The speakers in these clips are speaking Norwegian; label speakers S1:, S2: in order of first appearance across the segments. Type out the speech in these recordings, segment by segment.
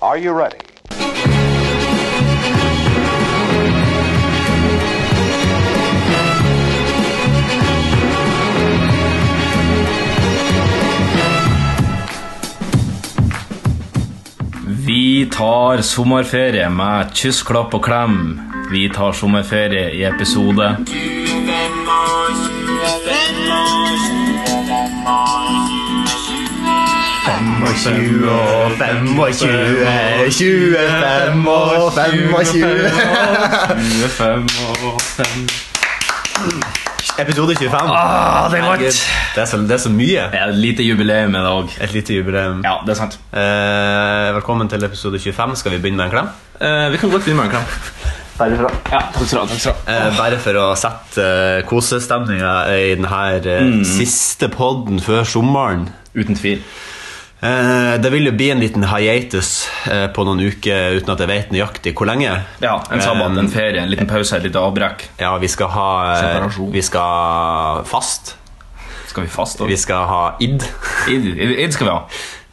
S1: Are you ready?
S2: Vi tar sommerferie med kyss, klapp og klem. Vi tar sommerferie i episode
S3: Episode 25.
S2: Ah, det er godt.
S3: Det er så, det er så mye.
S2: Det er et lite jubileum i dag.
S3: Et lite jubileum.
S2: Ja, det er sant.
S3: Eh, velkommen til episode 25. Skal vi begynne med en klem?
S2: Eh, vi kan godt begynne med en klem. Ja, takk skal du ha. takk skal du ha.
S3: Eh, bare for å sette eh, kosestemninga i denne eh,
S2: Mm.
S3: siste podden før sommeren.
S2: Uten tvil.
S3: Eh, det vil jo bli en liten hiatus eh, på noen uker uten at jeg vet nøyaktig hvor lenge.
S2: Ja, En sabbat,
S3: Eh,
S2: en ferie, en liten pause, et lite avbrekk.
S3: Ja, vi skal ha eh,
S2: Separasjon.
S3: Vi skal fast.
S2: Skal vi fast
S3: Vi
S2: òg?
S3: skal ha id.
S2: Id, id, id skal vi ha.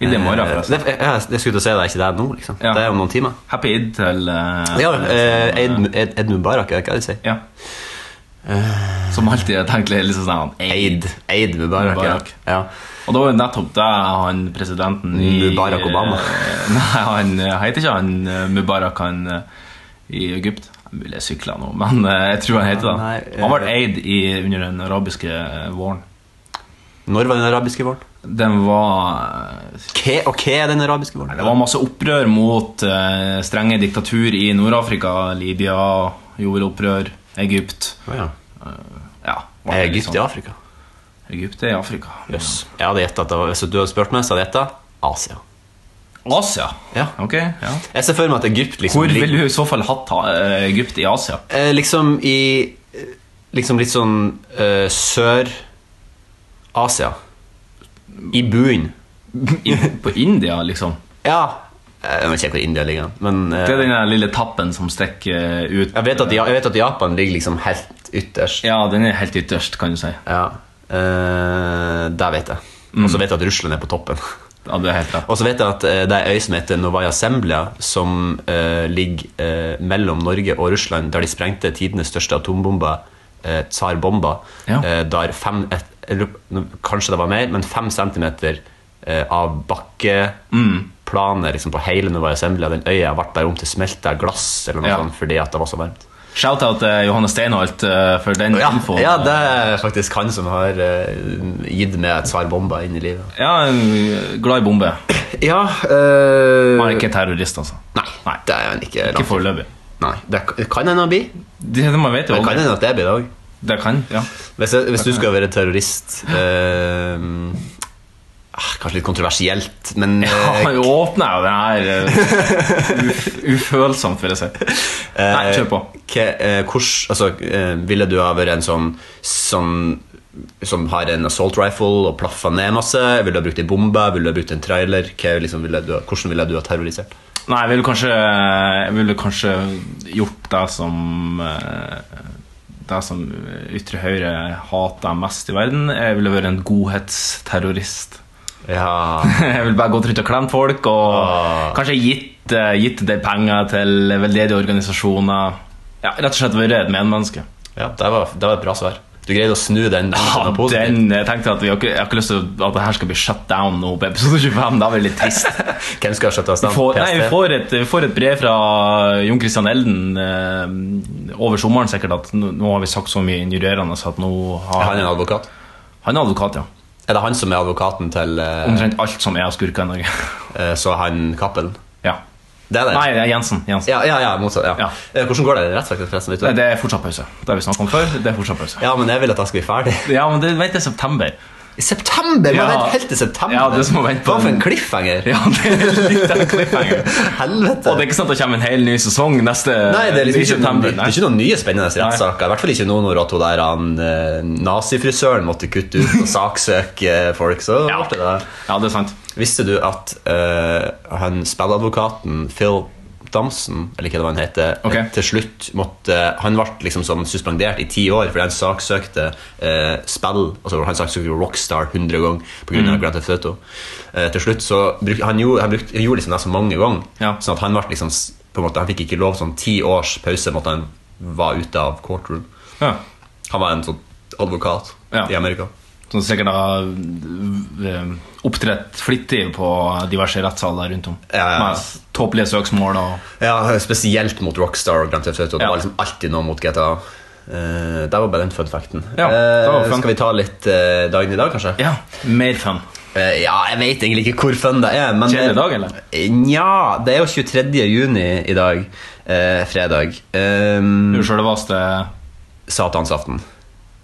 S2: Id i morgen, forresten.
S3: Eh, det- ja, Jeg skulle til å si det er ikke det nå, liksom.
S2: Ja.
S3: Det er om noen timer.
S2: Happy id til eh,
S3: Ja, eh, Eid, Eid, Eid Mubarak, er det ikke det de sier?
S2: ja. Som alltid er tenkt litt sånn sånn
S3: Eid, Eid Mubarak,
S2: Mubarak.
S3: ja. ja.
S2: Og det var jo nettopp det han presidenten i
S3: Mubarak Obama.
S2: Nei, han eh, heter ikke han eh, Mubarak han eh, i Egypt. Han ville sykle nå, men eh, jeg tror han heter det.
S3: Nei, eh,
S2: han ble eid i, under den arabiske eh, våren.
S3: Når var den arabiske våren?
S2: Den var eh,
S3: Hva, og hva er den arabiske våren?
S2: Det var masse opprør mot eh, strenge diktatur i Nord-Afrika. Libya gjorde opprør. Egypt.
S3: Å, ja.
S2: Ja, var
S3: Er
S2: det litt
S3: Egypt i
S2: sånn.
S3: Afrika?
S2: Egypt er i Afrika.
S3: Jøss. Jeg hadde gjettet at det var, hvis du hadde spurt meg, så hadde jeg gjettet Asia.
S2: Asia?
S3: Ja.
S2: Ok, ja.
S3: Jeg ser for meg at Egypt liksom
S2: Hvor
S3: lig-
S2: ville du i så fall hatt eh, Egypt i Asia?
S3: Eh, liksom i eh, Liksom litt sånn eh, Sør-Asia. I buen.
S2: I- På India, liksom.
S3: Ja. Eh, Jeg vet ikke hvor India ligger, men eh,
S2: Det er den der lille tappen som stikker ut.
S3: jeg, vet at, Ja- jeg vet at Japan ligger liksom helt ytterst.
S2: Ja, den er helt ytterst, kan du si.
S3: Ja. Eh, det vet jeg. Og
S2: Mm.
S3: så vet jeg at Russland er på toppen.
S2: Ja, det er helt rett.
S3: Og så vet jeg at eh, det er ei øy som heter Novaya Zemlya, som eh, ligger eh, mellom Norge og Russland, der de sprengte tidenes største atombombe, uh, tsarbomba,
S2: Ja.
S3: eh, der fem et, jeg lurer på- Kanskje det var mer, men fem centimeter eh, av
S2: Mm.
S3: bakkeplanet liksom, på hele Novaya Zemlya, den øya, ble bare om til smelta glass eller noe
S2: Ja.
S3: sånt fordi at det var så varmt.
S2: Shout-out til Johanne Steinholt eh, for den
S3: Ja,
S2: infoen.
S3: ja, det er faktisk han som har eh, gitt meg tsarbomba inn i livet.
S2: Ja, en glad i bombe.
S3: Ja øh...
S2: Han er ikke terrorist, altså.
S3: Nei,
S2: Nei.
S3: det er han ikke.
S2: Ikke foreløpig.
S3: Nei, det k- kan hende han blir.
S2: Det, det man vet jo
S3: Det kan
S2: aldri.
S3: hende at det blir det òg.
S2: Det kan, ja.
S3: Hvis, jeg- hvis du skal være terrorist øh... ah, Kanskje litt kontroversielt, men øh,
S2: Han åpner jo den her eh, uf- ufølsom, for å si. Nei,
S3: eh,
S2: kjør på.
S3: hva- eh, hvordan- altså, eh, ville du ha vært en sånn, sånn som har en assault rifle og plaffa ned masse? Ville du ha brukt en bombe? Ville du ha brukt en trailer? Hva, liksom, ville du, ha- hvordan ville du ha terrorisert?
S2: Nei, jeg ville kanskje, jeg ville kanskje gjort det som eh, Det som ytre høyre hater mest i verden. Jeg ville vært en godhetsterrorist.
S3: Ja
S2: Jeg ville bare gått rundt og klemt folk og
S3: Ah.
S2: kanskje gitt, eh, gitt de penger til veldedige organisasjoner. Ja, Rett og slett vært et medmenneske.
S3: Ja, det var, det var et bra svar. Du greide å snu den.
S2: Ja,
S3: den posen.
S2: den, jeg tenkte at vi har ikke, Jeg har ikke lyst til at det her skal bli shut down nå på episode 25. Det blir litt trist.
S3: Hvem skal skjøtte oss den?
S2: Får, nei, vi
S3: PST?
S2: får et, vi får et brev fra Jon Christian Elden eh, over sommeren sikkert at nå, nå har vi sagt så mye injurerende så at nå
S3: Er
S2: har
S3: han en advokat?
S2: Han er advokat, ja.
S3: Er det han som er advokaten til eh,
S2: Omtrent alt som er av skurker i Norge.
S3: eh, Så han Cappelen?
S2: ja.
S3: Det er det?
S2: Nei, det er Jensen. Jensen.
S3: Ja, ja, ja, motsatt. Ja.
S2: Ja.
S3: Eh, Hvordan går det i rettssaken, forresten? Vet du?
S2: Nei, Det er fortsatt pause. Det har vi snakket om før. Det er fortsatt pause.
S3: Ja, men jeg vil at jeg skal bli ferdig.
S2: Ja, men det vet jeg september.
S3: I september! Man
S2: Ja.
S3: venter helt til september.
S2: Ja, det er som å vente på
S3: Hva for
S2: en-
S3: en cliffhanger?
S2: Ja, det er litt av en cliffhanger.
S3: Helvete.
S2: Og det er ikke sant at det kommer en hel ny sesong neste
S3: Nei, det er liksom
S2: i
S3: ikke, noen,
S2: september.
S3: det er ikke noen nye spennende rettssaker. I hvert fall ikke nå når at hun der han, eh, nazifrisøren måtte kutte ut og saksøke eh, folk. Så
S2: Ja.
S3: ble det det.
S2: Ja, det er sant.
S3: Visste du at eh, han spilladvokaten Phil Dybdamsen, eller hva det var han heter,
S2: Ok.
S3: til slutt måtte Han ble liksom sånn suspendert i ti år fordi han saksøkte eh, spill. Altså Han saksøkte jo Rockstar 100 ganger pga.
S2: Mm.
S3: av Grand Theft Auto. Eh, til slutt så bruk, han gjorde han, brukte- han gjorde liksom det så mange ganger,
S2: Ja.
S3: sånn at han ble liksom s- på en måte, Han fikk ikke lov sånn ti års pause måtte han var ute av courtroom.
S2: Ja.
S3: Han var en sånn advokat
S2: Ja.
S3: i Amerika.
S2: Som sikkert har eh, opptrådt flittig på diverse rettssaler rundt om.
S3: Ja, ja, ja.
S2: Med tåpelige søksmål og
S3: Ja, spesielt mot Rockstar og Grand Theft Auto. Det
S2: Ja.
S3: var liksom alltid noe mot GTA. Eh, der var bare den fun facten.
S2: Ja, det var
S3: Eh,
S2: fun.
S3: skal vi ta litt eh, dagen i dag, kanskje?
S2: Ja, mer fun.
S3: Eh, ja, jeg vet egentlig ikke hvor fun det er. Men,
S2: Kjedelig dag, eller?
S3: Eh, Nja, det er jo 23. juni i dag. eh, fredag. Um,
S2: Du sjølveste
S3: Satansaften.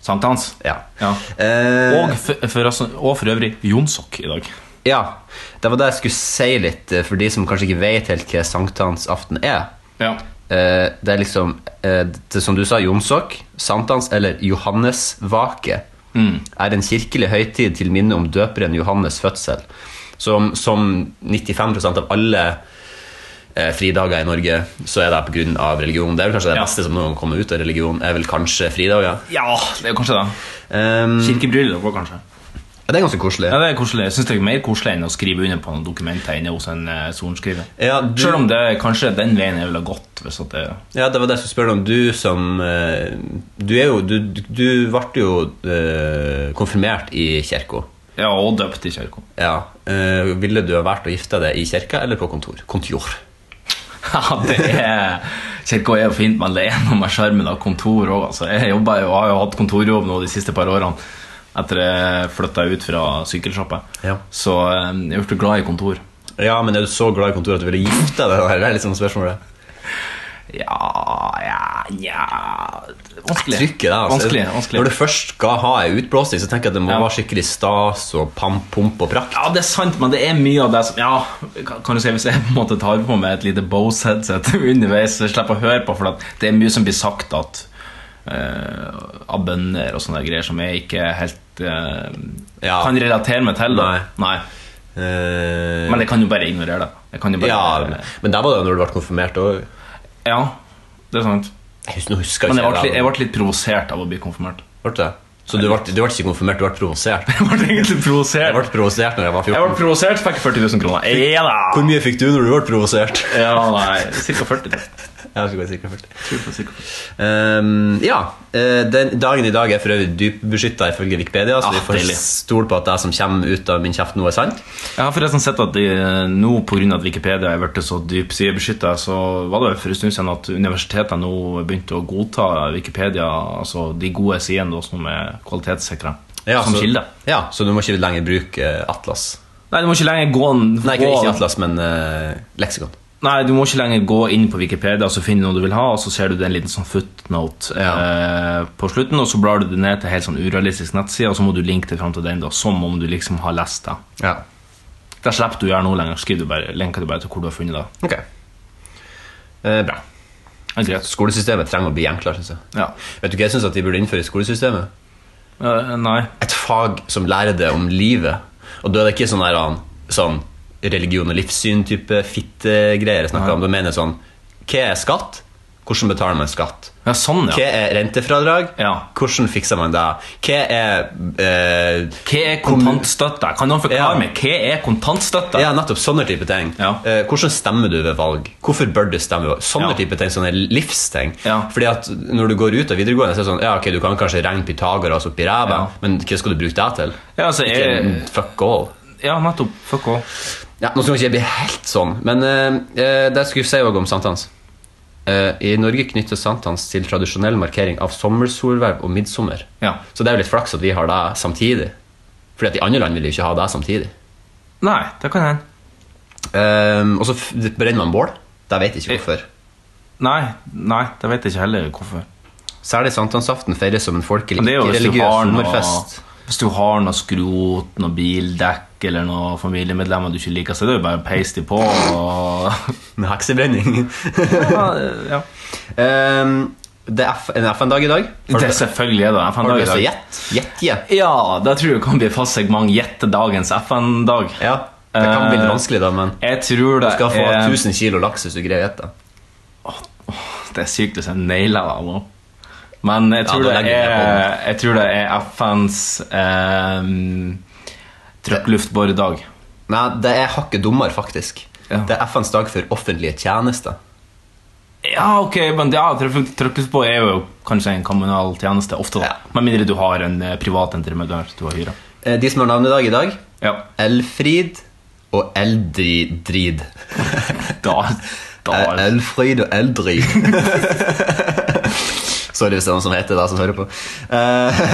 S2: sankthans.
S3: Ja.
S2: Ja.
S3: Eh,
S2: Og for, for, oss- og for øvrig Jonsok i dag.
S3: ja. Det var det jeg skulle si litt, eh, for de som kanskje ikke vet helt hva sankthansaften er.
S2: Ja.
S3: Eh, det er liksom eh, det, Som du sa, Jomsok, sankthans eller Johannesvake
S2: Mm.
S3: er en kirkelig høytid til minne om døperen Johannes' fødsel. Som, som 95 av alle eh, fridager i Norge, så er det pga. religion. Det er vel kanskje det
S2: Ja.
S3: beste som noen gang kommer ut av religion, er vel kanskje fridager.
S2: ja, det er kanskje det.
S3: Um,
S2: Kirkebryllup òg, kanskje.
S3: ja, det er ganske koselig.
S2: Ja, det er koselig. Jeg synes det er mer koselig enn å skrive under på noen dokumenter inne hos en eh, sorenskriver.
S3: Ja, du-
S2: Selv om det er kanskje den veien jeg ville ha gått. Hvis at det,
S3: Ja, det var det jeg skulle spørre deg om. Du som eh, Du er jo Du, du ble jo eh, konfirmert i kirka.
S2: ja, og døpt i kirka.
S3: Ja. eh, ville du ha vært å gifte deg i kirka eller på kontor? Kontor.
S2: Ja, det er Kirka er jo fint, men det er noe med skjermen av kontor òg. Altså. Jeg jobber jo, har jo hatt kontorjobb nå de siste par årene etter jeg flytta ut fra sykkelsjappa.
S3: Ja.
S2: Så eh, jeg ble glad i kontor.
S3: Ja, men er du så glad i kontor at du ville gifte deg? der? Det er liksom spørsmålet.
S2: Ja, ja, ja Vanskelig.
S3: Trykket der, altså.
S2: vanskelig,
S3: Når
S2: vanskelig.
S3: du først skal ha ei utblåsning, så tenker jeg at det må
S2: Ja.
S3: være skikkelig stas og pam, pump og prakt.
S2: Ja, det er sant, men det er mye av det som Ja, kan- kan du si hvis jeg på en måte tar på meg et lite Bose headset underveis, så jeg slipper å høre på, for at det er mye som blir sagt at eh, av bønder og sånne greier som jeg ikke helt eh,
S3: Ja.
S2: kan relatere meg til. Da.
S3: Nei.
S2: Nei.
S3: Eh,
S2: Men jeg kan jo bare ignorere det. Jeg kan jo bare,
S3: ja, men der var det jo når du ble konfirmert òg.
S2: ja, det er sant.
S3: Nå husker
S2: Men
S3: jeg
S2: jeg
S3: ikke.
S2: ble,
S3: det,
S2: jeg ble litt provosert av å bli konfirmert.
S3: Ble det? Så du ble, du ble ikke konfirmert, du ble provosert?
S2: Jeg ble egentlig
S3: Jeg
S2: provosert.
S3: ble provosert når jeg var
S2: Jeg
S3: 14.
S2: ble provosert, fikk 40 000 kroner. Ja da!
S3: Hvor mye fikk du når du ble provosert?
S2: Ja, nei, Cirka 40 000.
S3: Jeg husker ikke sikkert først.
S2: Tror på cirka 40 000.
S3: Ehm, ja. eh, den, dagen i dag er for øvrig dypbeskytta ifølge Wikipedia, så
S2: Ah,
S3: vi får
S2: deilig.
S3: stole på at det som kommer ut av min kjeft nå, er sant.
S2: Jeg har forresten sett at de, nå pga. at Wikipedia er blitt så dypsidebeskytta, så var det vel for en stund siden at universitetene nå begynte å godta Wikipedia, altså de gode sidene da, som er kvalitetssikra, som
S3: så,
S2: kilde.
S3: Ja, så du må ikke lenger bruke eh, Atlas.
S2: Nei, du må ikke lenger gå
S3: Nei, ikke,
S2: gå-
S3: ikke Atlas, men eh, leksikon.
S2: Nei, du må ikke lenger gå inn på Wikipedia og så finne noe du vil ha, og så ser du det en liten sånn footnote eh, på slutten, og så blar du det ned til helt sånn urealistisk nettside, og så må du linke det fram til den, da, som om du liksom har lest det.
S3: Ja.
S2: Det slipper du å gjøre nå lenger. Skriv du bare, lenker du bare til hvor du har funnet det.
S3: Ok. Eh, bra.
S2: Det er greit.
S3: Skolesystemet trenger å bli enklere, syns jeg.
S2: Ja.
S3: Vet du hva jeg syns de burde innføre i skolesystemet?
S2: Eh, nei.
S3: et fag som lærer deg om livet. Og da er det ikke sånn, der, annen- sånn religion og livssyn-type fittegreier jeg snakker om. Da mener jeg sånn Hva er skatt? Hvordan betaler man skatt?
S2: Ja, sånn,
S3: Hva
S2: ja.
S3: er rentefradrag?
S2: Ja.
S3: Hvordan fikser man det? Hva er eh,
S2: Hva er kontantstøtte? Kan noen forklare
S3: Ja.
S2: meg? Hva er kontantstøtte?
S3: Ja, nettopp sånne type ting.
S2: Ja.
S3: Eh, hvordan stemmer du ved valg? Hvorfor bør du stemme? ved valg? Sånne
S2: Ja.
S3: type ting, sånne livsting.
S2: Ja.
S3: Fordi at når du går ut av videregående, så er det sånn Ja, ok, du kan kanskje regne Pythagoras oppi ræva,
S2: Ja.
S3: men hva skal du bruke det til?
S2: Ja, altså,
S3: ikke
S2: jeg-
S3: en fuck all.
S2: Ja, nettopp. Fuck off.
S3: Ja, Nå skal ikke jeg bli helt sånn, men eh, eh, det skulle jeg si også om sankthans. Eh, I Norge knyttes sankthans til tradisjonell markering av sommersolverv og midtsommer.
S2: Ja.
S3: Så det er jo litt flaks at vi har det samtidig. Fordi at i andre land vil de jo ikke ha det samtidig.
S2: Nei, det kan hende.
S3: Ehm, og så f- brenner man bål. Det vet jeg ikke hvorfor.
S2: Nei, nei, det vet jeg ikke heller hvorfor.
S3: Særlig sankthansaften feires som en folkelig
S2: Men det er jo hvis du
S3: religiøs
S2: har noe
S3: sommerfest.
S2: Hvis du har noe skrot, noe bildekk eller noe familiemedlemmer du ikke liker, så er det jo bare å peise de på og
S3: Med heksebrenning.
S2: ja, ja.
S3: Ehm, det er F en FN-dag i dag.
S2: Det
S3: Har du
S2: er selvfølgelig det.
S3: har du
S2: FN-dag i
S3: lyst til å
S2: dag.
S3: gjette? Gjette, ja.
S2: Ja, det tror jeg kan bli fast segment. Gjette dagens FN-dag.
S3: Ja. Det
S2: Eh,
S3: kan bli litt vanskelig, da, men
S2: Jeg tror
S3: du
S2: det
S3: skal få
S2: er
S3: 1000 kilo laks hvis du greier å gjette.
S2: Det er sykt hvis jeg nailer deg nå. Men jeg
S3: Ja,
S2: tror,
S3: da
S2: det,
S3: legger vi ned
S2: er, jeg tror det er FNs eh, trøkkluftboredag.
S3: Nei, det er hakket dummere, faktisk.
S2: Ja.
S3: Det er FNs dag for offentlige tjenester.
S2: Ja, ok, men ja, trøkk- trøkkluftbor er jo kanskje en kommunal tjeneste ofte, da.
S3: Ja.
S2: Med mindre du har en eh, privat entreprenør du har hyra.
S3: Eh, De som har navnedag i dag,
S2: Ja,
S3: Elfrid og Eldrid.
S2: da, da
S3: Eh, Elfrid og Eldrid. Sorry hvis det er noen som heter det, som hører på. Eh,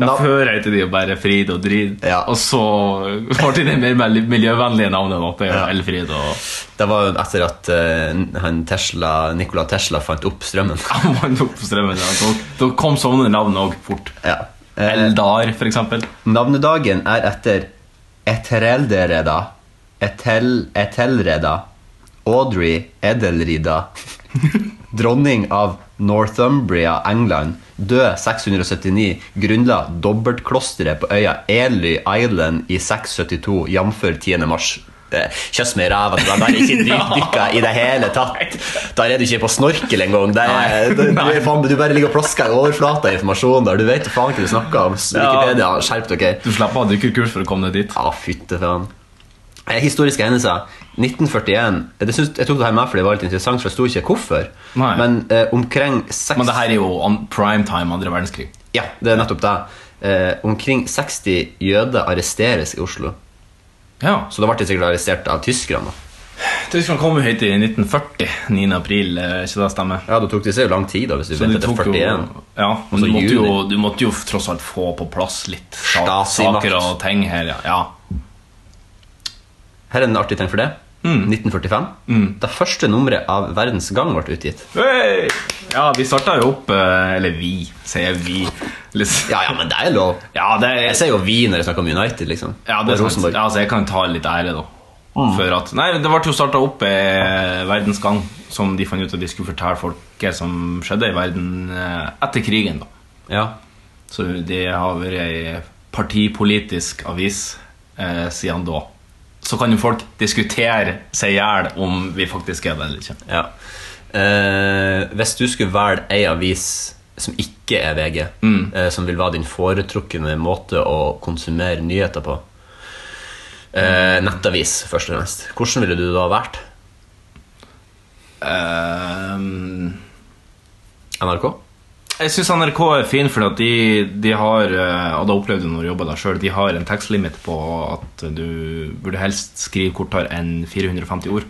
S2: Da
S3: nav-
S2: fører jeg til de og bare Frid og Drid.
S3: Ja.
S2: Og så får de det mer mel- miljøvennlige navnet. Da. Det er
S3: Ja.
S2: Elfrid og
S3: det var jo etter at eh, han Tesla, Nikola Tesla fant opp strømmen.
S2: Man tok på strømmen. Da, Da- da kom sånne navn òg fort.
S3: Ja. Eh,
S2: Eldar, for eksempel.
S3: Navnedagen er etter Etereldereda, Etel, Etelreda, Audrey Edelrida, dronning av Northumbria, England, død 679, grunnla dobbeltklosteret på øya Ely Island i 672, jf. 10. mars. Eh, Kjøss meg i ræva, du er ikke dritdykka i det hele tatt. Der er du ikke på snorkel engang. Det er- Du, du, er faen- du bare ligger og plasker i overflata av informasjon der. Du vet faen hva du snakker om. Wikipedia, skjerp dere.
S2: Du slipper å ha dykkerkurs for å komme deg dit.
S3: Ja, fytte faen. Eh, Historiske hendelser. 1941. Det syns- jeg tok det her med fordi det var litt interessant, for jeg sto ikke hvorfor.
S2: Nei.
S3: Men eh, omkring seks...
S2: Men det her er jo on prime time andre verdenskrig.
S3: Ja, det er nettopp det. Eh, omkring 60 jøder arresteres i Oslo.
S2: Ja.
S3: Så da ble de sikkert arrestert av tyskerne. da.
S2: Tyskland kom jo hit i 1940. 9. april, eh, ikke det stemmer?
S3: Ja, det tok det seg jo lang tid, da, hvis du
S2: Så
S3: vet at det er 41.
S2: ja,
S3: Og
S2: men du måtte,
S3: så Altså juni.
S2: jo, du måtte jo tross alt få på plass litt sa-
S3: Stasi-makt.
S2: saker og ting her. Ja. ja.
S3: Her er en artig ting for det.
S2: Mm.
S3: 1945. Det første nummeret av Verdens Gang ble utgitt.
S2: Hey! ja vi starta jo opp eh, Eller vi, sier vi. Litt-
S3: Ja, ja, men det er lov.
S2: Ja, det er
S3: Jeg sier jo vi når jeg snakker om United, liksom.
S2: Ja, det
S3: Og
S2: er sant.
S3: Rosenborg.
S2: Ja, altså, jeg kan ta litt ære, da. For at, nei, det ble jo starta opp eh, Verdens Gang, som de fant ut at de skulle fortelle folk hva som skjedde i verden eh, etter krigen. da
S3: Ja.
S2: Så de har vært ei partipolitisk avis eh, siden da. Så kan jo folk diskutere seg i hjel om vi faktisk er det eller ikke.
S3: Ja. Eh, hvis du skulle velge ei avis som ikke er VG, eh, som vil være din foretrukne måte å konsumere nyheter på eh, Nettavis, først og fremst. Hvordan ville du da vært?
S2: Ehm,
S3: NRK?
S2: Jeg syns NRK er fin, fordi at de, de har eh, Og da opplevde jeg når jeg jobba der sjøl, de har en tekstlimit på at du burde helst skrive kortere enn 450 ord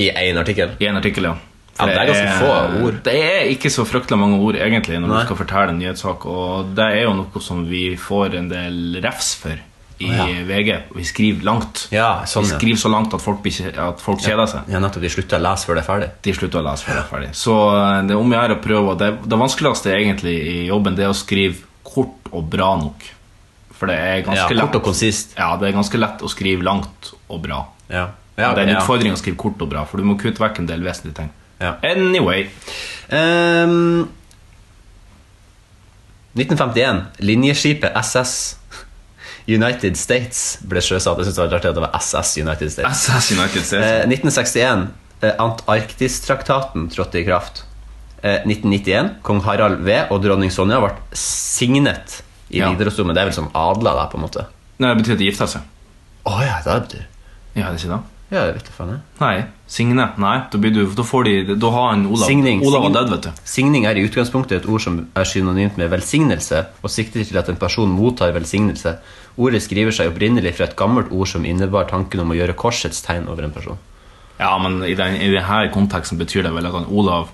S3: I én artikkel?
S2: i en artikkel. ja. For
S3: Ja, det er ganske få ord.
S2: Det er ikke så fryktelig mange ord, egentlig, når
S3: Nei.
S2: du skal fortelle en nyhetssak. Og det er jo noe som vi får en del refs for i
S3: Ja.
S2: VG. Vi skriver langt.
S3: Ja, sånn,
S2: vi
S3: ja.
S2: skriver så langt at folk, blir kje- at folk kjeder seg
S3: Ja, nettopp. De slutta å lese før det er ferdig.
S2: de slutter å lese før de er ferdig. Så eh, det er om å gjøre å prøve. og Det, det vanskeligste egentlig i jobben Det er å skrive kort og bra nok. For det er
S3: Ja,
S2: ganske
S3: kort og
S2: lett
S3: konsist.
S2: Ja, det er ganske lett å skrive langt og bra.
S3: Ja. Ja,
S2: det er en
S3: ja.
S2: utfordring å skrive kort og bra, for du må kutte vekk en del vesentlige ting.
S3: Ja.
S2: Anyway
S3: Ehm, 1951. Linjeskipet SS United States ble sjøsatt. Jeg synes det var litt artig at det var SS United States.
S2: SS United States.
S3: Eh, 1961. Eh, Antarktistraktaten trådte i kraft. Eh, 1991. Kong Harald V og dronning Sonja ble signet i
S2: Ja.
S3: Nidarosdomen. Det er vel som adla, da, på en måte.
S2: Nei, det betyr at de gifter seg.
S3: Å ja, det betyr
S2: Ja, det er ikke det?
S3: Ja, jeg vet da faen. jeg.
S2: Nei. Signe. Nei, da, blir du, da får de Da har han Olav
S3: Signing.
S2: Olav var
S3: Sign-
S2: død, vet du.
S3: Signing er i utgangspunktet et ord som er synonymt med velsignelse, og sikter til at en person mottar velsignelse. Ordet skriver seg opprinnelig fra et gammelt ord som innebar tanken om å gjøre korsets tegn over en person.
S2: Ja, men i, den, i denne konteksten betyr det vel at han Olav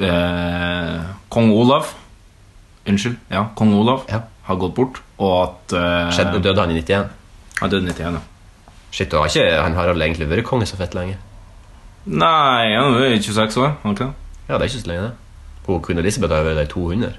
S2: eh, Kong Olav Unnskyld, ja, Kong Olav
S3: Ja.
S2: har gått bort, og at eh,
S3: Skjedde, døde han i 91?
S2: Han døde i 91, ja.
S3: Shit, da har ikke han Harald egentlig vært konge så fett lenge?
S2: Nei, han er jo 26 år. han er ikke det?
S3: Ja, det er ikke så lenge, det. Hun Queen Elizabeth har jo vært der i 200.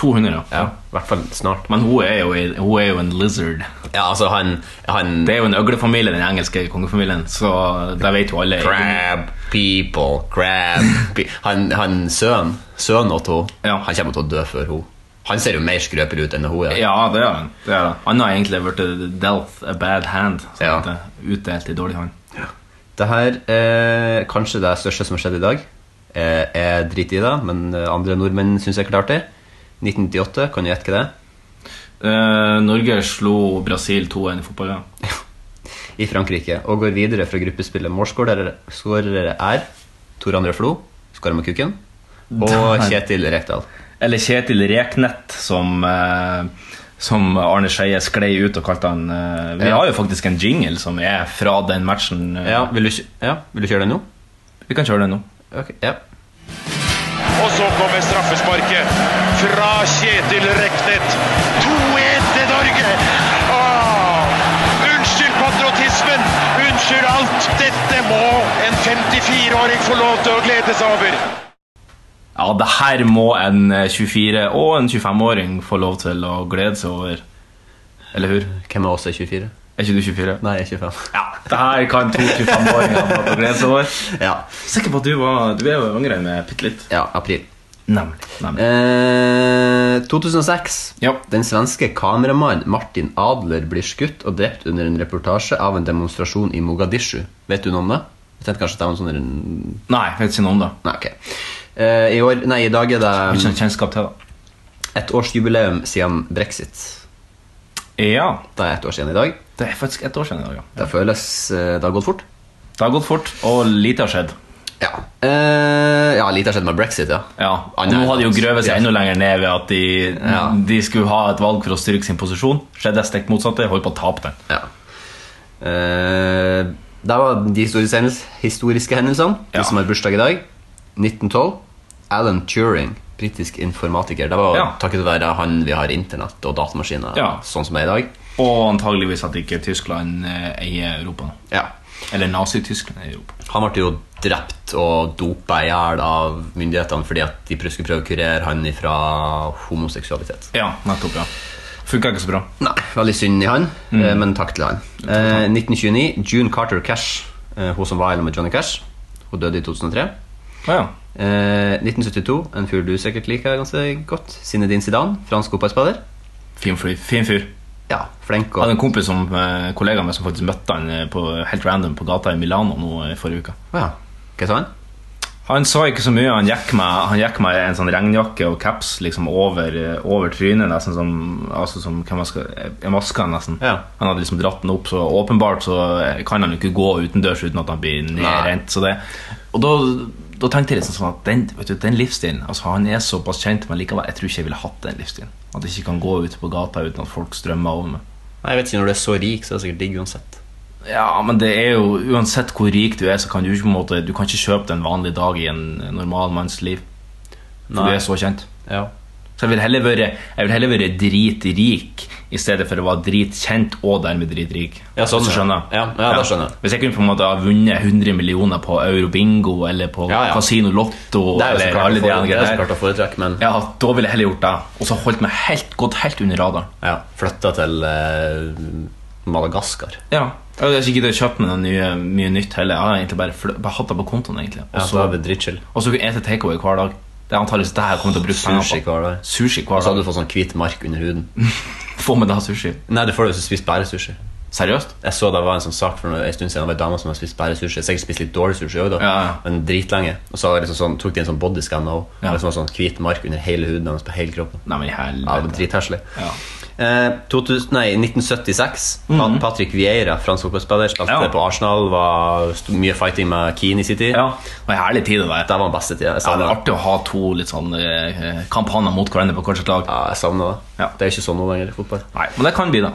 S2: 200, ja.
S3: Ja, i hvert fall snart.
S2: Men hun er, jo, en- hun er jo en lizard.
S3: Ja, altså, han, han
S2: Det er jo en øglefamilie, den engelske kongefamilien, så det vet jo alle.
S3: Crab people, crab pe han, han sønn, sønn åt henne,
S2: Ja.
S3: han kommer til å dø før hun Han ser jo mer skrøpelig ut enn hun gjør.
S2: Ja, det gjør han. Det gjør han. Han har egentlig blitt dealt a bad hand. Så
S3: Ja.
S2: det er Utdelt i dårlig hånd.
S3: Det her er kanskje det største som har skjedd i dag. Eh, Jeg driter i det, men eh, andre nordmenn syns sikkert det er artig. 1998, kan du gjette hva det er?
S2: Eh, Norge slo Brasil 2-1 i fotballkamp.
S3: I Frankrike. Og går videre fra gruppespillet. Målskårere er Tor André Flo, skårer med kuken, og
S2: Der.
S3: Kjetil Rekdal.
S2: Eller Kjetil Reknett, som, eh, som Arne Skeie sklei ut og kalte han eh, Vi
S3: Ja.
S2: har jo faktisk en jingle som er fra den matchen. eh.
S3: Ja, vil du, kj- ja, vil du kjøre den nå?
S2: Vi kan kjøre den nå.
S3: Ok, ja.
S1: Og så kommer straffesparket fra Kjetil Reknet. 2-1 til Norge! Åh, unnskyld patriotismen! Unnskyld alt! Dette må en 54-åring få lov til å glede seg over.
S2: Ja, det her må en eh, 24- og en 25-åring få lov til å glede seg over. Eller hur?
S3: Hvem av oss er 24?
S2: Er ikke du 24?
S3: Nei, jeg er 25.
S2: Ja, det her kan to 25-åringer få lov til å glede seg over.
S3: Ja.
S2: Sikker på at du var Du er jo yngre enn meg bitte litt.
S3: ja april.
S2: Nemlig. Nemlig.
S3: Eh, 2006.
S2: Ja.
S3: Den svenske kameramannen Martin Adler blir skutt og drept under en reportasje av en demonstrasjon i Mogadishu. Vet du noe om det? Jeg tenkte kanskje det var en sånn Nei,
S2: Nei, jeg vet ikke noe om det.
S3: ok. Eh, I år, nei, i dag er
S2: Har
S3: det
S2: Ikke noe kjennskap til det.
S3: et årsjubileum siden brexit.
S2: Ja,
S3: Det er ett år siden i dag.
S2: det er faktisk ett år siden i dag. Ja.
S3: Det føles eh, Det har gått fort.
S2: Det har gått fort, og lite har skjedd.
S3: Ja. Eh, ja, lite har skjedd med brexit, ja.
S2: Ja,
S3: Ah,
S2: Nå
S3: nei,
S2: hadde jo
S3: sant.
S2: grøvet seg enda lenger ned ved at de,
S3: Ja.
S2: de skulle ha et valg for å styrke sin posisjon. Skjedde stikk motsatte. Holdt på å tape den.
S3: Ja. Eh, der var de historiske, hendels historiske hendelsene.
S2: Ja.
S3: De som har bursdag i dag. 1912. Alan Turing, britisk informatiker. Det var
S2: Ja.
S3: takket være han vi har internett og datamaskiner
S2: Ja.
S3: sånn som er i dag.
S2: Og antageligvis at ikke Tyskland eh, eier Europa nå.
S3: Ja.
S2: Eller Nazi-Tyskland i Europa.
S3: Han ble jo drept og dopa i hjel av myndighetene fordi at de prøvde prøve å kurere han fra homoseksualitet.
S2: Ja, nettopp, ja. Funka ikke så bra.
S3: Nei, veldig synd i han, eh, men takk til han. Eh, 1929, June Carter Cash, eh, hun som var i lag med Johnny Cash. Hun døde i 2003.
S2: Å ja.
S3: Eh, 1972, en fyr du sikkert liker ganske godt. Zinedine Zidane, fransk fotballspiller.
S2: Fin, fly, fin fyr.
S3: Ja, flink
S2: Jeg
S3: og
S2: hadde en kompis som eh, kollega med som faktisk møtte han eh, på, helt random på gata i Milano nå i forrige uke.
S3: Å ja. Hva sa han?
S2: Han sa ikke så mye. Han gikk med, han gikk med en sånn regnjakke og caps liksom over, eh, over trynet, nesten som, altså som hva man skal, eh, maska, nesten.
S3: Ja.
S2: Han hadde liksom dratt den opp, så åpenbart så eh, kan han jo ikke gå utendørs uten at han blir nedrent. Så det, og da, da tenkte jeg liksom sånn at den, vet du, den livsstilen altså Han er såpass kjent, men likevel, jeg tror ikke jeg ville hatt den livsstilen. At jeg ikke kan gå ut på gata uten at folk strømmer over meg.
S3: Nei, jeg vet ikke, Når du er så rik, så er det sikkert digg uansett.
S2: Ja, men det er jo Uansett hvor rik du er, så kan du ikke på en måte Du kan ikke kjøpe deg en vanlig dag i en normal manns liv. For
S3: Nei.
S2: du er så kjent.
S3: Ja.
S2: Så jeg vil heller være, jeg vil heller være dritrik i stedet for å være dritkjent og dermed dritrik.
S3: Ja, sånn,
S2: Hvis du
S3: ja.
S2: skjønner.
S3: Ja, ja, det skjønner jeg.
S2: Hvis jeg kunne på en måte ha vunnet 100 millioner på Eurobingo eller på
S3: Ja, ja.
S2: Casino Lotto
S3: Det er jo så
S2: eller
S3: klart,
S2: alle de
S3: å, fore,
S2: andre
S3: det er så
S2: der,
S3: klart å foretrekke, men
S2: ja, da ville jeg heller gjort det. Og så holdt meg helt, gått helt under radaren.
S3: ja, flytta til eh, Madagaskar.
S2: Ja. Jeg har ikke giddet å kjøpe meg noe nye, mye nytt heller. Jeg har egentlig bare, fl- bare hatt det på kontoen, egentlig. Og
S3: Ja,
S2: så
S3: så var det dritchill.
S2: Og så ete takeaway hver dag. Det er antageligvis det her jeg kommer til å bruke penger på.
S3: Sushi hver dag.
S2: Sushi hver
S3: Og så hadde
S2: dag.
S3: du fått sånn hvit mark under huden.
S2: Få med deg sushi.
S3: Nei, det får du hvis du spiser bare sushi.
S2: Seriøst?
S3: Jeg så det var en sånn sak for noe- en stund siden Det var en dame som hadde spist bare sushi Sikkert spist litt dårlig sushi også da
S2: Ja, ja.
S3: Men dritlange Og så var det liksom sånn, tok de en sånn bodyscan og
S2: Ja.
S3: Det var sånn hvit mark under hele huden hennes På hele kroppen
S2: Nei, men i
S3: Ja, det var
S2: helvete.
S3: dritterselig
S2: Ja. Mhm.
S3: eh, 2000, nei, 1976 Pat- Patrick Vieira, fransk fotballspiller Spilte
S2: Ja.
S3: på Arsenal Var st- mye fighting med Keane i sin tid
S2: ja. Det var en herlig tid, det der.
S3: Det var den beste tiden
S2: Ja,
S3: Jeg
S2: det
S3: savner
S2: er
S3: det
S2: artig å ha to litt sånn eh, kampanjer mot hverandre på hvert sitt lag.
S3: ja, jeg savner det.
S2: Ja.
S3: Det er jo ikke sånn noe lenger i fotball
S2: Nei, men det kan bli, da.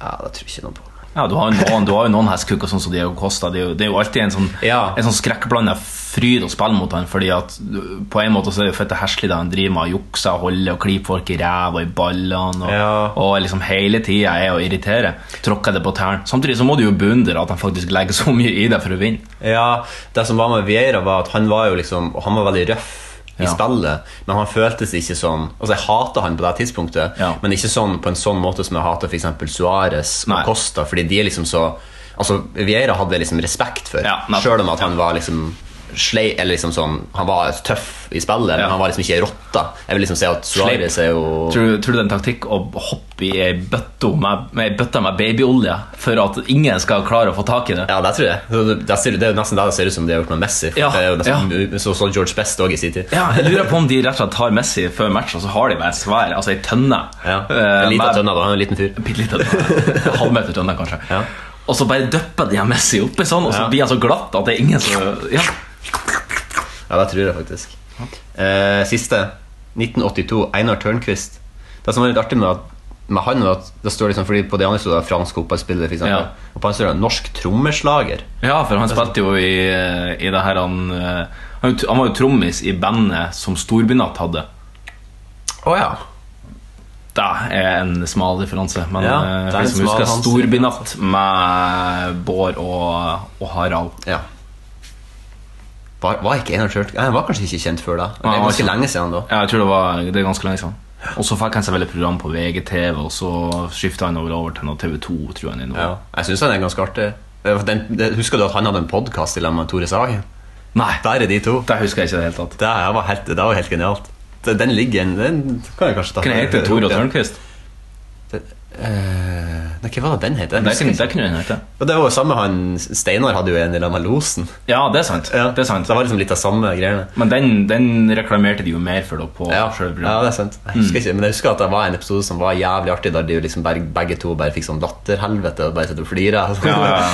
S3: Ja, det tror jeg ikke noe på
S2: Ja, du har jo noen, du har jo noen hestekukker sånn som Diego Costa. Det er jo, det er jo alltid en sånn,
S3: Ja.
S2: en sånn skrekkblanda fryd å spille mot han, fordi at du- på en måte så er det jo fette heslig da han driver med å jukse og holde og klype folk i ræva og i ballene, og,
S3: Ja.
S2: og liksom hele tida er å irritere. Tråkker det på tærne. Samtidig så må du jo beundre at han faktisk legger så mye i deg for å vinne.
S3: Ja, det som var med Vieira var at han var jo liksom Han var veldig røff i
S2: Ja.
S3: spillet, men han føltes ikke sånn Altså, jeg hata han på det tidspunktet,
S2: Ja.
S3: men ikke sånn på en sånn måte som jeg hater f.eks. Suárez og
S2: Nei.
S3: Costa, fordi de er liksom så Altså, Vieira hadde jeg liksom respekt for,
S2: Ja, nettopp.
S3: sjøl om at han var liksom slei, eller liksom sånn, Han var tøff i spillet, men
S2: Ja.
S3: han var liksom ikke ei rotte. Jeg vil liksom si at Suárez er jo
S2: Tror, du- tror du det er en taktikk å hoppe i ei bøtte med, med, ei bøtte med babyolje for at ingen skal klare å få tak i det?
S3: Ja, det tror jeg. Det, det, ser- det er jo nesten det det ser ut som de har gjort med Messi.
S2: Ja,
S3: Det er jo nesten, så, så George Best òg i sin tid.
S2: Ja, jeg lurer på om de rett og slett tar Messi før matchen, og så har de bare en svær, altså ei tønne.
S3: Ja.
S2: eh,
S3: En liten
S2: med-
S3: tønne, da. Han er en liten fyr.
S2: Bitte liten tønne. Halvmeter tønne, kanskje.
S3: Ja.
S2: Og så bare døpper de han Messi oppi sånn, og så
S3: Ja.
S2: blir han så glatt at det er ingen som ja.
S3: Ja, det tror jeg faktisk. Eh, siste. 1982. Einar Tørnquist. Det som var litt artig med, at, med han, var at det står liksom fordi på de andre stod det fransk fotballspiller, for eksempel.
S2: Ja.
S3: Og på han står det norsk trommeslager.
S2: ja, for
S3: Altså-
S2: han spilte jo i, i det her han eh, Han, han var jo trommis i bandet som Storbynatt hadde.
S3: Å ja.
S2: Det er en smal referanse, men
S3: Ja,
S2: eh,
S3: det er
S2: vi
S3: en
S2: som husker
S3: smal Hansen.
S2: Storbynatt med Bård og, og Harald.
S3: Var, var ikke Einar Tørnquist Nei, Han var kanskje ikke kjent før da.
S2: Nei,
S3: Det er
S2: han var
S3: ganske
S2: ikke-
S3: lenge siden da.
S2: Ah, Ja, jeg tror det var det er ganske lenge siden. Og så fikk han seg vel et program på VGTV, og så skifta han over, over til noe TV2, tror jeg. nå.
S3: Ja. Jeg syns han er ganske artig. Eh, Den, det, husker du at han hadde en podkast sammen med Tore Sagen?
S2: Nei,
S3: Der er de to.
S2: det husker jeg ikke i det hele tatt.
S3: Det her var helt, det var helt genialt. Det- Den ligger en Den kan jeg kanskje ta
S2: Kan jeg hete Tore Tørnquist?
S3: Eh, Nei, hva var det den het? Jeg
S2: Det
S3: husker
S2: kunne
S3: ikke.
S2: det kunne han hete.
S3: Og det var jo samme han Steinar hadde jo en i lag med Losen.
S2: Ja, det er sant. Det er sant.
S3: Det var liksom litt av samme greiene.
S2: Men den, den reklamerte de jo mer for da på
S3: Ja,
S2: selve
S3: ja, det
S2: programmet.
S3: er sant. Jeg husker ikke, men jeg husker at det var en episode som var jævlig artig, der de jo liksom bare, begge to bare fikk sånn latterhelvete og bare sitter og flirer.
S2: Ja, ja, ja.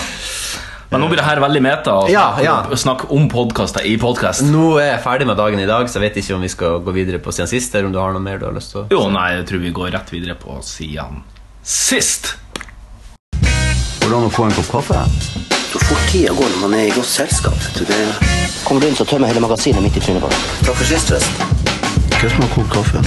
S2: Men nå blir det her veldig meta. å
S3: Ja,
S2: snakke-
S3: ja.
S2: å Snakke om podkaster i podkast.
S3: Nå er jeg ferdig med dagen i dag, så jeg vet ikke om vi skal gå videre på siden sist, eller om du har noe mer du har lyst til å
S2: Jo, nei, jeg tror vi går rett videre på siden sist.
S3: Hvordan å få en kopp kaffe?
S4: Så fort tida går når man er i godt selskap. vet du, Det kommer du inn, så tømmer hele magasinet midt i trynet på deg. Takk for sist, forresten. Kødd med kokt kaffe.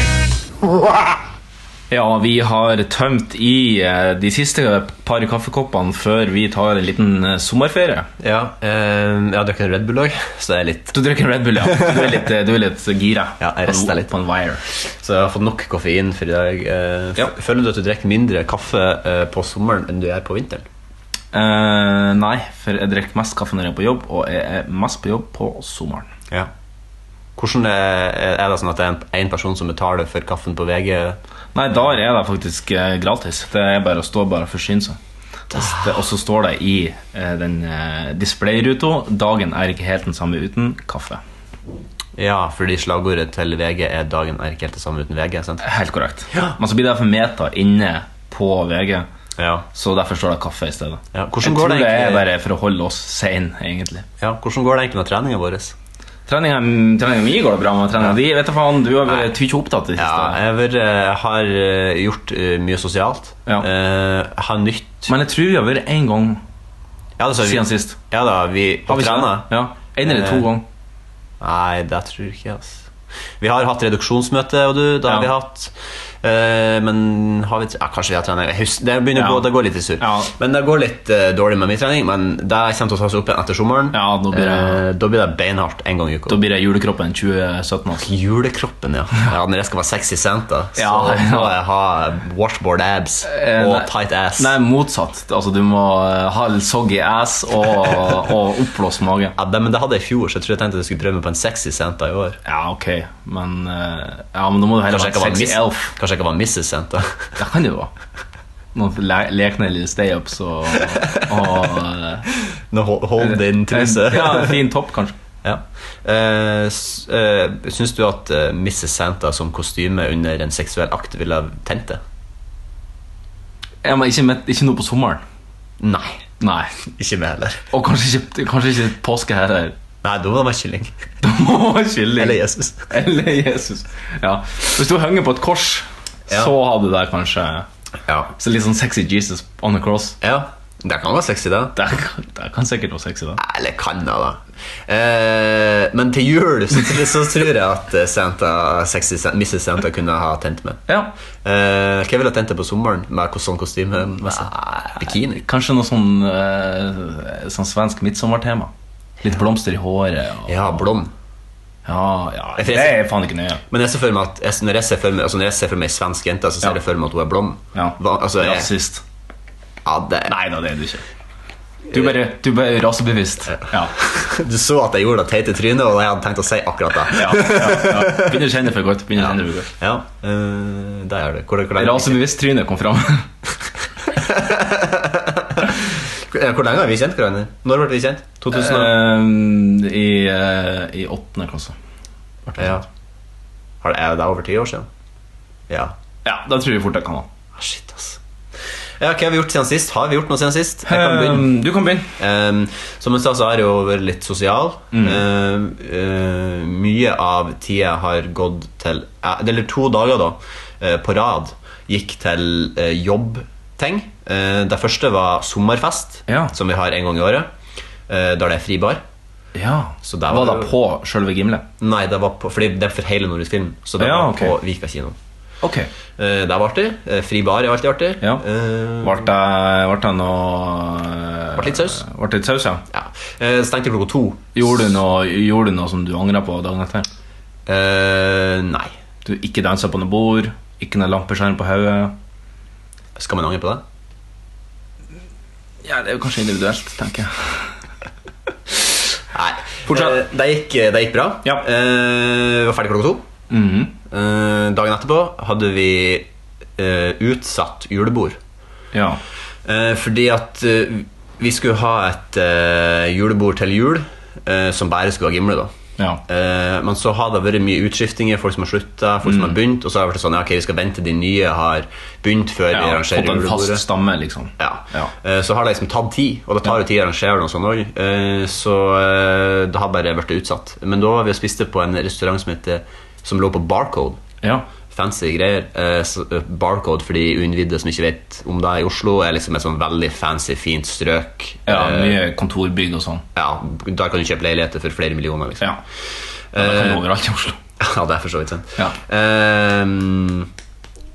S2: Ja, vi har tømt i eh, de siste par kaffekoppene før vi tar en liten eh, sommerferie.
S3: Ja, eh, jeg har drukket en Red Bull òg, så jeg er litt
S2: Du drikker Red Bull, ja. Du er litt, eh, du er litt gira.
S3: Ja, jeg rister litt.
S2: På en wire.
S3: Så jeg har fått nok koffein for i dag. Eh, f-
S2: Ja.
S3: Føler du at du drikker mindre kaffe eh, på sommeren enn du gjør på vinteren?
S2: Eh, nei, for jeg drikker mest kaffe når jeg er på jobb, og jeg er mest på jobb på sommeren.
S3: Ja. Hvordan er, er det sånn at det er en, en person som betaler for kaffen på VG?
S2: Nei, da er det faktisk eh, gratis. Det er bare å stå bare og forsyne seg. Og s- det- Og så står det i eh, den eh, displayruta 'Dagen er ikke helt den samme uten kaffe'.
S3: Ja, fordi slagordet til VG er 'Dagen er ikke helt det samme uten VG'. sant?
S2: Helt korrekt. Men så blir det for meta inne på VG.
S3: Ja.
S2: Så derfor står det kaffe i stedet.
S3: Ja, hvordan
S2: jeg
S3: går
S2: tror
S3: det
S2: det, er
S3: egentlig-
S2: bare for å holde oss sein, egentlig.
S3: ja. Hvordan går det egentlig med treninga vår?
S2: Treninga treninga mi går det bra med. Treninga di vet du faen, du har vært tykk opptatt i det
S3: Ja,
S2: siste.
S3: jeg har vært, eh, har eh, gjort eh, mye sosialt.
S2: Ja.
S3: Eh, har nytt
S2: Men jeg tror vi har vært én gang
S3: ja, da, så
S2: siden sist.
S3: Ja da, vi
S2: Har vi ikke
S3: trena.
S2: det? Ja. Én eller to
S3: Eh,
S2: ganger.
S3: Nei, det tror jeg ikke, altså. Vi har hatt reduksjonsmøte, og du, det
S2: Ja.
S3: har vi hatt. Eh, men har vi tre- ja, Kanskje vi har trening. Jeg husker, det, begynner å
S2: Ja.
S3: gå, det går litt i surr.
S2: Ja.
S3: Men det går litt eh, dårlig med min trening, men det kommer til å ta seg opp igjen etter sommeren.
S2: Ja, da blir det-
S3: Eh, da blir det beinhardt en gang i uka.
S2: Da blir det julekroppen 2017. Altså.
S3: Julekroppen, ja. ja. Når jeg skal være sexy Santa, så
S2: Ja, ja.
S3: må jeg ha washboard abs
S2: Eh,
S3: og
S2: nei.
S3: tight ass.
S2: Nei, motsatt. Altså, du må eh, ha litt soggy ass og, og oppblåst mage.
S3: Ja, det, men det hadde jeg i fjor, så jeg tror jeg tenkte jeg skulle prøve meg på en sexy Santa i år.
S2: Ja, ok, men eh, Ja, men da må du heller være
S3: Kanskje jeg ikke var,
S2: sexy
S3: miss,
S2: elf.
S3: kanskje jeg ikke var Mrs. Santa.
S2: Det kan du jo. Noen le- lekne lille stay-ups og, og eh,
S3: Nå hold, hold din truse.
S2: Ja, en fin topp, kanskje.
S3: Ja. Eh, s- eh, syns du at eh, Mrs. Santa som kostyme under en seksuell akt ville ha tent det?
S2: Ja, men ikke, med, ikke noe på sommeren.
S3: Nei.
S2: Nei.
S3: Ikke meg heller.
S2: Og kanskje ikke, kanskje ikke påske heller.
S3: Nei, da må det være kylling.
S2: Da må man kylling.
S3: Eller Jesus.
S2: Eller Jesus. Ja. Hvis du henger på et kors,
S3: Ja.
S2: så har du der kanskje
S3: Ja.
S2: Så Litt sånn sexy Jesus on the cross.
S3: ja. Det kan være sexy, det.
S2: Det kan, det kan sikkert være sexy, da.
S3: Eller kan det, da. Eh, men til jul så, så tror jeg at eh, Santa, sexy, San- Mrs. Santa kunne ha tent med.
S2: Ja.
S3: Eh, hva ville ha tent det på sommeren med hvordan kostyme? Bikini?
S2: Kanskje noe sånn, eh, sånn svensk midtsommertema. Litt blomster i håret. Og,
S3: Ja, blond.
S2: Ja, ja,
S3: Jeg
S2: det
S3: ser-
S2: er faen ikke nøye.
S3: Men jeg ser for meg at jeg, når, jeg ser for meg, altså når jeg ser for meg ei svensk jente, så ser
S2: Ja.
S3: jeg for meg at hun er blond.
S2: Ja.
S3: Hva- altså, jeg,
S2: Rasist.
S3: ja, det,
S2: Nei da, det er du ikke. Du bare, du bare rasebevisst. Ja.
S3: Du så at jeg gjorde det teite trynet, og jeg hadde tenkt å si akkurat det.
S2: Ja, ja, ja. Begynner å kjenne for godt. Begynner å kjenne for godt.
S3: Ja, eh, der er det. Hvor, hvor, lenge,
S2: altså- Rasebevisst-trynet kom fram.
S3: Eh, hvor lenge har vi kjent hverandre? Når ble vi kjent? 2000 og...
S2: Eh, I eh, i åttende klasse.
S3: Ja. Har det, er det over ti år siden? Ja.
S2: Ja, da tror jeg fort jeg kan ha.
S3: Ah, shit, ass. Ja, hva har vi gjort siden sist? Har vi gjort noe siden sist? Jeg kan begynne.
S2: Eh, Du kan begynne.
S3: Ehm, som jeg sa, så har jeg jo vært litt sosial.
S2: Mm.
S3: Ehm, eh, mye av tida har gått til Eller to dager, da, eh, på rad gikk til eh, jobbting. Eh, det første var sommerfest,
S2: Ja.
S3: som vi har en gang i året. eh, der det er fri bar.
S2: Ja,
S3: Så der
S2: var,
S3: var
S2: det
S3: det-
S2: på sjølve Gimle?
S3: Nei, det var på, fordi det er for hele Nordisk Film, så det
S2: Ja,
S3: var
S2: ok.
S3: på Vika kino.
S2: Ok.
S3: Eh, det var artig. Eh, fri bar er alltid artig.
S2: Ja.
S3: Eh,
S2: Ble det, ble det noe
S3: Ble det litt saus?
S2: Ble det litt saus, ja.
S3: ja. Eh, stengte klokka to.
S2: Gjorde du noe, gjorde du noe som du angret på dagen etter?
S3: Eh, nei.
S2: Du ikke dansa på noe bord, ikke noe lampeskjerm på hodet?
S3: Skal man angre på det?
S2: Ja, det er jo kanskje individuelt, tenker jeg.
S3: Nei.
S2: Fortsatt.
S3: Eh, det, gikk, det gikk bra.
S2: Ja.
S3: Eh, vi var ferdig klokka to.
S2: Mhm.
S3: Eh, dagen etterpå hadde vi eh, utsatt julebord.
S2: Ja.
S3: Eh, fordi at eh, vi skulle ha et eh, julebord til jul eh, som bare skulle ha Gimle, da.
S2: ja.
S3: Eh, men så har det vært mye utskiftinger, folk som har slutta, folk som
S2: Mm.
S3: har begynt. Og så har det vært sånn, ja, ok, vi skal vente til de nye har begynt før
S2: ja
S3: vi
S2: fått
S3: arrangerer
S2: en fast
S3: julebordet.
S2: stamme, liksom.
S3: Ja.
S2: Ja.
S3: Eh, Så har det liksom tatt tid, og det tar jo tid å arrangere noe sånt òg. Så eh, det har bare blitt utsatt. Men da var vi og spiste på en restaurant som, heter, som lå på Barcode.
S2: Ja.
S3: Fancy greier. Eh, så- eh, Barcode for de uinnvidde som ikke vet om det er i Oslo, er liksom et sånn veldig fancy, fint strøk.
S2: ja
S3: Eh,
S2: mye kontorbygg og sånn.
S3: ja, Der kan du kjøpe leiligheter for flere millioner. liksom
S2: Ja. ja det kan du overalt i Oslo.
S3: Ja, det er for så vidt sant.
S2: Ja.
S3: Ehm,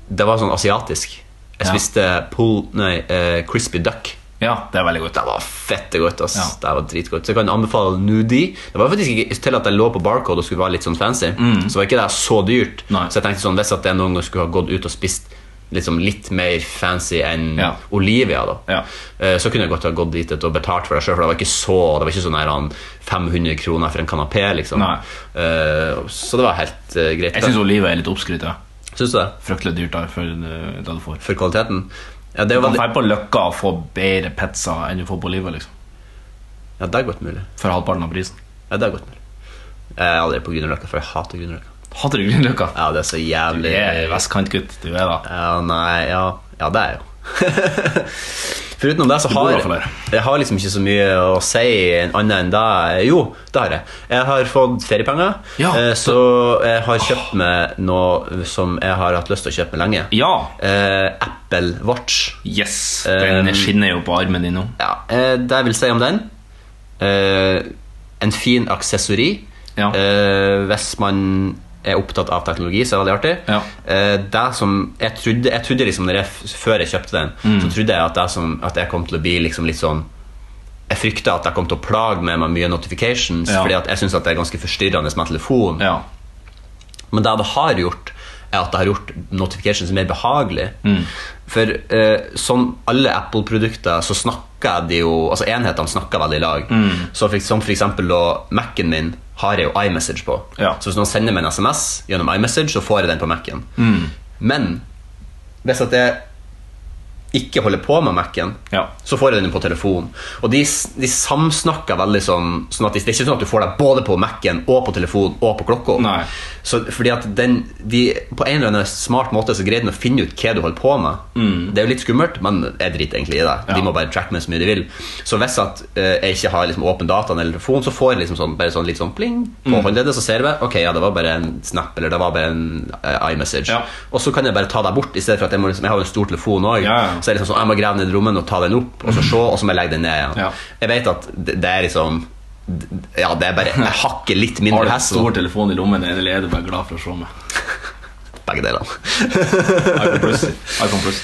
S3: det var sånn asiatisk. Jeg
S2: Ja.
S3: spiste pool, nei, eh, crispy duck.
S2: Ja, det er veldig godt.
S3: Ah, Det var fette godt. ass
S2: Ja.
S3: Det var dritgodt Så jeg kan anbefale Nudi. Det var faktisk ikke til at jeg lå på barcode og skulle være litt sånn fancy. Så var ikke det så dyrt.
S2: Mm. Nei.
S3: Så jeg tenkte sånn, hvis at jeg noen gang skulle ha gått ut og spist liksom litt mer fancy enn
S2: Ja.
S3: Olivia, da
S2: Ja.
S3: eh, så kunne jeg godt ha gått dit og betalt for det sjøl, for det var ikke så Det var ikke sånn her han, 500 kroner for en kanapé, liksom.
S2: Nei.
S3: Eh, så det var helt eh, greit.
S2: Jeg syns livet er litt oppskrytt. ja.
S3: Syns du det?
S2: Fryktelig dyrt da, for eh, det du får.
S3: For kvaliteten? Ja, det,
S2: Du
S3: var
S2: kan
S3: veldig,
S2: dra på Løkka og få bedre pizza enn du får på Livet. liksom
S3: ja, det er godt mulig.
S2: For halvparten av prisen.
S3: Ja, det er godt mulig. Jeg er aldri på Grünerløkka, for jeg hater Grünerløkka.
S2: Hater du Grünerløkka?
S3: Ja, det er så
S2: Du
S3: jævlig
S2: er vestkantgutt. Du er da
S3: Ja, nei, ja, ja det er jeg jo Foruten om det så
S2: bor i
S3: har
S2: hvert fall her.
S3: Jeg har liksom ikke så mye å si Annet enn det Jo, det har jeg Jeg har fått feriepenger
S2: Ja,
S3: eh,
S2: det-
S3: Så jeg har kjøpt meg noe Som jeg har hatt lyst til å kjøpe meg lenge
S2: Ja!
S3: eh, Apple Watch
S2: Yes! Den
S3: Um,
S2: skinner jo på armen din nå.
S3: ja, eh, Det jeg vil si om den eh, En fin aksessori
S2: Ja.
S3: eh, Hvis man er opptatt av teknologi Så er det veldig artig
S2: Ja.
S3: eh, Det som jeg trodde, jeg trodde liksom når jeg, f- Før jeg kjøpte den
S2: Mm.
S3: Så trodde jeg at, det som, at jeg kom til å bli liksom litt sånn jeg fryktet at jeg kom til å plage med meg mye notifications
S2: Ja.
S3: Fordi at jeg synes at det er ganske forstyrrende med telefon
S2: Ja.
S3: men det det har gjort, er at det har gjort notifications mer behagelig. For eh, som alle Apple-produkter, så snakker de jo Altså enhetene snakker veldig i lag. Så for, som for eksempel da Mac-en min har jeg jo iMessage på.
S2: Ja.
S3: Så hvis noen sender meg en SMS gjennom iMessage, så får jeg den på Mac-en. Men hvis at jeg ikke holder på med Mac-en,
S2: Ja.
S3: så får jeg den på telefon. Og de, de samsnakker veldig sånn, sånn at det, det er ikke sånn at du får deg både på Mac-en og på telefon og på klokka.
S2: Nei.
S3: Så fordi at den, de, På en eller annen smart måte så greier den å finne ut hva du holder på med.
S2: Mm.
S3: Det er jo litt skummelt, men jeg driter egentlig i det. De må bare tracke meg så mye de vil. Så hvis at eh, jeg ikke har liksom, åpen data eller telefon, så får jeg liksom sånn, bare sånn litt sånn pling
S2: Mm.
S3: på håndleddet, så ser jeg ok, ja, det var bare en snap eller det var bare en eh, iMessage.
S2: Ja.
S3: Og så kan jeg bare ta deg bort, i stedet for at jeg, må, liksom, jeg har jo en stor telefon òg.
S2: Ja, ja.
S3: Så jeg, liksom, sånn, jeg må grave ned i rommet og ta den opp, og så se, og så må jeg legge den ned igjen.
S2: Ja.
S3: Jeg vet at det, det er liksom ja, det er bare Jeg hakker litt mindre
S2: Har du en
S3: hassle.
S2: stor telefon i lommen, eller er du bare glad for å se meg?
S3: Begge delene.
S2: iPhone Plus. iPhone Plus.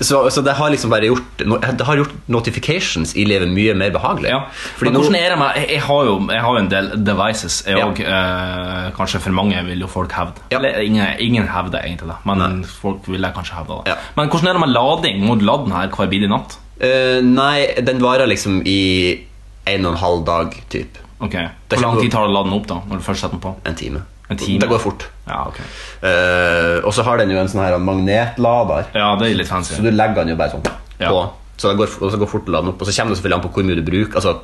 S3: Så, så det har liksom bare gjort no- Det har gjort notifications i livet mye mer behagelig.
S2: Ja.
S3: Fordi
S2: Men
S3: nå,
S2: hvordan er det med jeg, jeg har jo jeg har jo en del devices, jeg
S3: Ja.
S2: òg. Eh, kanskje for mange vil jo folk hevde.
S3: Ja.
S2: Eller ingen, ingen hevder egentlig det, men folk vil jeg kanskje hevde det.
S3: Ja.
S2: Men hvordan er det med lading? Må du lade den her hver bidige natt?
S3: Eh, nei, den varer liksom i en og en halv dag, typ.
S2: Ok, Hvor lang tid tar det å lade den opp, da? Når du først setter den på?
S3: En time.
S2: En time?
S3: Det går fort.
S2: Ja, ok
S3: Eh, og så har den jo en sånn her magnetlader,
S2: Ja, det er litt
S3: så
S2: fancy.
S3: du legger den jo bare sånn
S2: Ja.
S3: på. Så det går, og så går fort å lade den opp. Og så kommer det selvfølgelig an på hvor mye du bruker. Altså,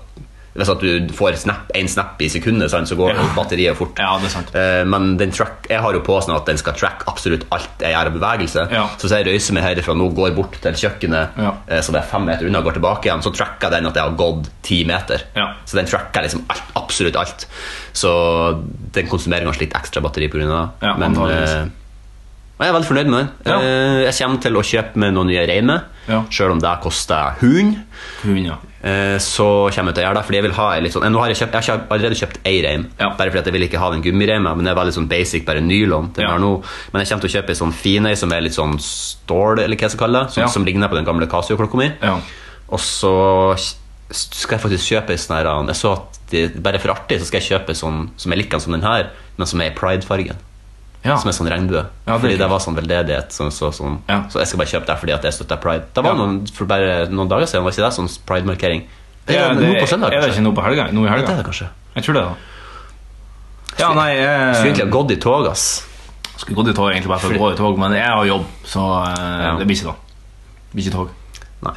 S3: hvis at du får snap, en snap i sekundet, sant, så går
S2: Ja.
S3: batteriet fort.
S2: Ja, det er sant.
S3: Eh, men den track, jeg har jo på sånn at den skal track absolutt alt jeg gjør av bevegelse.
S2: Ja.
S3: Så hvis jeg røyser meg herifra nå, går bort til kjøkkenet,
S2: Ja.
S3: eh, så det er fem meter unna, og går tilbake igjen, så tracker den at jeg har gått ti meter.
S2: Ja.
S3: Så den tracker liksom alt, absolutt alt. Så den konsumerer kanskje litt ekstra batteri pga. det.
S2: Ja,
S3: men
S2: antageligvis.
S3: eh, jeg er veldig fornøyd med den.
S2: Ja.
S3: Eh, Jeg kommer til å kjøpe meg noen nye reimer,
S2: Ja.
S3: selv om det koster hund.
S2: Hund, ja.
S3: Eh, Så kommer jeg til å gjøre det, fordi jeg vil ha en litt sånn eh, Nå har jeg, kjøpt, jeg har kjøpt- allerede kjøpt ei reim,
S2: Ja.
S3: bare fordi at jeg vil ikke ha den gummireima, men det er veldig sånn basic, bare nylon. Den
S2: Ja.
S3: jeg har nå. Men jeg kommer til å kjøpe en sånn fin ei som er litt sånn stål, eller hva jeg skal kalle det, som,
S2: Ja.
S3: som ligner på den gamle Casio-klokka mi.
S2: Ja.
S3: Og så s- skal jeg faktisk kjøpe en sånn her Jeg så at det, bare for artig så skal jeg kjøpe sånn som jeg liker som den her, men som er i pride-fargen
S2: Ja.
S3: som er sånn regnbue.
S2: Ja, det er
S3: fordi det
S2: kult.
S3: var sånn veldedighet. Sånn, så, sånn.
S2: Ja.
S3: så jeg skal bare kjøpe det fordi at jeg støtter pride. Det var
S2: Ja.
S3: noen, for bare noen dager siden, var ikke det sånn pride-markering? Det
S2: Ja,
S3: er
S2: det-
S3: nå på søndag,
S2: Er det
S3: kanskje.
S2: ikke nå på helga? Nå i
S3: Det
S2: helga?
S3: er det kanskje.
S2: Jeg tror det, da. Ja, nei eh,
S3: Skulle
S2: jeg
S3: egentlig ha gått i tog, ass.
S2: skulle gått i tog egentlig bare for å gå i tog, men jeg har jobb, så eh,
S3: Ja.
S2: det blir ikke da. Det blir ikke tog.
S3: Nei.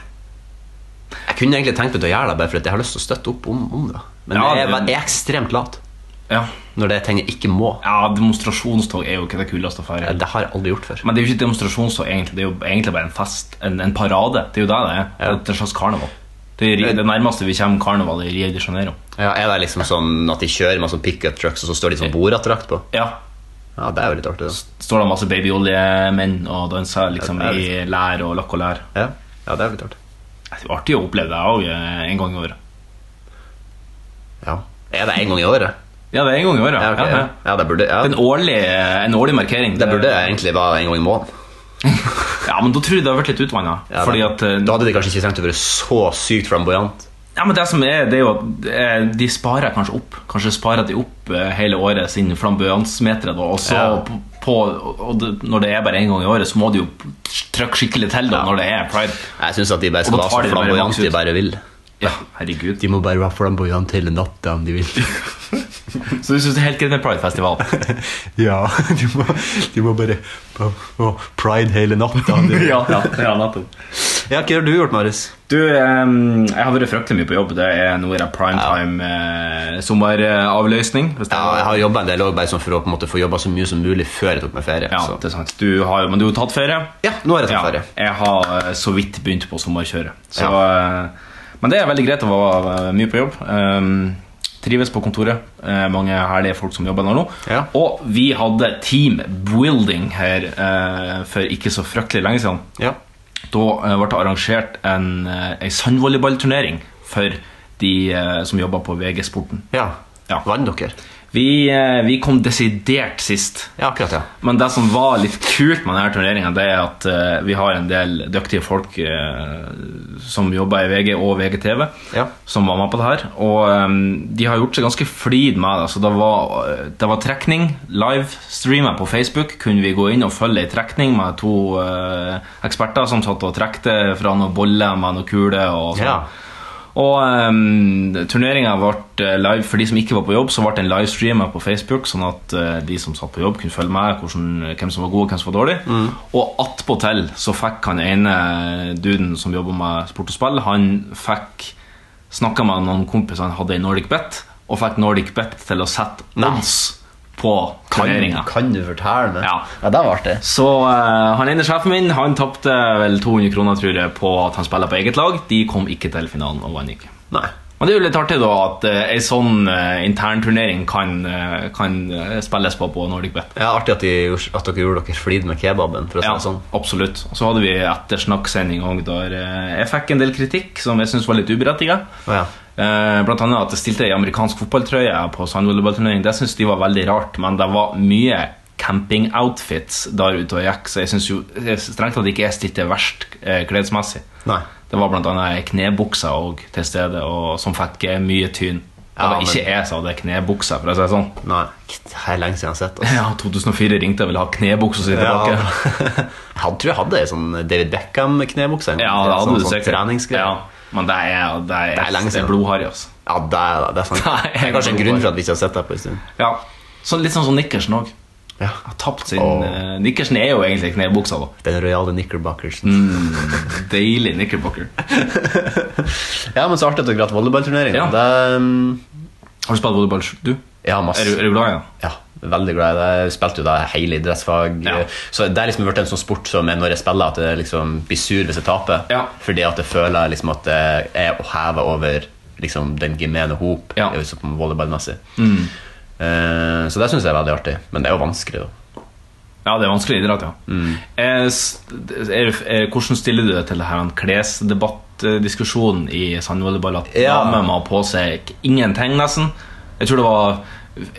S3: Jeg kunne egentlig tenkt meg til å gjøre det, bare fordi jeg har lyst til å støtte opp om, om det. Men
S2: Ja,
S3: jeg, er,
S2: det-
S3: jeg er ekstremt lat
S2: Ja.
S3: når det er ting jeg ikke må.
S2: ja, demonstrasjonstog er jo ikke det kuleste å feire.
S3: Det har jeg aldri gjort før.
S2: Men det er jo ikke et demonstrasjonstog, egentlig. Det er jo egentlig bare en fest, en, en parade. Det er jo det det er. Det
S3: Ja.
S2: er et slags karneval. Det, er, det nærmeste vi kommer karneval i Rio de Janeiro.
S3: Ja, er det liksom sånn at de kjører med sånn pickup trucks, og så står de sånn bordattrakt på?
S2: Ja.
S3: Ja, det er jo litt artig, da.
S2: Står det masse babyoljemenn og danser liksom
S3: Ja, det
S2: i lær og lakk og lær.
S3: Ja, ja det er jo litt artig.
S2: Det er jo artig å oppleve det òg en gang i året.
S3: Ja. Er det en gang i året?
S2: Ja, det er en gang i året.
S3: Ja,
S2: Ja,
S3: ok, ja.
S2: ja.
S3: ja det burde ja.
S2: En årlig, en årlig markering.
S3: Det burde egentlig være en gang i måneden.
S2: Ja, men da tror jeg det har vært litt utvanna.
S3: Ja,
S2: fordi
S3: da-
S2: at eh,
S3: Da hadde de kanskje ikke trengt å være så sykt flamboyant.
S2: Ja, men det som er, det er jo at eh, de sparer kanskje opp. Kanskje sparer de opp eh, hele året sin flamboyansmeter, da, og så
S3: Ja.
S2: på, på og det, når det er bare én gang i året, så må du jo trykke skikkelig til da,
S3: Ja.
S2: når det er pride.
S3: Jeg syns at de bare
S2: Og
S3: skal
S2: da
S3: være
S2: tar
S3: så
S2: de det bare maks
S3: flamboyante de
S2: ut.
S3: bare vil.
S2: Ja, herregud.
S3: De må bare være flamboyante hele natta om de vil.
S2: Så du syns det er helt greit med pridefestival?
S3: ja, de må, bare pride hele natta.
S2: ja, ja, ja, nettopp.
S3: ja, hva har du gjort, Marius?
S2: Du, ehm, jeg har vært fryktelig mye på jobb. Det er nå er det primetime eh, sommeravløsning. hvis det
S3: Ja,
S2: er-
S3: jeg har jobba en del også, bare sånn for å på en måte få jobba så mye som mulig før jeg tok meg ferie.
S2: ja,
S3: så.
S2: det er sant. Du har, jo- men du har tatt ferie?
S3: ja nå er jeg tatt ferie.
S2: Ja, jeg har eh, så vidt begynt på sommerkjøret. Så, eh, Men det er veldig greit å være eh, mye på jobb. Ehm, trives på kontoret. Eh, mange herlige folk som jobber der nå.
S3: Ja.
S2: Og vi hadde team building her eh, for ikke så fryktelig lenge siden.
S3: Ja.
S2: Da eh, ble det arrangert en, eh, ei sandvolleyballturnering for de eh, som jobber på VG-sporten.
S3: ja.
S2: Ja.
S3: Vann dere?
S2: Vi, eh, vi kom desidert sist.
S3: Ja, akkurat, ja.
S2: Men det som var litt kult med denne turneringen Det er at eh, vi har en del dyktige folk eh, Som jobber i VG og VGTV
S3: Ja.
S2: Som var med på det her Og eh, de har gjort seg ganske flid med det Så det var, eh, det var trekning Live streamet på Facebook Kunne vi gå inn og følge en trekning Med to eh, eksperter som satt og trekte Fra noen boller med noen kule og sånn
S3: Ja.
S2: og um, turneringa ble eh, live for de som ikke var på jobb, så ble den livestreama på Facebook, sånn at eh, de som satt på jobb, kunne følge med hvordan, eh, hvem som var god og hvem som var dårlig.
S3: Mm.
S2: Og attpåtil så fikk han ene duden som jobber med sport og spill, han fikk snakka med noen kompiser han hadde i Nordic Bet, og fikk Nordic Bet til å sette
S3: Nei.
S2: odds på
S3: Kan,
S2: turneringa.
S3: kan du fortelle meg?
S2: Ja.
S3: ja, det var artig.
S2: Så eh, han ene sjefen min Han tapte vel 200 kroner, tror jeg, på at han spiller på eget lag. De kom ikke til finalen og vant ikke.
S3: Nei.
S2: Men det er jo litt artig da at eh, ei sånn eh, internturnering kan, eh, kan eh, spilles på på Nordic Bet.
S3: Ja, Artig at, de, gjorde- at dere gjorde dere flid med kebaben. for å si
S2: Ja,
S3: det sånn
S2: absolutt. Og så hadde vi ettersnakksending òg, der eh, jeg fikk en del kritikk som jeg syntes var litt uberettiga.
S3: Å, ja.
S2: Eh, Blant annet at jeg stilte i amerikansk fotballtrøye på sandvolleyballturnering. Det syntes de var veldig rart, men det var mye campingoutfits der ute og gikk, så jeg syns jo eh, strengt tatt ikke jeg stilte verst eh, kledelsesmessig.
S3: Nei.
S2: Det var blant annet knebukser også til stede, og, som fikk eh, mye tyn. Ja,
S3: Ja,
S2: det ikke jeg som hadde knebuksa, for å si det sånn.
S3: Nei, det er lenge siden jeg har sett altså.
S2: Ja, 2004 ringte jeg og ville ha knebuksa si tilbake.
S3: Ja. Jeg tror jeg hadde ei sånn David Beckham-knebukse.
S2: Ja, det hadde
S3: sånn,
S2: du
S3: sånn
S2: sikkert.
S3: treningsgreie.
S2: Ja, men det er, det er,
S3: Det er lenge siden.
S2: blodharry, altså.
S3: Ja, det er, det er sant.
S2: Nei,
S3: det er kanskje en
S2: jeg-
S3: grunn for at vi ikke har sett deg på en stund.
S2: Ja. Sånn, litt sånn som Nikkersen òg.
S3: Ja.
S2: Har tapt sin
S3: Åh.
S2: eh, Nikkersen er jo egentlig knebuksa, da.
S3: Den rojale Knickerbockersen.
S2: Mm. Deilig Nickerbocker.
S3: Ja, men så artig at dere har hatt volleyballturnering.
S2: Ja.
S3: Ja. Det, um,
S2: Har du spilt volleyball, du?
S3: ja, masse.
S2: Er du, er du glad i det?
S3: Ja, veldig glad i det. Jeg Spilte jo det hele idrettsfag.
S2: Ja.
S3: Så det er liksom blitt en sånn sport som er når jeg spiller, at jeg liksom blir sur hvis jeg taper.
S2: Ja.
S3: Fordi at jeg føler liksom at jeg er å heve over liksom den gemene hop
S2: Ja. Mm.
S3: eh, som volleyballmessig. Eh, så det syns jeg er veldig artig. Men det er jo vanskelig, da.
S2: Ja, det er vanskelig idrett, ja.
S3: Mm.
S2: Eh, s- er, er, hvordan stiller du deg til det her klesdebattdiskusjonen i sandvolleyball? At
S3: Ja.
S2: damer må ha på seg k- ingenting, nesten. Jeg tror det var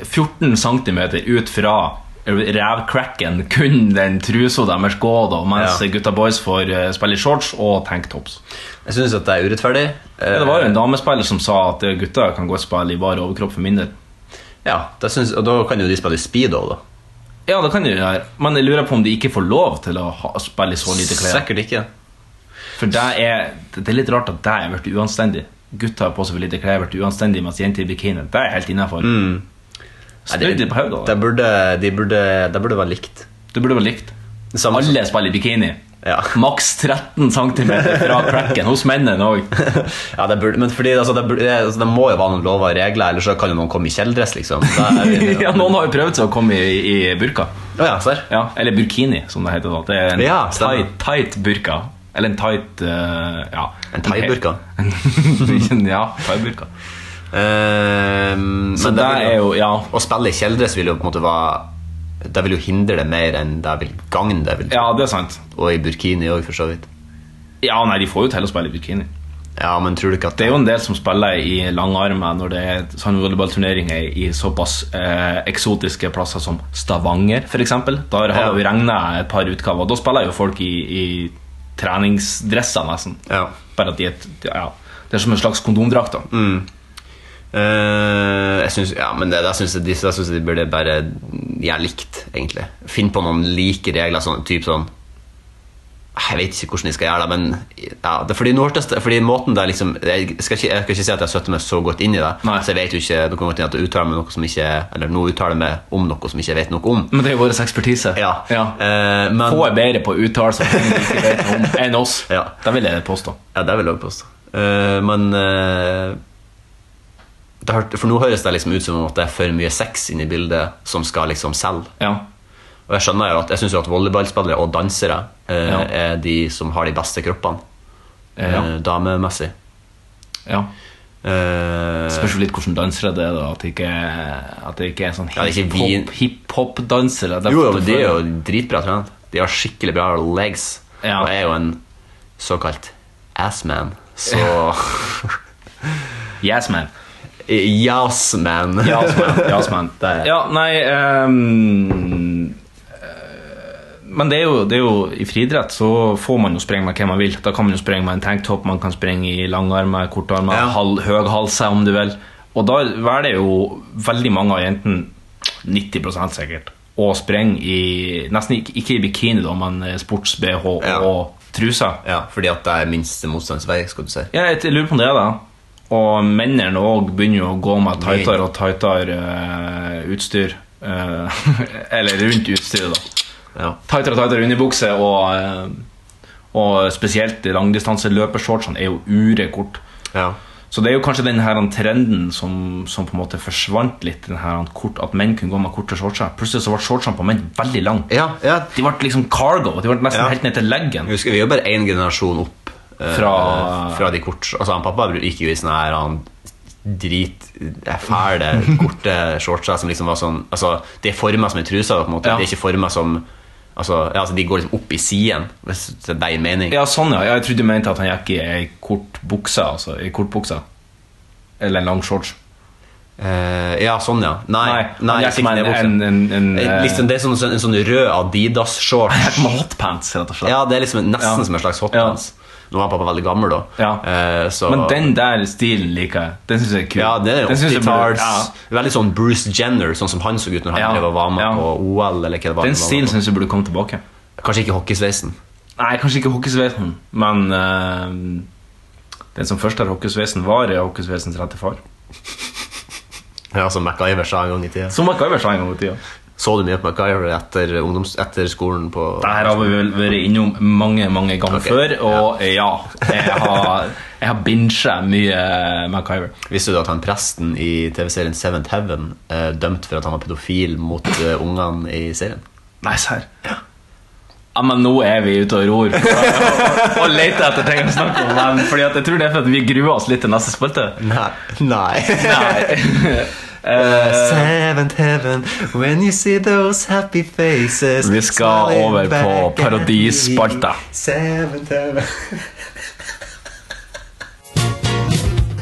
S2: 14 cm ut fra revcracken kun den trusa deres gå, da, mens
S3: Ja.
S2: gutta boys får eh, spille i shorts og tanktops.
S3: Jeg syns at det er urettferdig.
S2: Ja, det var jo
S3: Eh,
S2: en damespiller som sa at eh, gutta kan godt spille i bare overkropp for mindre.
S3: Eh, ja, det syns- og da kan jo de spille i speedo, da.
S2: Ja, det kan de jo gjøre, men jeg lurer på om de ikke får lov til å ha, spille i så lite klær.
S3: Sikkert ikke.
S2: For det er, det er litt rart at det er blitt uanstendig. Gutter har på seg for lite klær, har blitt uanstendig, mens jenter i bikini det er helt innafor. Mm.
S3: Nei,
S2: Snudd litt på hodet.
S3: det,
S2: da.
S3: burde, de burde, det burde være likt.
S2: Det burde vært likt.
S3: Det samme som-
S2: Alle spiller i bikini.
S3: Ja.
S2: Maks 13 cm fra cracken hos mennene òg.
S3: ja, det burde, men fordi, altså, det, burde, altså, det må jo være noen lover og regler, ellers så kan jo noen komme i kjeledress, liksom. Da er vi,
S2: Ja, noen har jo prøvd seg å komme i, i burka.
S3: Å ja, serr?
S2: Ja, eller burkini, som det heter. da Det er en
S3: Ja, stemmer.
S2: tight, tight burka. Eller en tight eh, Ja.
S3: En thaiburka.
S2: ja, thaiburka.
S3: Eh,
S2: Så
S3: men
S2: det
S3: vil
S2: er jo Ja.
S3: Å spille i kjeledress vil jo på en måte være Det vil jo hindre det mer enn det vil gagne det. Vil.
S2: Ja, det er sant.
S3: Og i burkini òg, for så vidt.
S2: Ja, nei, de får jo til å spille i bikini.
S3: Ja, men tror du ikke at
S2: Det er jo en del som spiller i langarmer når det er sånne volleyballturneringer i såpass eh, eksotiske plasser som Stavanger, f.eks. Der har
S3: Ja.
S2: det jo regna et par utgaver. Da spiller jo folk i, i treningsdresser, nesten.
S3: Ja.
S2: Bare at de er et- ja, Det er som en slags kondomdrakt. da
S3: Mm. Eh, jeg synes, ja, men det, det synes jeg, de, jeg synes de burde bare gjøre likt, egentlig. Finn på noen like regler, sånn typ sånn «Ah, Jeg vet ikke hvordan de skal gjøre det, men ja, det er fordi, nå hørtes det- fordi måten det er liksom jeg skal, ikke, jeg skal ikke si at jeg støtter meg så godt inn i det,
S2: Nei.
S3: så jeg vet jo ikke det kan godt hende at jeg uttaler meg noe som ikke Eller nå uttaler jeg meg om noe som ikke jeg vet noe om.
S2: Men det er jo vår ekspertise.
S3: Ja,
S2: Mm. Ja.
S3: Eh, men,
S2: Få er bedre på uttalelser enn de ikke vet noe om, enn oss.
S3: Ja.
S2: Det vil jeg påstå.
S3: Ja, det vil jeg også påstå. Eh, men eh, det har, For nå høres det liksom ut som om at det er for mye sex inne i bildet som skal liksom selge.
S2: Ja.
S3: Og jeg skjønner jo at, jeg syns jo at volleyballspillere og dansere eh,
S2: Ja.
S3: er de som har de beste kroppene,
S2: Eh, ja.
S3: eh, damemessig.
S2: ja.
S3: Eh,
S2: Spørs jo litt hvordan dansere det er, da. At det ikke, at det ikke er sånn
S3: Ja, det er ikke vi-
S2: hiphop- hiphop-dansere. Det er-
S3: jo, jo, men de er jo dritbra trent. De har skikkelig bra legs.
S2: Ja.
S3: Og jeg er jo en såkalt assman. Så
S2: Yes, man.
S3: Yasman.
S2: Yes, man. Yes, man.
S3: Det er-
S2: Ja, nei ehm, eh, Men det er, jo, det er jo i friidrett så får man jo springe med hvem man vil. Da kan man jo springe med en tanktop, man kan springe i langarmer, kortarmer,
S3: Ja.
S2: halv, høghalse om du vil. Og da velger jo veldig mange av jentene, 90 sikkert, å springe i Nesten ikke, ikke i bikini, da, men eh, sports-BH
S3: Ja.
S2: og truser.
S3: Ja, fordi at det er minste motstands vei, skal du si.
S2: Ja, jeg lurer på om det er det. Og mennene òg begynner jo å gå med tightere og tightere eh, utstyr. Eh, eller rundt utstyret, da.
S3: Ja.
S2: Tightere og tightere underbukse, og, eh, og spesielt i langdistanseløpershortsene er jo urekort.
S3: Ja.
S2: Så det er jo kanskje den her trenden som, som på en måte forsvant litt, den her kort, at menn kunne gå med korte shortser. Plutselig så ble shortsene på menn veldig lange.
S3: Ja, ja.
S2: De ble liksom cargo. De ble nesten
S3: Ja.
S2: helt ned til leggen.
S3: Jeg husker vi er jo bare én generasjon opp eh,
S2: Fra-
S3: fra de kort Altså han pappa gikk jo i sånne her han drit eh, fæle, korte shortser som liksom var sånn Altså, de er forma som en truse, da, på en måte.
S2: Ja.
S3: De er ikke forma som Altså, ja, altså, de går liksom opp i siden, hvis det er deg mening.
S2: Ja, sånn ja. Jeg trodde du mente at han gikk i ei kort bukse, altså. I kort bukse. Eller en lang shorts.
S3: Eh, ja, sånn, ja. Nei,
S2: Nei,
S3: nei,
S2: han gikk
S3: sikkert
S2: med
S3: det er
S2: en,
S3: voksen.
S2: en, en, en,
S3: Eh, liksom, det er sånn, en sånn rød Adidas-shorts.
S2: eh, med hotpants, rett og slett.
S3: Ja, det er liksom nesten
S2: Ja.
S3: som en slags hotpants. Nå var pappa veldig gammel, da.
S2: Ja.
S3: Eh, så,
S2: Men den der stilen liker jeg. Den syns jeg er kul.
S3: ja, det er
S2: Den synes jeg burde-
S3: 80-talls Veldig sånn Bruce Jenner, sånn som han så ut når han
S2: Ja.
S3: drev og var med
S2: Ja.
S3: på OL. Eller hva det var
S2: Den
S3: han var
S2: stilen
S3: med på.
S2: syns jeg burde komme tilbake.
S3: Kanskje ikke hockeysveisen.
S2: Nei, kanskje ikke hockeysvesen, men eh, den som først har hockeysvesen, var er hockeysvesens rette far.
S3: Ja, som MacGyver sa en gang i tida.
S2: Som MacGyver sa en gang i tida.
S3: Så du mye på MacGyver etter, ungdoms, etter skolen på
S2: Det her har vi vel vært innom mange mange ganger
S3: Ok,
S2: før, og eh, ja, jeg har, jeg har bincha mye eh, MacGyver.
S3: Visste du at han presten i TV-serien Seventh Heaven eh, dømt for at han var pedofil mot eh, ungene i serien?
S2: Nei, serr? Ja, men nå er vi ute og ror og, og leter etter ting å snakke om. Men fordi at jeg tror det er for at vi gruer oss litt til neste spalte.
S3: Nei. Nei.
S2: Nei.
S3: Eh, Seventh Heaven, when you see those happy faces
S2: Vi skal
S3: smiling
S2: over
S3: back
S2: på
S3: at me.
S2: parodispalta.
S3: Seventh Heaven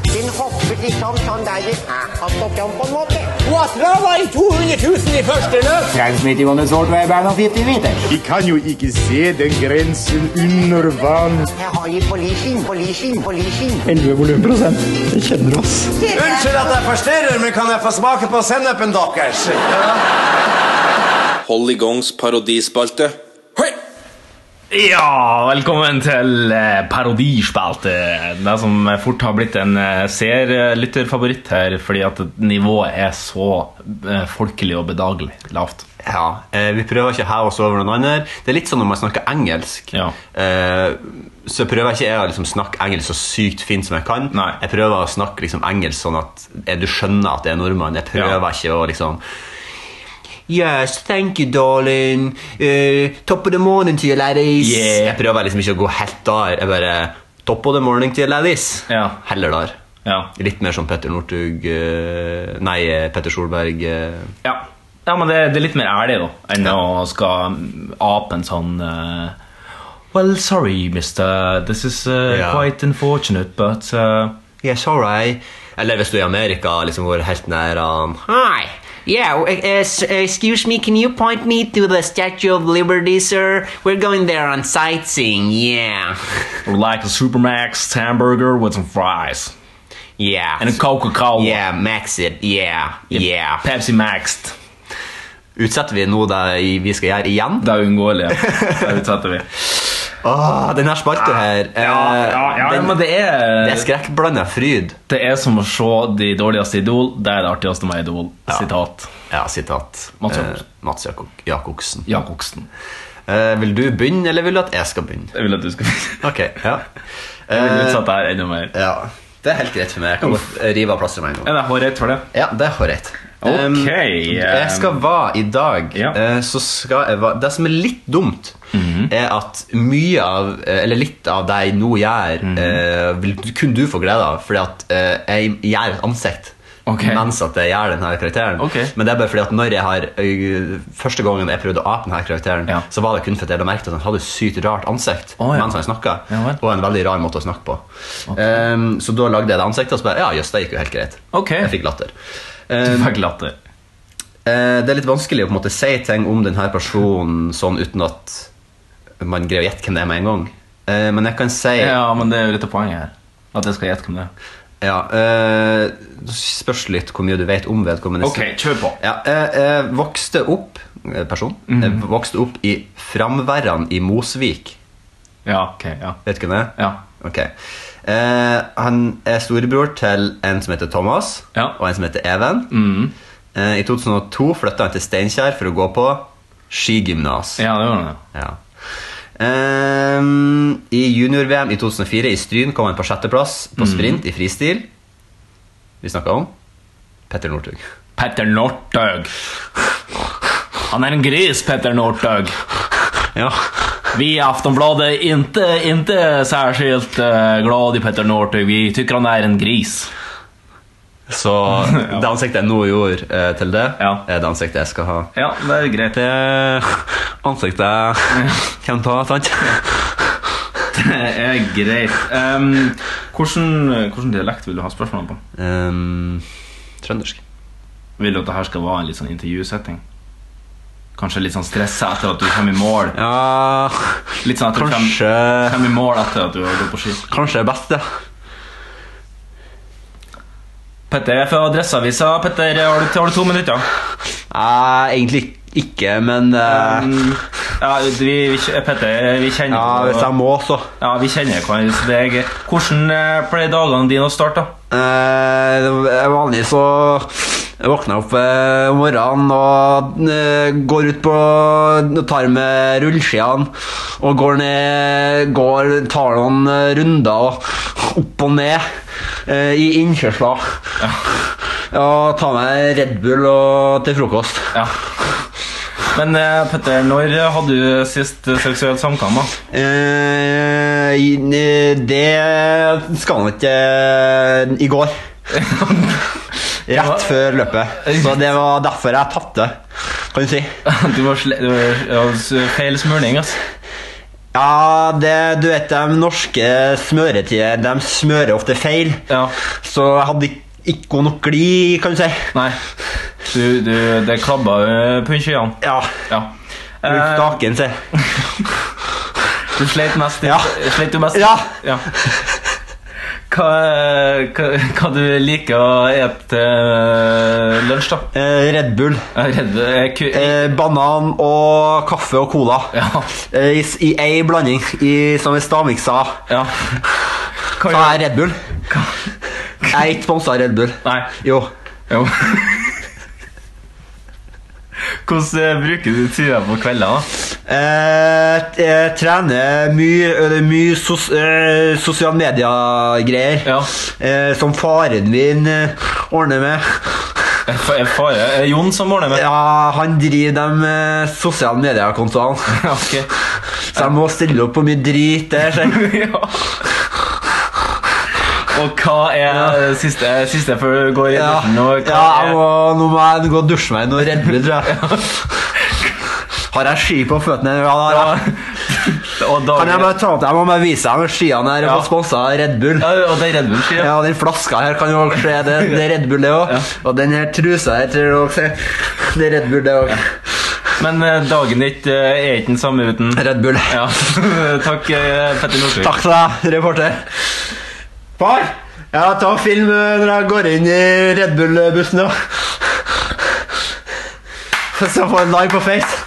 S5: Den hopper liksom sånn der vi er opp og fram på en måte.
S6: Otra var i 200 000 i første løp.
S5: Transmitting on a short wave er noen 50 meter.
S7: Vi kan jo ikke se den grensen under vann.
S5: Jeg har gitt policing, policing, policing.
S6: Unnskyld at jeg forstyrrer, men kan jeg få smake på sennepen deres?
S8: Polygons parodispalte. Hei!
S2: Ja, velkommen til eh, parodispalte. Det som fort har blitt en eh, seerlytterfavoritt her, fordi at nivået er så eh, folkelig og bedagelig lavt.
S3: Ja, eh, vi prøver ikke å heve oss over noen andre. Det er litt sånn når man snakker engelsk.
S2: Ja.
S3: Eh, så prøver ikke jeg å liksom snakke engelsk så sykt fint som jeg kan.
S2: Nei.
S3: Jeg prøver å snakke liksom engelsk sånn at eh, du skjønner at det er nordmann. Jeg prøver
S2: Ja.
S3: ikke å liksom Yes, thank you, darling. Eh, top of the morning to you, ladies.
S2: Yeah.
S3: Jeg prøver liksom ikke å gå helt der. Jeg bare Top of the morning to you, ladies.
S2: Ja.
S3: Heller der.
S2: Ja.
S3: Litt mer som Petter Northug eh, Nei, eh, Petter Solberg. eh,
S2: Ja, ja men det, det er litt mer ærlig, da, enn å skal ape en sånn eh, Well, sorry, mister. This is eh,
S3: Ja.
S2: quite unfortunate, but eh,
S3: Yeah, sorry. Eller hvis du er i Amerika, liksom hvor helt nær han
S9: Hi. Yeah, w-
S3: e-,
S9: uh, s- uh, excuse me, can you point me to the Statue of Liberty, sir? We're going there on sightseeing, yeah.
S2: would like a Supermax hamburger with some fries
S9: Yeah.
S2: and a Coca-Cola.
S9: yeah, max it, yeah, yeah.
S2: Pepsi Maxed.
S3: Utsetter vi nå det i- vi skal gjøre igjen?
S2: Det er uunngåelig. Det utsetter vi.
S3: Åh, den her spalta her eh,
S2: Ah, ja, ja,
S3: den,
S2: men det er,
S3: Det er skrekkblanda fryd.
S2: det er som å se de dårligste i Idol. Det er det artigste med Idol. Sitat
S3: Ja, sitat.
S2: Mats
S3: Eh,
S2: Jakobsen.
S3: Mats Jakob- Jakobsen.
S2: Jacobsen.
S3: Eh, vil du begynne, eller vil du at jeg skal begynne?
S2: Jeg vil at du skal
S3: Ok, ja.
S2: Jeg vil
S3: Eh,
S2: utsette her enda mer.
S3: ja. Det er helt greit for meg. Jeg kan godt eh, rive av plasteret med en gang.
S2: Er det hårrett for det?
S3: Ja, det har jeg rett.
S2: Ok, eh,
S3: Ehm, jeg skal være i dag
S2: Ja. Mhm.
S3: eh, så skal jeg være, Det som er litt dumt, er at mye av eh, Eller litt av det jeg nå gjør,
S2: Mhm.
S3: eh, vil du- kun du få glede av, fordi at eh, jeg gjør et ansikt.
S2: Ok.
S3: Mens at jeg gjør denne karakteren.
S2: Ok.
S3: Men det er bare fordi at når jeg har ø, første gangen jeg prøvde å ape denne karakteren,
S2: Ja.
S3: så var det kun fordi jeg hadde merket at han hadde et sykt rart ansikt.
S2: Å, ja.
S3: mens han snakket,
S2: Ja, vel.
S3: Og en veldig rar måte å snakke på. Ehm, så da lagde jeg det ansiktet, og så bare Ja, jøss, det gikk jo helt greit.
S2: Ok.
S3: Jeg fikk latter. Ehm,
S2: Fikk latter.
S3: Eh, det er litt vanskelig å på en måte si ting om denne personen sånn uten at man greier å gjette hvem det er med en gang. Eh, men jeg kan si
S2: Ja, men det er jo litt av poenget her. At jeg skal gjette hvem det er.
S3: Ja, eh, det spørs litt hvor mye du vet om vedkommende.
S2: Ok, kjør på. Mhm.
S3: Ja, jeg, jeg vokste opp eh, person, jeg vokste opp i Framværan i Mosvik.
S2: Ja, ok, ja.
S3: Vet du hvem det er?
S2: Ja.
S3: Ok. Eh, han er storebror til en som heter Thomas,
S2: Ja.
S3: og en som heter Even. Eh, I 2002 flytta han til Steinkjer for å gå på skigymnas.
S2: Ja, det var det.
S3: Ja. Ehm, I junior-VM i 2004 i Stryn kom han på sjetteplass på sprint i fristil. Vi snakka om Petter Northug.
S2: Petter Northug. Han er en gris, Petter Northug.
S3: Ja.
S2: Vi i Aftonbladet er ikke, ikke særskilt eh, glad i Petter Northug. Vi tykker han er en gris.
S3: Så det ansiktet jeg nå gjorde eh, til det,
S2: Ja.
S3: er det ansiktet jeg skal ha.
S2: Ja, det er greit.
S3: Det ansiktet kan ta, sant?
S2: Det er greit. Um, hvordan, hvordan dialekt vil du ha spørsmålene på?
S3: Ehm, trøndersk.
S2: Vil du at dette skal være en litt sånn intervjusetting? Kanskje litt sånn stressa etter at du kommer i mål.
S3: Ja,
S2: Litt sånn at du kommer,
S3: kanskje
S2: kommer i mål etter at du har gått på ski.
S3: Kanskje det beste.
S2: Petter fra Adresseavisa. Petter, har du, har du to minutter?
S3: Nei, Eh, egentlig ikke, men eh,
S2: Mm, Ja, vi, vi, Petter, vi kjenner
S3: ja, hvis jeg må, så.
S2: Ja, vi kjenner hverandre. så det er greit. Hvordan eh, pleier dagene dine å starte? da?
S3: Eh, det er vanlig så jeg våkner opp eh, om morgenen og eh, går ut på Tar med rullskiene og går ned går, Tar noen eh, runder og opp og ned eh, i innkjørsler. Og tar meg Red Bull og, til frokost.
S2: Ja. Men eh, Petter, når hadde du sist eh, seksuell samtale? da?
S3: Eh, i- eh, det skal man ikke eh, i går. Rett før løpet. Så det var derfor jeg tapte, kan du si.
S2: Du var sle du var, ja, s- feil smurning, ass.
S3: Ja, det, du vet de norske smøretider, de smører ofte feil.
S2: Ja.
S3: Så jeg hadde ik- ikke god nok glid, kan du si.
S2: Nei. Du, du, det klabba eh, på kjøene.
S3: Ja.
S2: Ja.
S3: Brukte
S2: Eh,
S3: staken, si.
S2: du sleit mest i
S3: Ja.
S2: Sleit du mest i-
S3: Ja.
S2: ja. Hva, eh, hva, hva du liker å ete til lunsj, da?
S3: Eh, Red Bull.
S2: Jeg er redd jeg ku
S3: Eh, banan og kaffe og cola.
S2: Ja.
S3: Eh, I s- i ei blanding, i, som er stavmiksa.
S2: Ja. Hva
S3: Så
S2: gjør-
S3: er jeg Red Bull. Jeg er ikke sponsa av Red Bull.
S2: Nei.
S3: Jo.
S2: Jo. Hvordan eh, bruker du tida på kveldene? da?
S3: Eh, t- eh, trener mye, eller mye sos, eh, sosiale medier-greier.
S2: Ja.
S3: Eh, som faren min eh, ordner med.
S2: Er fa- er Fare er det Jon som ordner med det?
S3: Ja, han driver de eh, sosiale medier-kontoene.
S2: Ok.
S3: Så jeg må stille opp på mye drit der. Så.
S2: ja. Og hva er det siste, siste før du går i
S3: Ja,
S2: dusjen? og
S3: ja
S2: hva
S3: jeg
S2: er-
S3: må, nå må jeg gå og dusje meg i noe Red Bull, tror jeg. Har jeg ski på føttene? Ja, da,
S2: Ja. og da
S3: Kan jeg bare ta opp det? Jeg må bare vise deg med skiene her.
S2: Ja.
S3: Jeg har fått sponsa av Red Bull.
S2: ja, Og det er Red Bull, sier jeg.
S3: Ja, den flaska her kan jo også se. Det, det er Red Bull, det òg.
S2: Ja.
S3: Og den her trusa her tror jeg også Det er Red Bull, det òg.
S2: Men eh, dagen ditt eh, er ikke den samme uten
S3: Red Bull.
S2: Ja. Takk, eh, Petter Northug.
S3: Takk til deg, reporter. Far! Ja, ta og film eh, når jeg går inn i Red Bull-bussen, da. Så får jeg en live på Face.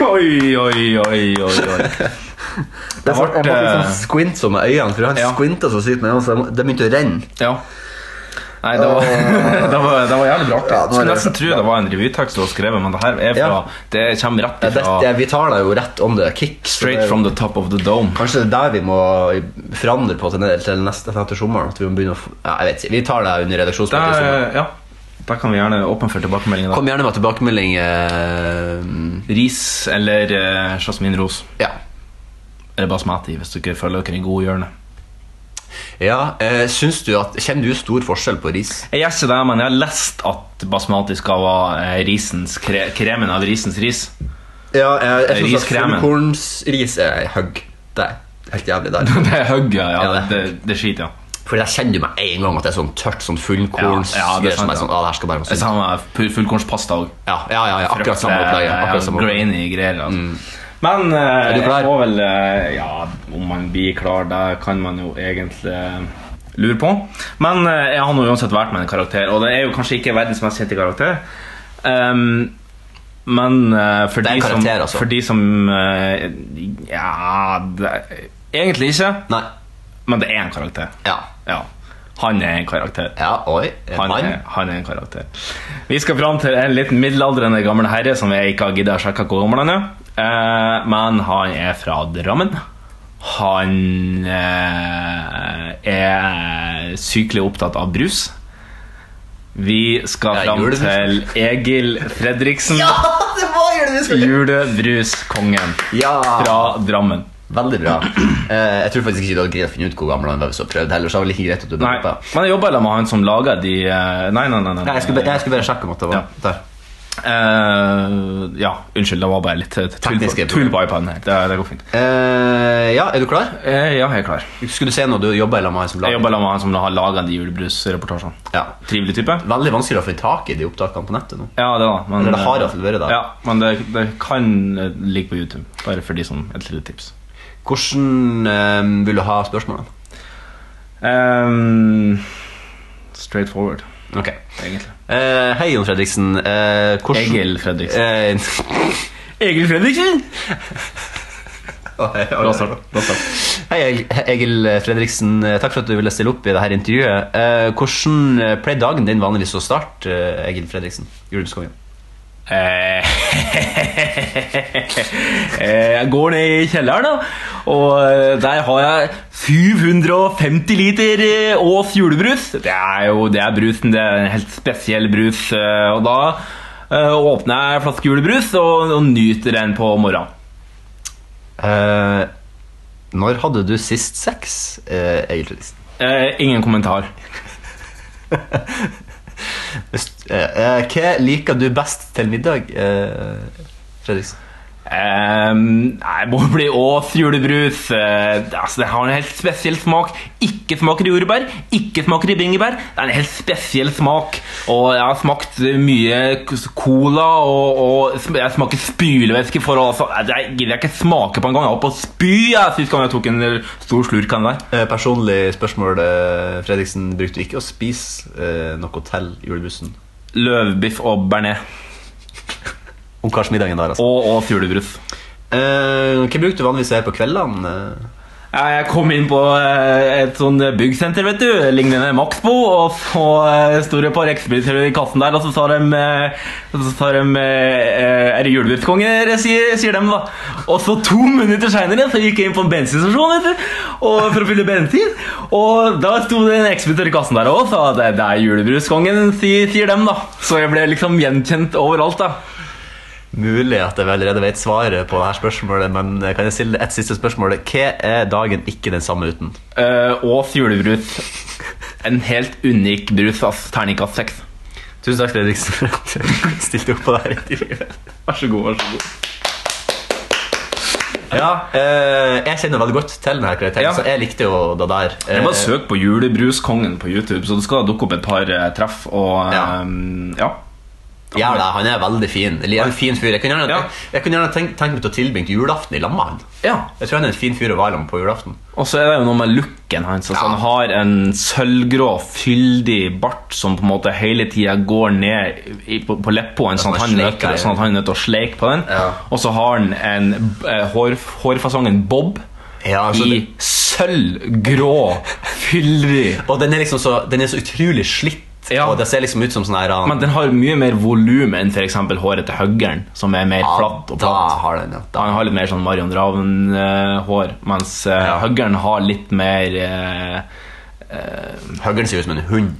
S2: Oi, oi, oi, oi, oi.
S3: Jeg
S2: ble- jeg ble liksom
S3: skvint sånn som med øynene, for han ja. squinta så sykt med øynene, det begynte å renne.
S2: Ja. Nei, det var, det var, det var jævlig bra.
S3: Ja, det var
S2: Skulle
S3: det.
S2: nesten tro det var en revytekst du har skrevet, men det her er fra
S3: Ja.
S2: Det kommer rett
S3: Ja,
S2: ifra
S3: dette, vi tar deg jo rett on the kick. så det er
S2: Straight
S3: jo-
S2: from the top of the dome.
S3: Kanskje det er der vi må forandre på til, til neste til sommeren. At vi må begynne å f- ja, Jeg vet ikke. Vi tar det under
S2: Da, eh,
S3: redaksjonsmøtet. i sommeren.
S2: ja, da kan vi gjerne åpne for tilbakemeldinger. da.
S3: Kom gjerne med tilbakemelding. eh,
S2: Ris eller eh, jasminros.
S3: ja.
S2: Eller basmati, hvis dere føler dere i gode hjørne.
S3: ja eh, syns du at Kjenner du stor forskjell på ris?
S2: Jeg gjør ikke det, men jeg har lest at basmati skal være eh, risens kre kremen av risens ris.
S3: Ja, jeg,
S2: synes at
S3: fullkornsris er hugg. Det er helt jævlig der.
S2: Det er hugget, ja.
S3: Ja, det-
S2: det, det skiter, ja.
S3: For der kjenner du med en gang at det er sånn tørt sånn fullkorns
S2: Ja, ja, det er sant,
S3: som er
S2: ja.
S3: sånn, ah, det her skal bare være
S2: Det
S3: sunt.
S2: samme er fu- fullkornspasta òg.
S3: Ja, ja, ja, ja, akkurat samme opplegget. Akkurat samme opplegget. Mm.
S2: Grainy greier. Altså. Men eh,
S3: Er du klar?
S2: jeg må vel eh, Ja, om man blir klar, det kan man jo egentlig eh, lure på. Men eh, jeg har nå uansett vært med en karakter, og det er jo kanskje ikke verdens mest kjente karakter. Ehm, men eh, for,
S3: Det er
S2: de
S3: en
S2: som,
S3: karakter, altså.
S2: for de som eh, Ja det, Egentlig ikke,
S3: Nei.
S2: men det er en karakter.
S3: Ja.
S2: Ja. Han er en karakter.
S3: ja oi. En
S2: Han
S3: mann?
S2: er, han er en karakter. Vi skal fram til en litt middelaldrende gammel herre som jeg ikke har giddet å sjekke hvor gammel han er. Eh, men han er fra Drammen. Han eh, er sykelig opptatt av brus. Vi skal
S3: Ja,
S2: fram
S3: julebrus.
S2: til Egil Fredriksen.
S3: Ja, det var jo det vi skulle
S2: Julebruskongen
S3: Ja.
S2: fra Drammen.
S3: Veldig bra. Eh, jeg tror faktisk ikke du hadde greid å finne ut hvor gammel han var hvis du hadde prøvd heller. Så det var like greit at du
S2: Nei,
S3: bare hoppet.
S2: men jeg jobber med han som lager de eh, Nei, nei, nei. nei,
S3: Nei, jeg skulle, bare- jeg skulle bare sjekke om at det var
S2: Ja.
S3: der.
S2: Eh, ja, unnskyld, det var bare litt eh, tull på-
S3: Tekniske
S2: tull på iPaden her. Det, det går fint.
S3: Eh, ja, er du klar?
S2: Eh, ja, jeg er klar.
S3: Skulle du se noe du jobber eller med han som
S2: Jeg
S3: lager?
S2: jobber sammen med han som har laga de julebrusreportasjene.
S3: Ja.
S2: Trivelig type.
S3: Veldig vanskelig å få tak i de opptakene på nettet nå.
S2: Ja, det da. Men, eh,
S3: Eller det har i hvert fall vært det.
S2: Ja, men det, det kan eh, ligge på YouTube. Bare for de som et lite tips.
S3: Hvordan eh, vil du ha spørsmålene?
S2: Um, straight forward,
S3: Ok.
S2: egentlig.
S3: Eh, hei, Jon Fredriksen. Eh, hvordan...
S2: Egil Fredriksen.
S3: Eh,
S2: Egil Fredriksen!
S3: Oi, oi,
S2: Bra
S3: oi.
S2: start. Bra start.
S3: Hei, Egil- Egil Fredriksen. Eh, Takk for at du ville stille opp i dette intervjuet. Eh, hvordan eh, pleier dagen din vanligvis å starte, eh, Egil Fredriksen? Julebruskongen.
S2: Eh, jeg går ned i kjelleren, da, og eh, der har jeg 750 liter eh, Ås julebrus. Det er jo det er brusen, det er en helt spesiell brus. eh, Og da eh, åpner jeg en flaske julebrus og, og nyter den på morgenen.
S3: Eh, når hadde du sist sex, eh, Egil Fredriksen?
S2: Eh, ingen kommentar.
S3: Hvis- eh, eh, hva liker du best til middag, eh, Fredriksen?
S2: Eh, nei, må bli Ås julebrus. Eh, altså, det har en helt spesiell smak. Ikke smaker i jordbær, ikke smaker i bringebær. Det er en helt spesiell smak. Og jeg har smakt mye k- cola, og, og sm- jeg smaker spylevæske for å altså, Jeg gidder jeg ikke smake på engang. Jeg holdt på å spy jeg, sist gang jeg tok en stor slurk av den der.
S3: Eh, personlig spørsmål, eh, Fredriksen. Brukte du ikke å spise eh, noe til julebrusen?
S2: Løvbiff og bearnés.
S3: Ungkarsmiddagen der, altså.
S2: Og Ås julebrus.
S3: Eh, hva bruker du vanligvis å gjøre på kveldene? eh?
S2: Ja, Jeg kom inn på eh, et sånn byggsenter, vet du, lignende Maxbo, og så eh, sto det et par ekspeditører i kassen der, og så sa de, eh, så sa de eh, Er det julebruskonge, sier, sier de, da. Og så to minutter seinere gikk jeg inn på en bensinstasjon vet du, og, for å fylle bensin, og da sto det en ekspeditør i kassen der òg og sa at det, det er julebruskongen, sier, sier dem, da. Så jeg ble liksom gjenkjent overalt, da.
S3: Mulig at jeg allerede vet svaret på dette spørsmålet, men kan jeg stille et siste spørsmål? Hva er dagen ikke den samme uten?
S2: Eh, Ås julebrus. En helt unik brus, ass. Terningkast seks.
S3: Tusen takk, Fredriksen, for at du stilte opp på dette intervjuet.
S2: Vær så god, vær så god.
S3: Ja, eh, jeg kjenner veldig godt til denne karakteren,
S2: Ja.
S3: så jeg likte jo det der.
S2: Jeg bare
S3: Eh,
S2: søk på Julebruskongen på YouTube, så det skal dukke opp et par eh, treff. Og ja.
S3: Ja.
S2: ja.
S3: Ja, da, han er veldig fin. Eller en fin fyr. Jeg kunne gjerne,
S2: Ja.
S3: jeg kunne gjerne tenkt, tenkt meg til å tilbringe julaften i lag med han.
S2: ja.
S3: Jeg tror han er en fin fyr å være i lag med på julaften.
S2: Og så er det jo noe med looken hans. Altså,
S3: Ja.
S2: Han har en sølvgrå, fyldig bart som på en måte hele tida går ned i, på, på leppoen, sånn
S3: sånn
S2: at han
S3: sleik
S2: nøtter-
S3: der.
S2: sånn at han er nødt til å sleike på den.
S3: Ja.
S2: Og så har han en, eh, hår, hårfasongen bob
S3: Ja, så
S2: i
S3: det-
S2: sølvgrå, fyldig
S3: Og den er liksom så, den er så utrolig slitt,
S2: Ja.
S3: og det ser liksom ut som sånn her... han-
S2: Men den har mye mer volum enn f.eks. håret til høggeren, som er mer
S3: ja,
S2: flatt og
S3: ah, da
S2: platt.
S3: har den, ja. Da.
S2: Han har litt mer sånn Marion Ravn-hår, mens uh,
S3: Ja.
S2: huggeren har litt mer eh,
S3: Høggeren ser ut som en hund.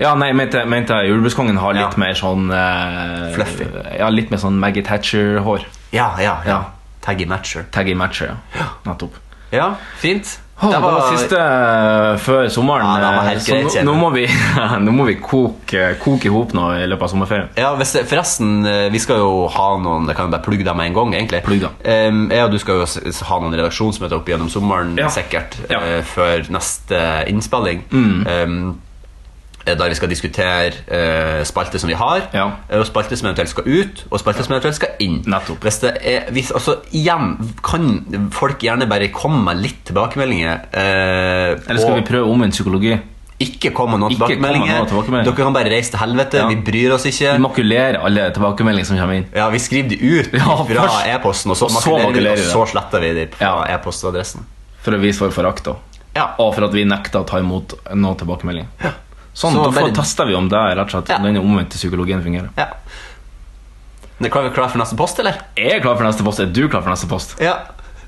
S2: Ja, nei, mente mente jeg Julebruskongen har litt
S3: Ja.
S2: mer sånn eh,
S3: Fluffy.
S2: Ja, litt mer sånn Maggie Thatcher-hår.
S3: Ja, ja, ja.
S2: Ja.
S3: Taggy matcher.
S2: Taggy matcher, ja. Nettopp.
S3: Ja, fint.
S2: Åh, det var siste eh, før sommeren,
S3: Ja, det var helt
S2: eh, så
S3: greit,
S2: nå,
S3: kjenner
S2: nå må vi, nå må vi koke, koke i hop nå i løpet av sommerferien.
S3: Ja, hvis det, forresten, eh, vi skal jo ha noen Jeg kan jo bare plugge dem med en gang, egentlig.
S2: Plugg dem.
S3: Em, jeg og du skal jo s- s- ha noen redaksjonsmøter opp gjennom sommeren,
S2: Ja.
S3: sikkert,
S2: Ja. Mm.
S3: eh, før neste innspilling. Em, eh, der vi skal diskutere eh, spalter som vi har,
S2: Ja.
S3: eh, og spalter som eventuelt skal ut, og spalter som eventuelt skal inn.
S2: Nettopp.
S3: Hvis det er, hvis, altså, igjen, kan folk gjerne bare komme med litt tilbakemeldinger? eh,
S2: Eller skal
S3: og-
S2: vi prøve omvendt psykologi?
S3: Ikke komme noen
S2: Ikke komme
S3: tilbakemeldinger.
S2: noen tilbakemeldinger.
S3: Dere kan bare reise til helvete.
S2: Ja.
S3: Vi bryr oss ikke.
S2: Vi makulerer alle tilbakemeldinger som kommer inn.
S3: Ja, Vi skriver de ut
S2: Ja,
S3: fra
S2: først.
S3: e-posten, og så
S2: Og så
S3: makulerer vi,
S2: makulerer
S3: det,
S2: vi
S3: og så sletter vi de fra
S2: Ja.
S3: e-postadressen.
S2: For å vise vår forakt, da.
S3: Ja.
S2: Og for at vi nekter å ta imot noen tilbakemelding. Sånn,
S3: Så
S2: Da får-
S3: bare-
S2: tester vi om det rett og slett, om
S3: Ja.
S2: denne omvendte psykologien fungerer.
S3: ja. Men Er vi klar for neste post, eller?
S2: Jeg er klar for neste post. Er du klar for neste post?
S3: Ja.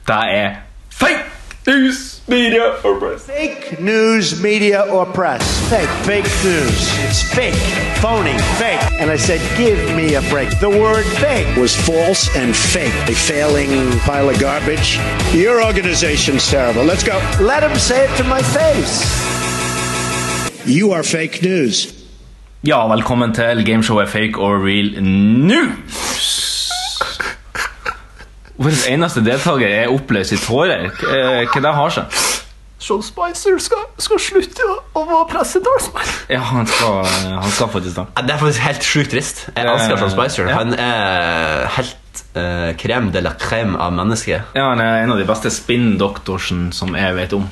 S2: Det er fake news, media or press.
S6: Fake news, media, or press. Fake. Fake news. It's fake. Phony. Fake. And I said, give me a break. The word fake was false and fake. A failing pile of garbage. Your organization's terrible. Let's go. Let him say it to my face. You are fake news.
S2: Ja, velkommen til gameshowet Fake or Real nå! Vår eneste deltaker er oppløst i tårer. Eh, Hva det har seg?
S3: Sean Spicer skal, slutte å være pressetalsmann.
S2: Ja, han skal, han skal faktisk det.
S3: Det er faktisk helt sjukt trist. Jeg elsker
S2: Eh,
S3: Sean Spicer.
S2: ja.
S3: Han er helt eh, crème de la crème av mennesket.
S2: Ja, han er en av de beste spinndoktorsen som jeg vet om.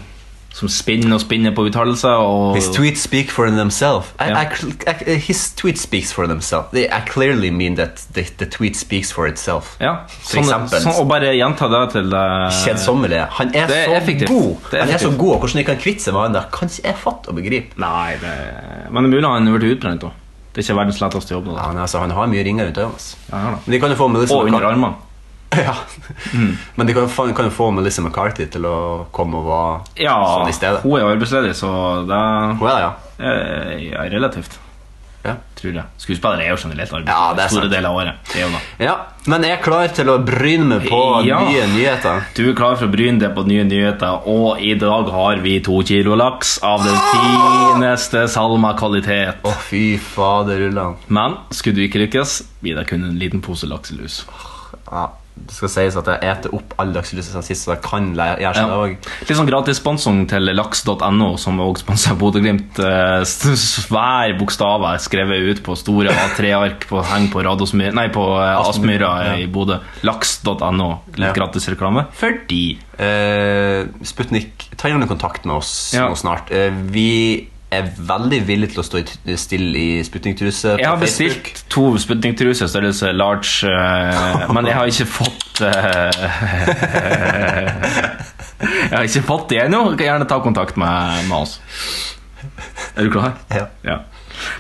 S2: Som spinner og spinner på uttalelser. Og...
S3: His tweets speak for themselves. I,
S2: Ja.
S3: I cl- I- his tweets speaks for themselves. They, I clearly mean that the, the tweet speaks for itself.
S2: Ja,
S3: For
S2: sånn,
S3: eksempel.
S2: sånn, og bare gjenta det til eh,
S3: Kjedsommelig. Han er,
S2: Det er
S3: så
S2: effektivt.
S3: god.
S2: Det er
S3: han er så
S2: effektivt.
S3: god, og hvordan de kan kvitte seg med han der, kan ikke jeg fatte og begripe.
S2: Nei, det... men det er mulig han ble utbrent òg. Det er ikke verdens letteste jobb. nå,
S3: Ja,
S2: Da.
S3: han, er- altså, han har mye ringer rundt øynene. altså.
S2: Ja, han har det.
S3: Men de kan jo få Melissa
S2: Og under Mm.
S3: McCarthy-
S2: armene.
S3: Ja. Men de kan, jo faen- kan jo få Melissa McCarthy til å komme og være
S2: Ja,
S3: sånn i stedet.
S2: hun er jo arbeidsledig, så det
S3: Hun er det, ja.
S2: er ja, relativt.
S3: Ja.
S2: Tror jeg. Skuespillere er jo generelt arbeid
S3: Ja, det er
S2: store
S3: sant.
S2: deler av året. Det er jo det.
S3: ja. Men jeg er klar til å bryne meg på
S2: Ja.
S3: nye nyheter.
S2: Du er klar for å bryne deg på nye nyheter, og i dag har vi to kilo laks av den
S3: Ah!
S2: fineste Salma-kvalitet.
S3: Å, fy faderullan.
S2: Men skulle du ikke lykkes, blir det kun en liten pose lakselus.
S3: Ja. Det skal sies at jeg eter opp all dagslyset siden sist, så jeg kan le- gjøre sånn
S2: Ja.
S3: i dag.
S2: Litt sånn gratissponsing til laks.no, som også sponser Bodø-Glimt. Eh, s- Svær bokstaver skrevet ut på store A3-ark på heng på, Radosmyr- nei, på eh, Aspmyra i Bodø. Laks.no.
S3: Ja.
S2: Litt gratis reklame fordi
S3: Eh, Sputnik, ta gjerne kontakt med oss
S2: Ja.
S3: nå snart. Eh, vi er veldig villige til å stå i t- stille i Sputnik-truse på
S2: Jeg har
S3: Facebook.
S2: bestilt to sputningtruser størrelse large, eh, men jeg har ikke fått eh, Jeg har ikke fått de ennå. Du Kan gjerne ta kontakt med, med oss. Er du klar?
S3: Ja.
S2: Det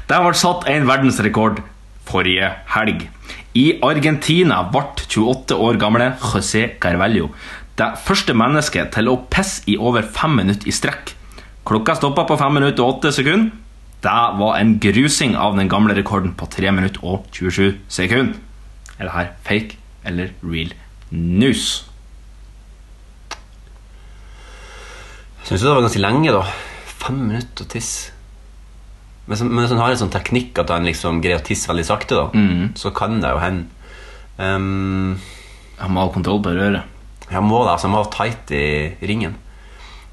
S2: ble satt en verdensrekord forrige helg. I Argentina ble 28 år gamle José Carvalho det første mennesket til å pisse i over fem minutter i strekk. Klokka stoppa på fem minutter og åtte sekunder. Det var en grusing av den gamle rekorden på 3 minutter og 27 sekunder. Er det her fake eller real news?
S3: Syns du det var ganske lenge, da? Fem minutter å tisse. Men så- men hvis han har en sånn teknikk at han liksom greier å tisse veldig sakte, da,
S2: Mm.
S3: så kan det jo hende. Ehm,
S2: Han må ha kontroll på røret.
S3: jeg må det, altså. Jeg må ha tight i ringen.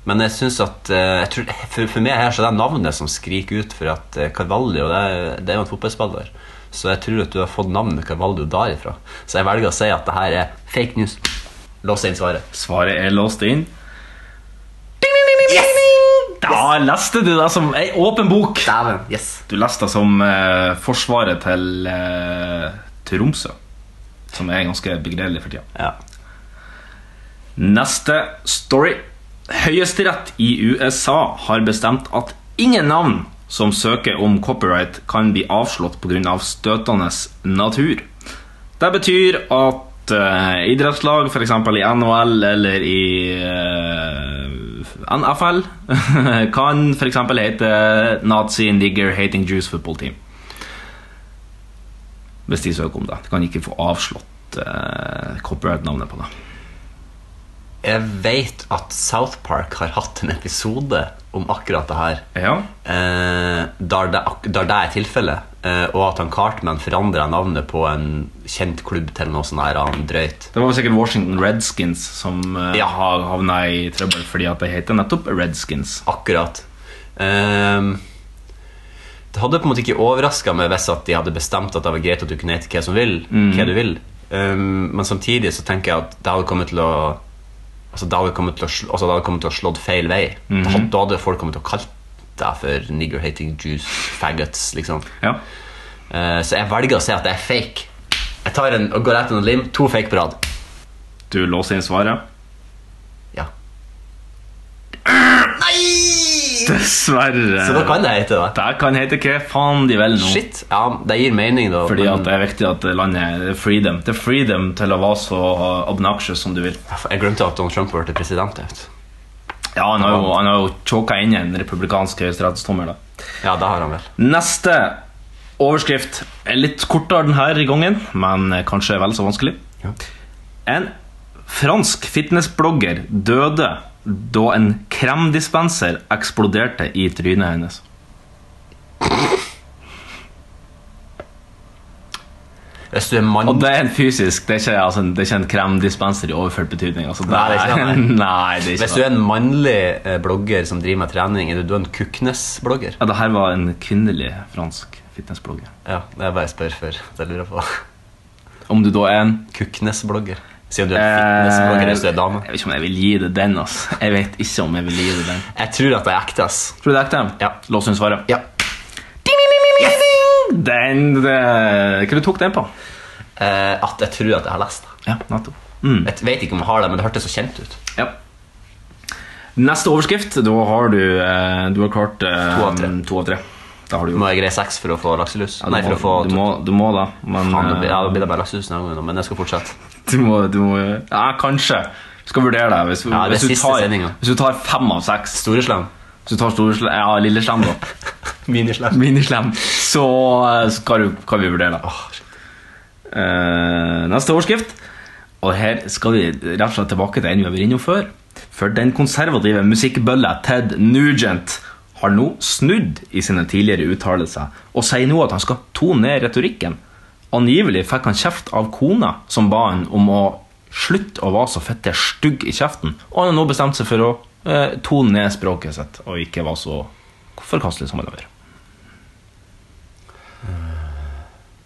S3: Men jeg synes at eh, jeg tror, for, for meg her så er det navnet som skriker ut, for at eh, Carvalho det, er- det er jo en fotballspiller. Så jeg tror at du har fått navnet Carvalho derifra. Så jeg velger å si at det her er fake news. Lås inn svaret.
S2: Svaret er låst inn. Da leste du det som ei åpen bok.
S3: Dæven. Yes.
S2: Du leste det som eh, forsvaret til eh, Tromsø, som er ganske begredelig for tida.
S3: Ja.
S2: Neste story. Høyesterett i USA har bestemt at ingen navn som søker om copyright, kan bli avslått pga. Av støtende natur. Det betyr at uh, idrettslag, f.eks. i NHL eller i eh, NFL, kan f.eks. hete Nazi Nigger Hating Jews Football Team. Hvis de søker om det. De kan ikke få avslått eh, copyright-navnet på det.
S3: Jeg vet at South Park har hatt en episode om akkurat det her.
S2: Ja.
S3: Eh, der, det, ak- der det er tilfellet. Eh, og at han Cartman forandra navnet på en kjent klubb til noe sånn her han drøyt.
S2: Det var sikkert Washington Redskins som eh,
S3: Ja.
S2: har havna i trøbbel fordi at det heter nettopp Redskins.
S3: Akkurat. Eh, det hadde på en måte ikke overraska meg hvis at de hadde bestemt at det var greit at du kunne hete hva som vil.
S2: Mm.
S3: Hva du vil. Eh, men samtidig så tenker jeg at det hadde kommet til å Altså det hadde kommet til å, slå, altså det hadde kommet til å slått feil vei.
S2: Mhm.
S3: Da hadde- Da hadde folk kommet til å kalle deg for nigger hating juice faggots. liksom
S2: Ja.
S3: Eh, Så jeg velger å si at det er fake. Jeg tar en, og går etter en lim. To fake på rad.
S2: Du låser inn svaret.
S3: Ja.
S2: Dessverre.
S3: Så da kan det hete det.
S2: Det kan hete hva faen de vil Eh. nå.
S3: Shit. Ja, det gir mening, da.
S2: Fordi
S3: men-
S2: at det er viktig at landet er freedom. Det er freedom til å være så obnoxious som du vil.
S3: Jeg glemte at Donald Trump ble president. Jeg vet.
S2: Ja, Han har jo, han har jo choka inn en republikansk høyesterettsdommer. da.
S3: Ja, det har han vel.
S2: Neste overskrift er litt kortere denne gangen, men kanskje vel så vanskelig.
S3: Ja.
S2: En fransk fitnessblogger døde da en kremdispenser eksploderte i trynet hennes.
S3: Hvis du er mann
S2: Og det er en fysisk, det er ikke, altså, det er ikke en kremdispenser i overført betydning. Altså, det
S3: Nei, det er ikke det,
S2: Nei, det er ikke
S3: Hvis du er en mannlig eh, blogger som driver med trening, er du da en Kuknes-blogger?
S2: Ja, det her var en kvinnelig fransk fitnessblogger.
S3: Ja, det er bare jeg spør for. Det lurer jeg på.
S2: Om du da er en
S3: Kuknes-blogger. Siden du er en fitness-blogger hvis du er dame.
S2: Eh, Jeg vet ikke om jeg vil gi det den, ass. Jeg vet ikke om jeg vil gi det den.
S3: Jeg tror at det er ekte, ass.
S2: Tror du det er ekte?
S3: Ja.
S2: Lås hun svaret.
S3: Ja.
S2: Den, det, hva du tok den på?
S3: Eh, at jeg tror at jeg har lest det.
S2: Ja, nettopp. Mm.
S3: Jeg vet ikke om jeg har det, men det hørtes så kjent ut.
S2: Ja. Neste overskrift, da har du, eh, du har klart eh,
S3: To av tre.
S2: To av tre. Da har du
S3: Må
S2: gjort.
S3: jeg greie seks for å få lakselus?
S2: Ja, du
S3: Nei, for
S2: må-
S3: å få
S2: du, må, du må da, men
S3: Faen, det blir-
S2: eh,
S3: ja, det blir det bare lakselus neste gang, men jeg skal fortsette.
S2: Du må, du må Ja, kanskje. Vi skal vurdere det. Hvis,
S3: Ja, det er
S2: hvis, du
S3: siste
S2: tar,
S3: sendingen.
S2: hvis du tar fem av seks
S3: Storeslem.
S2: Hvis du tar Storeslem Ja, Lilleslem, da.
S3: Minislem.
S2: Minislem. Så eh, skal du, kan vi vurdere det. Eh, neste overskrift. Og her skal vi rett og slett tilbake til en vi har vært innom før. For den konservative musikkbølla Ted Nugent har nå snudd i sine tidligere uttalelser og sier nå at han skal tone ned retorikken. Angivelig fikk han kjeft av kona, som ba han om å slutte å være så fette stygg i kjeften. Og han har nå bestemt seg for å eh, tone ned språket sitt og ikke være så forkastelig som han har vært.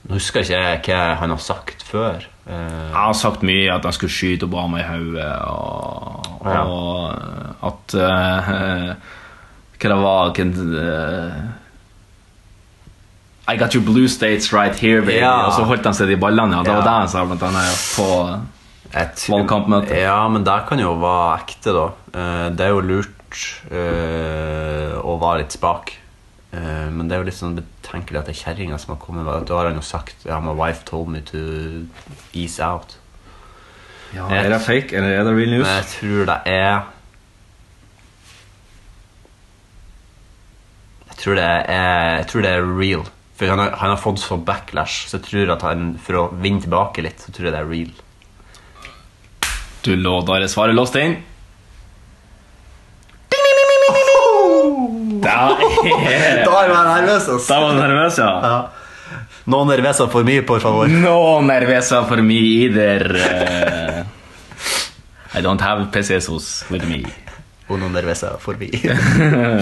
S3: Nå husker jeg ikke hva han har sagt før. Eh,
S2: Jeg har sagt mye at jeg skulle skyte Obama i hodet, og, og
S3: Ja.
S2: at eh, Hva det var hva, eh, I got your blue states right here, baby.
S3: Ja.
S2: Og så holdt han seg i ballene. Ja. Det var
S3: Ja.
S2: det han sa, blant annet. På,
S3: jeg tror-
S2: Valgkampmøte.
S3: Ja, men det kan jo være ekte, da. Eh, det er jo lurt eh, å være litt spak. Eh, men det er jo litt sånn betenkelig at det er kjerringa som har kommet. med det. Da har han jo sagt ja, 'My wife told me to ease out'.
S2: er det fake, eller er det real news?
S3: Men jeg tror det er Jeg tror det er, jeg tror det er real. For han har, han har fått så backlash, så jeg tror at han, for å vinne tilbake litt, så tror jeg det er real.
S2: Du lå der svaret låst inn. Da er
S3: Da er jeg nervøs, ass.
S2: Da var du nervøs, ja?
S3: Noen nervøse for mye, por favor.
S2: No nervøsa for me either. eh. I don't have pesesos with me.
S3: Og noen nervøse for mye.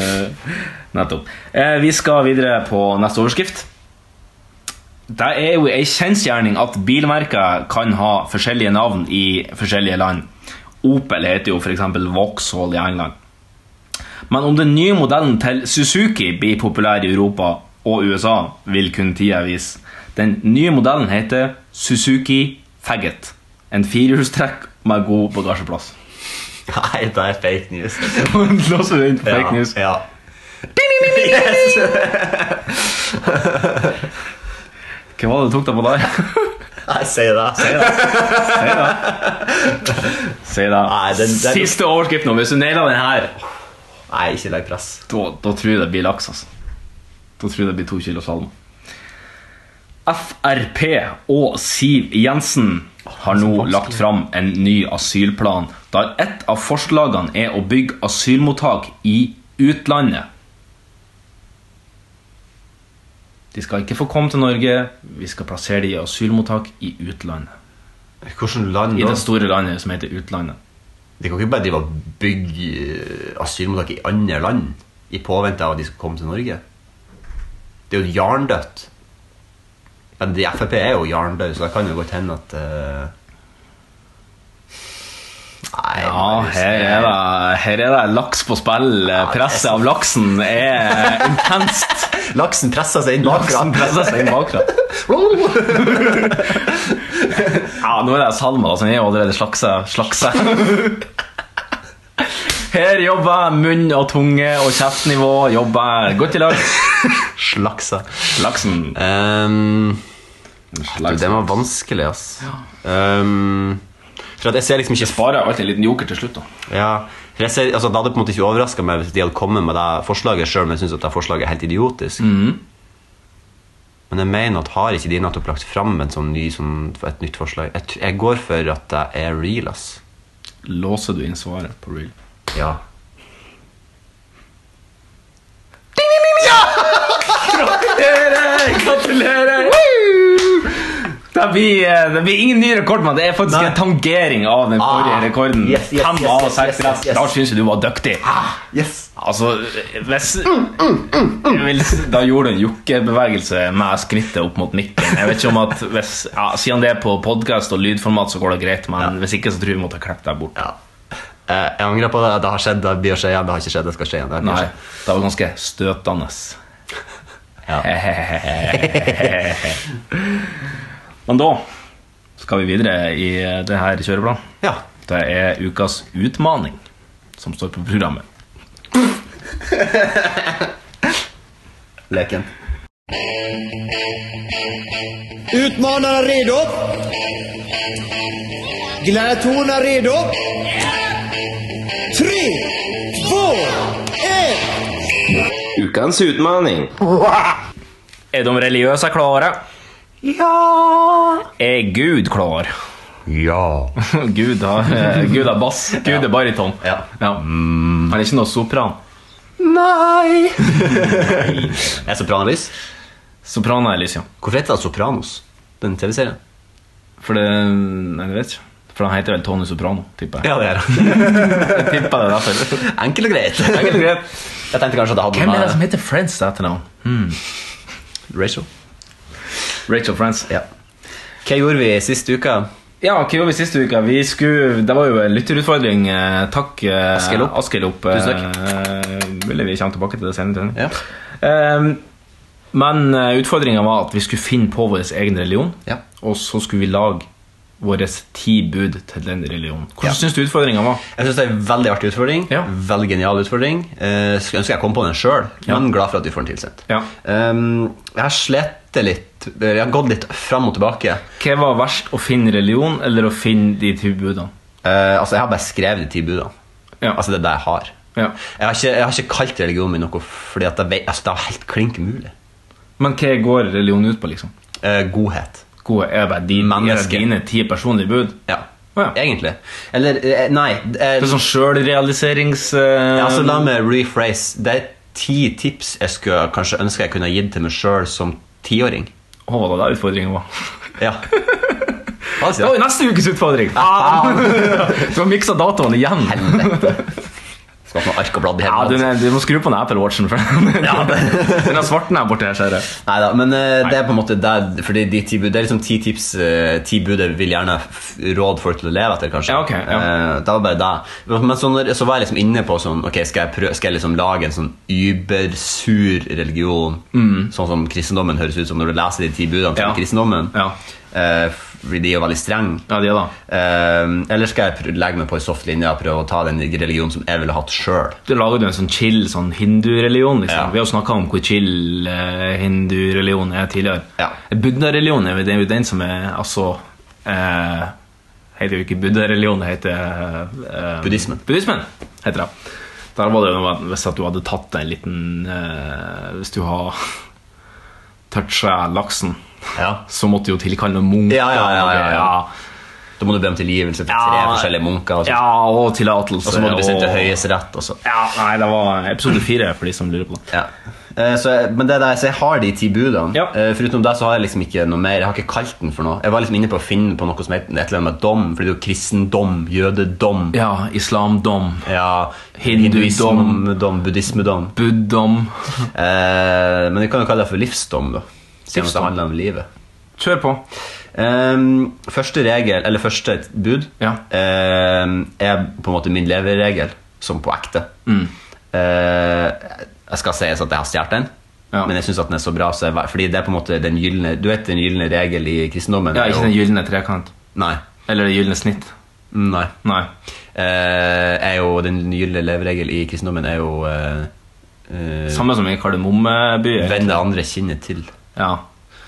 S2: Nettopp. Eh, vi skal videre på neste overskrift. Det er jo ei kjensgjerning at bilmerker kan ha forskjellige navn i forskjellige land. Opel heter jo f.eks. Vauxhall i England. Men om den nye modellen til Suzuki blir populær i Europa og USA, vil kun tida vise. Den nye modellen heter Suzuki Faggot. En firehjulstrekk med god bagasjeplass.
S3: Nei, det er fake news.
S2: Låser du inn på fake news?
S3: Ja. ja. Yes.
S2: Hva var det du tok deg på der?
S3: Jeg sier det.
S2: Si det.
S3: Nei, den- den-
S2: Siste overskrift nå. Hvis du nailer den her,
S3: Nei, ikke legg press.
S2: da, da tror jeg det blir laks. altså. Da tror jeg det blir to kilo salmo. Frp og Siv Jensen har nå lagt fram en ny asylplan, der ett av forslagene er å bygge asylmottak i utlandet. De skal ikke få komme til Norge, vi skal plassere dem i asylmottak i utlandet.
S3: Hvilket land
S2: I
S3: da?
S2: det store landet som heter utlandet.
S3: De kan ikke bare drive og bygge eh, asylmottak i andre land i påvente av at de skal komme til Norge. Det er jo jarndødt. Men de Frp er jo jarndøde, så det kan jo godt hende at eh, Nei,
S2: Ja,
S3: Marius,
S2: her er det, her er det laks på spill. Presset av laksen er intenst.
S3: Laksen presser seg inn bakfra.
S2: Laksen presser seg inn bakfra. Ja, nå er det Salma da, som er jo allerede slakse. slakse. Her jobber munn og tunge og kjeftnivå jobber godt i lag.
S3: Slaksa.
S2: Laksen.
S3: Um,
S2: Laksen.
S3: den var vanskelig, ass. Um, for at jeg ser liksom ikke
S2: Bare alltid en liten joker til slutt, da.
S3: Ja, for jeg ser, altså, Det hadde på en måte ikke overraska meg hvis de hadde kommet med det forslaget sjøl, men jeg syns det forslaget er helt idiotisk. Men jeg mener at har ikke de nettopp lagt fram en sånn ny, sånn, et nytt forslag? Jeg, tr- jeg går for at det er real, ass.
S2: Låser du inn svaret på real?
S3: Ja.
S2: Gratulerer! Gratulerer! Det blir, eh, det blir ingen ny rekord, mann. Det er faktisk
S3: Nei.
S2: en tangering av den forrige
S3: Ah,
S2: rekorden.
S3: yes, yes,
S2: Fem
S3: yes,
S2: av
S3: yes,
S2: seks
S3: yes,
S2: rett.
S3: yes.
S2: Da syns jeg du var dyktig.
S3: Yes.
S2: Altså, hvis
S3: Mm,
S2: Jeg vil si- Da gjorde du en jokkebevegelse med skrittet opp mot mikken. Jeg vet ikke om at hvis, ja, Siden det er på podkast og lydformat, så går det greit, men hvis ikke, så tror jeg vi måtte ha klippet deg bort.
S3: Ja. Eh, Jeg angrer på det. Det har skjedd, det blir å skje igjen. Det har ikke skjedd, det skal skje igjen. Det har ikke
S2: Nei,
S3: skjedd.
S2: det var ganske støtende.
S3: Ja.
S2: Men da skal vi videre i det her kjøreplanen.
S3: Ja.
S2: Det er ukas utmaning som står på programmet.
S3: Leken.
S5: Utmanarna redo? Gladiatorerna redo? Tre, två, ett!
S10: Ukens utmaning.
S2: Er de religiøse klare? Ja Er Gud klar?
S3: Ja.
S2: Gud, har, eh, Gud er bass. Gud er
S10: Eh,
S2: bariton.
S3: Ja. Mm.
S2: Han er ikke noe sopran.
S3: Nei! er Sopranos?
S2: Sopran er Elysium.
S3: Hvorfor heter det Sopranos? Den TV-serien?
S2: For det Nei, jeg vet ikke. For han heter vel Tony Soprano, tipper jeg.
S3: Ja, det er det.
S2: jeg tipper det er derfor.
S3: Enkelt og greit. Enkelt og greit. Jeg tenkte kanskje at det hadde
S2: Hvem er det som
S3: med
S2: heter Friends til etternavn? Hmm.
S3: Rachel.
S2: Rachel Friends.
S3: Ja. Hva gjorde vi sist uke?
S2: Ja, hva gjorde vi siste uke? Vi skulle, det var jo en lytterutfordring. eh, Takk, eh,
S3: Askild opp.
S2: Askild opp.
S3: Tusen
S2: takk. Mulig vi kommer tilbake til det senere.
S3: Ja.
S2: Eh, men utfordringa var at vi skulle finne på vår egen religion.
S3: Ja.
S2: Og så skulle vi lage våre ti bud til den religionen. Hvordan synes syns du utfordringa var?
S3: Jeg synes det er en veldig artig utfordring.
S2: Ja.
S3: Veldig genial utfordring. Eh, skulle ønske jeg kom på den sjøl, men glad for at vi får den tilsendt.
S2: Ja.
S3: Um, jeg har slitt litt. Jeg har gått litt fram og tilbake.
S2: Hva var verst, å finne religion eller å finne de ti budene?
S3: Eh, altså, jeg har bare skrevet de ti budene.
S2: Ja.
S3: Altså, det er det jeg har.
S2: Ja.
S3: Jeg, har ikke, jeg har ikke kalt religionen min noe fordi at jeg vet, altså, det er helt klink umulig.
S2: Men hva går religion ut på, liksom?
S3: Eh, godhet.
S2: Gode, er det bare de, er
S3: Menneske.
S2: det dine ti personlige bud?
S3: Ja.
S2: Å, ja.
S3: Egentlig. Eller eh, Nei. eh,
S2: Det er sånn sjølrealiserings... eh,
S3: altså, la meg rephrase. Det er ti tips jeg skulle kanskje ønske jeg kunne gitt til meg sjøl som tiåring.
S2: Hva var det der utfordringen var?
S3: Ja.
S2: Det
S3: Altså,
S2: var jo neste ukes utfordring!
S3: Ah.
S2: Du har miksa datoen igjen.
S3: Skaff noe ark og blad i
S2: Ja, du,
S3: hele tatt.
S2: du må skru på den Apple Watchen. For den
S3: Ja, det-
S2: den har svarten her borte. her, ser jeg.
S3: Neida, men eh, det er på en måte der, fordi de ti bud, det er liksom ti tips eh, Ti bud jeg vil gjerne f- råde folk til å leve etter, kanskje.
S2: Ja, ok, ja.
S3: Eh, det var bare det. Men så, når, så var jeg liksom inne på sånn Ok, skal jeg, prø- skal jeg liksom lage en sånn übersur religion? Sånn som kristendommen høres ut som når du leser de ti budene til
S2: Mm. Ja.
S3: kristendommen.
S2: Ja.
S3: Eh, fordi de er jo veldig strenge.
S2: Ja, de er da.
S3: Eh, eller skal jeg prø- legge meg på en soft linje og prøve å ta den religionen som jeg ville hatt sjøl?
S2: Du lager jo en sånn chill sånn hindureligion. Liksom.
S3: Ja.
S2: Vi har jo snakka om hvor chill eh, hindureligion er tidligere.
S3: Ja.
S2: Buddha-religion er jo- det er jo den som er altså eh, Heter jo ikke buddha-religion, det heter eh,
S3: Buddhismen.
S2: Buddhismen heter det. Der var det jo at Hvis at du hadde tatt en liten eh, Hvis du har toucha laksen,
S3: Ja.
S2: så måtte du jo tilkalle noen munker.
S3: Ja, ja, ja, ja, ja.
S2: ja.
S3: Da må du be om tilgivelse for tre
S2: Ja.
S3: forskjellige munker. Og så,
S2: Ja, og tillatelse.
S3: og så må du bli sendt til
S2: og-
S3: Høyesterett. og så-
S2: Ja, nei, det var episode fire, for de som lurer på det.
S3: Ja. Eh, Så, jeg- men det er det, så jeg har de ti budene.
S2: Ja.
S3: Eh, For utenom det så har jeg liksom ikke noe mer. Jeg har ikke kalt den for noe. Jeg var liksom inne på å finne på noe som heter et eller annet med dom, fordi det er jo kristendom, jødedom,
S2: Ja, islamdom,
S3: ja,
S2: Hindudom.
S3: hinduismedom, buddhismedom.
S2: buddom
S3: Eh, men vi kan jo kalle det for livsdom, da. Siden at det
S2: Livsdom.
S3: handler om livet.
S2: Kjør på.
S3: Ehm, første regel, eller første bud,
S2: Ja.
S3: ehm, er på en måte min leveregel, som på ekte.
S2: Mm.
S3: Eh, jeg skal sies at jeg har stjålet den,
S2: Ja.
S3: men jeg syns den er så bra. Så jeg, fordi det er på en måte den gyldne Du vet den gylne regel i kristendommen?
S2: Ja,
S3: er
S2: ikke
S3: jo-
S2: den gylne trekant.
S3: Nei. Mm,
S2: Eller det gylne snitt.
S3: Nei.
S2: Nei.
S3: Eh, er jo, den gylne leveregel i kristendommen er jo eh, eh,
S2: Samme som i kardemommebyer.
S3: Vend det andre kinnet til.
S2: Ja.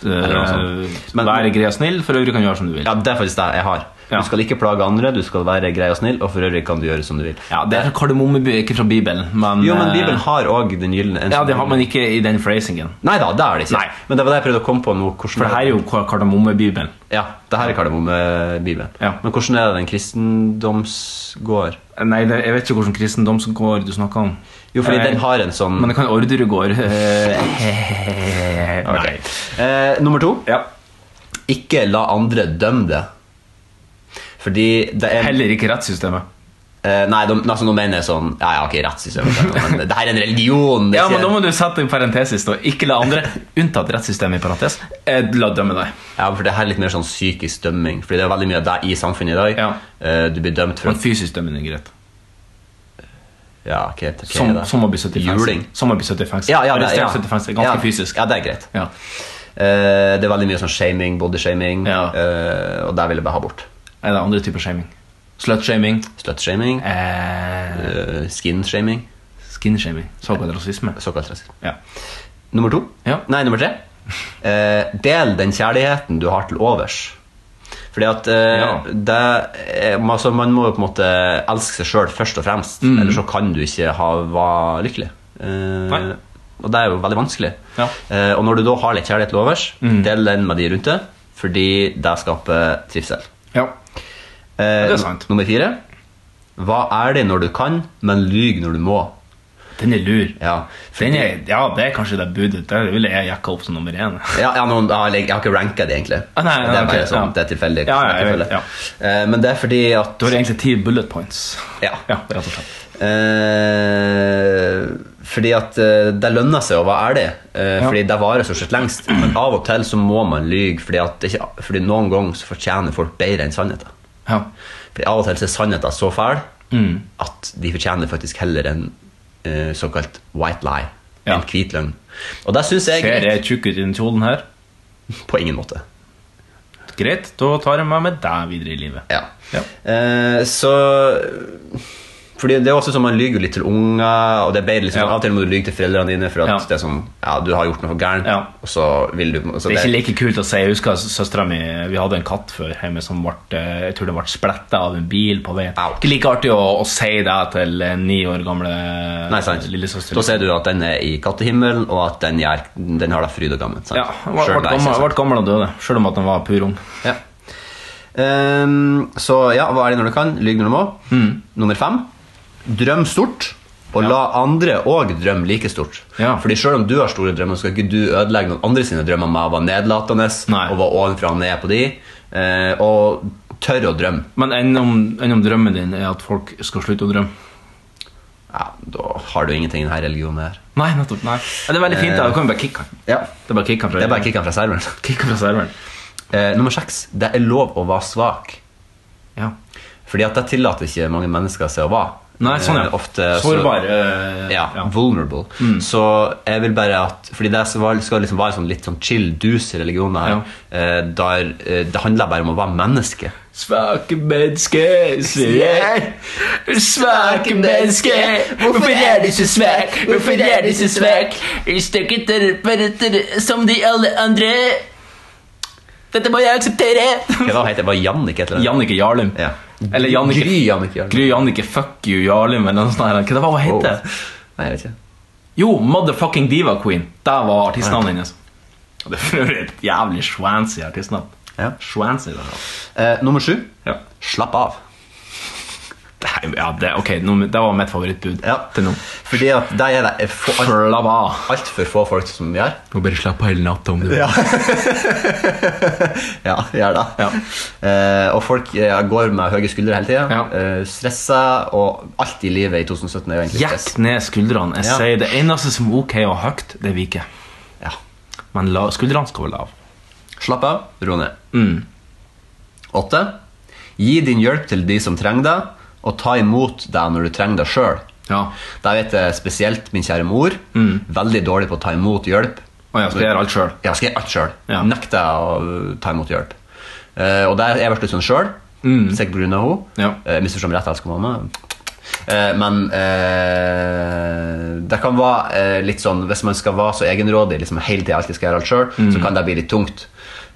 S3: Eller noe
S2: Uh,
S3: sånt. Men-
S2: Vær grei og snill, for øvrig kan du gjøre som du vil.
S3: Ja, Det er faktisk det jeg har.
S2: Ja.
S3: Du skal ikke plage andre, du skal være grei og snill, og for øvrig kan du gjøre som du vil.
S2: Ja, det er fra kardemommebyer, ikke fra Bibelen. Men,
S3: Jo, men Bibelen
S2: eh,
S3: har òg den gylne
S2: Ja, det har man ikke i den phrasingen.
S3: Nei da, det er det ikke.
S2: Nei.
S3: Men det var det jeg prøvde å komme på nå. hvordan
S2: For det her er jo kar- kardemommebibelen.
S3: Ja, det her er kardemommebibelen.
S2: Ja.
S3: Men hvordan er det den kristendomsgård?
S2: Nei, det, jeg vet ikke hvilken kristendomsgård du snakker om.
S3: Jo, fordi
S2: Eh,
S3: den har en sånn
S2: Men det kan Orderud gård. eh,
S3: Nei.
S2: Nei.
S3: Eh, Nummer to.
S2: Ja.
S3: Ikke la andre dømme det. Fordi det er
S2: Heller ikke rettssystemet.
S3: Eh, nei, de, altså, nå mener jeg sånn Ja, jeg har ikke rettssystemet, men det her er en religion. det
S2: Ja, men
S3: sier-
S2: Da må du sette en parentesis. da Ikke la andre, unntatt rettssystemet, i parentes, eh, la dømme deg.
S3: Ja, for det her er litt mer sånn psykisk dømming. Fordi det er veldig mye av deg i samfunnet i dag. Eh, du blir dømt for
S2: Men fysisk dømming er greit.
S3: Ja, ok, ok,
S2: Som,
S3: det.
S2: som å bli satt i fengsel.
S3: Juling.
S2: Som å bli satt i fengsel.
S3: Ja, ja, det,
S2: Arrestert
S3: ja.
S2: satt i fengsel. Ganske
S3: ja.
S2: fysisk.
S3: Ja, det er greit.
S2: Ja.
S3: Eh, det er veldig mye sånn shaming, bodyshaming,
S2: Ja.
S3: eh, og der vil jeg bare ha bort.
S2: Er det andre typer shaming? Slutshaming?
S3: Slutshaming,
S2: Eh,
S3: eh, skinshaming,
S2: Skinshaming? Såkalt rasisme?
S3: såkalt rasisme.
S2: Ja.
S3: Nummer to?
S2: Ja.
S3: Nei, nummer tre. Eh, del den kjærligheten du har til overs. Fordi at eh,
S2: Ja.
S3: det, er- altså, Man må jo på en måte elske seg sjøl først og fremst,
S2: Mm.
S3: ellers så kan du ikke ha, være lykkelig. Eh,
S2: Nei.
S3: og det er jo veldig vanskelig.
S2: Ja. Mm.
S3: Eh, og når du da har litt kjærlighet til overs, del den med de rundt deg, fordi det skaper trivsel.
S2: ja.
S3: Eh,
S2: det er sant.
S3: Nummer fire. Hva er det når du kan, men lyg når du må?
S2: Den er lur.
S3: Ja,
S2: Den er, ja, det er kanskje det budet. Der ville jeg jekka opp som nummer én.
S3: Ja, ja, nå, jeg, har, jeg har ikke ranka de, egentlig.
S2: Ah, nei,
S3: det er
S2: ok,
S3: bare
S2: ja.
S3: sånn, det er
S2: Ja,
S3: tilfeldig.
S2: ja, jeg
S3: rekkefølge.
S2: vet, ja.
S3: Eh, Men det er fordi at
S2: Da er det egentlig ti bullet points.
S3: Ja.
S2: Ja, rett og slett.
S3: Eh, fordi at eh, det lønner seg å være ærlig. Eh,
S2: Ja.
S3: Fordi det varer så sett lengst. Men av og til så må man lyge, fordi, at, det ikke- fordi noen ganger så fortjener folk bedre enn sannheten.
S2: Ja.
S3: Fordi av og til så er sannheten så fæl
S2: Mm.
S3: at de fortjener faktisk heller en eh, såkalt white lie.
S2: Ja.
S3: En hvit løgn. Og det syns jeg
S2: Ser
S3: er
S2: jeg tjukk ut i den kjolen her?
S3: på ingen måte.
S2: Greit, da tar jeg meg med deg videre i livet.
S3: Ja.
S2: Ja.
S3: Eh, så Fordi det er også sånn man lyver jo litt til unger, og det er bedre liksom,
S2: Ja.
S3: av og til må du lyge til foreldrene dine for at
S2: Ja.
S3: det er sånn, ja, du har gjort noe gærent,
S2: Ja.
S3: og så vil du så
S2: Det er ikke like kult å si. Jeg husker søstera mi Vi hadde en katt før hjemme som ble, eh, jeg tror det ble spletta av en bil på veien.
S3: Au.
S2: Ikke like artig å, å si det til en ni år gamle
S3: Nei, sant.
S2: lillesøster.
S3: Da sier du at den er i kattehimmelen, og at den, gjør, den har deg fryd og gammen. sant?
S2: Ja, hun ble,
S3: Selv om
S2: ble,
S3: det er ikke
S2: gammel,
S3: sant.
S2: ble gammel og døde, sjøl om at han var pur ung.
S3: Ja. Ehm, så ja, hva er det når du kan? Lyg når du må.
S2: Mm.
S3: Nummer fem. Drøm stort, og la andre òg drømme like stort.
S2: Ja.
S3: Fordi selv om du har store drømmer, så skal ikke du ødelegge noen andre sine drømmer med å være nedlatende
S2: Nei.
S3: og være ovenfra og ned på de. eh, og tørre å drømme.
S2: Men enn om, enn om drømmen din er at folk skal slutte å drømme?
S3: Ja, da har du ingenting i denne religionen her.
S2: Nei, nettopp. nei Ja, Det er veldig fint. da, Du kan jo bare kicke han.
S3: Ja.
S2: Det er bare kicke han fra
S3: Eh. Det er bare kicka fra serveren.
S2: Kicke han fra serveren.
S3: Eh, nummer seks. Det er lov å være svak.
S2: Ja.
S3: Fordi at det tillater ikke mange mennesker seg å være.
S2: Nei, sånn, ja.
S3: Eh, Ofte så-
S2: Sårbar. eh, Mm.
S3: ja, vulnerable. Så jeg vil bare at Fordi det skal skal liksom være sånn litt sånn chill, dus religion her, eh, der eh, det handler bare om å være menneske.
S2: Svake mennesker, sier jeg. Svake mennesker, hvorfor er du så svak? Hvorfor er du så svak? Stykket er bare etter som de alle andre. Dette må jeg akseptere.
S3: Hva da heter det? Var Jannicke et eller annet?
S2: Jannicke Jarlum.
S3: Ja.
S2: Eller Jannicke
S3: Gry Jannicke Jarlum.
S2: Gry Jannicke Fuck You Jarlum eller noe sånt. her. Hva det var hun
S3: Wow.
S2: hette?
S3: Nei, jeg vet ikke.
S2: Jo, Motherfucking Diva Queen. Der var artistnavnet hennes. Og Det er for øvrig et jævlig swancy artistnavn.
S3: Ja.
S2: Swancy, det er.
S3: Eh, nummer sju.
S2: Ja.
S3: Slapp av.
S2: Nei, ja, det, ok, nå, det var mitt favorittbud
S3: Ja.
S2: til nå.
S3: Fordi at det er det
S2: Slapp av.
S3: altfor få folk som gjør.
S2: Må bare slappe av hele natta om du vil.
S3: Ja, gjør det.
S2: Ja.
S3: Eh, og folk eh, går med høye skuldre hele tida.
S2: Ja.
S3: Eh, stressa, og alt i livet i 2017 er jo egentlig stress.
S2: Jekk ned skuldrene. Jeg
S3: Ja.
S2: sier Det eneste som er ok og høyt, det er vike.
S3: Ja.
S2: Men la, skuldrene skal være lave.
S3: Slapp av, ro ned. Åtte. Gi din hjelp til de som trenger det, og ta imot deg når du trenger det sjøl.
S2: Ja.
S3: Der vet jeg spesielt min kjære mor. Veldig dårlig på å ta imot hjelp.
S2: Mm. Å ja, skal jeg gjøre alt selv?
S3: Ja, skal jeg gjøre alt sjøl.
S2: Ja.
S3: Nekter å øh, ta imot hjelp. Eh, og der er jeg vært litt sånn sjøl. Sikkert pga. henne.
S2: Mm. Ja.
S3: Eh, Misforstå meg rett, jeg elsker mamma. Eh, men eh, det kan være eh, litt sånn Hvis man skal være så egenrådig liksom hele tiden alltid skal gjøre alt selv,
S2: Mm.
S3: så kan det bli litt tungt.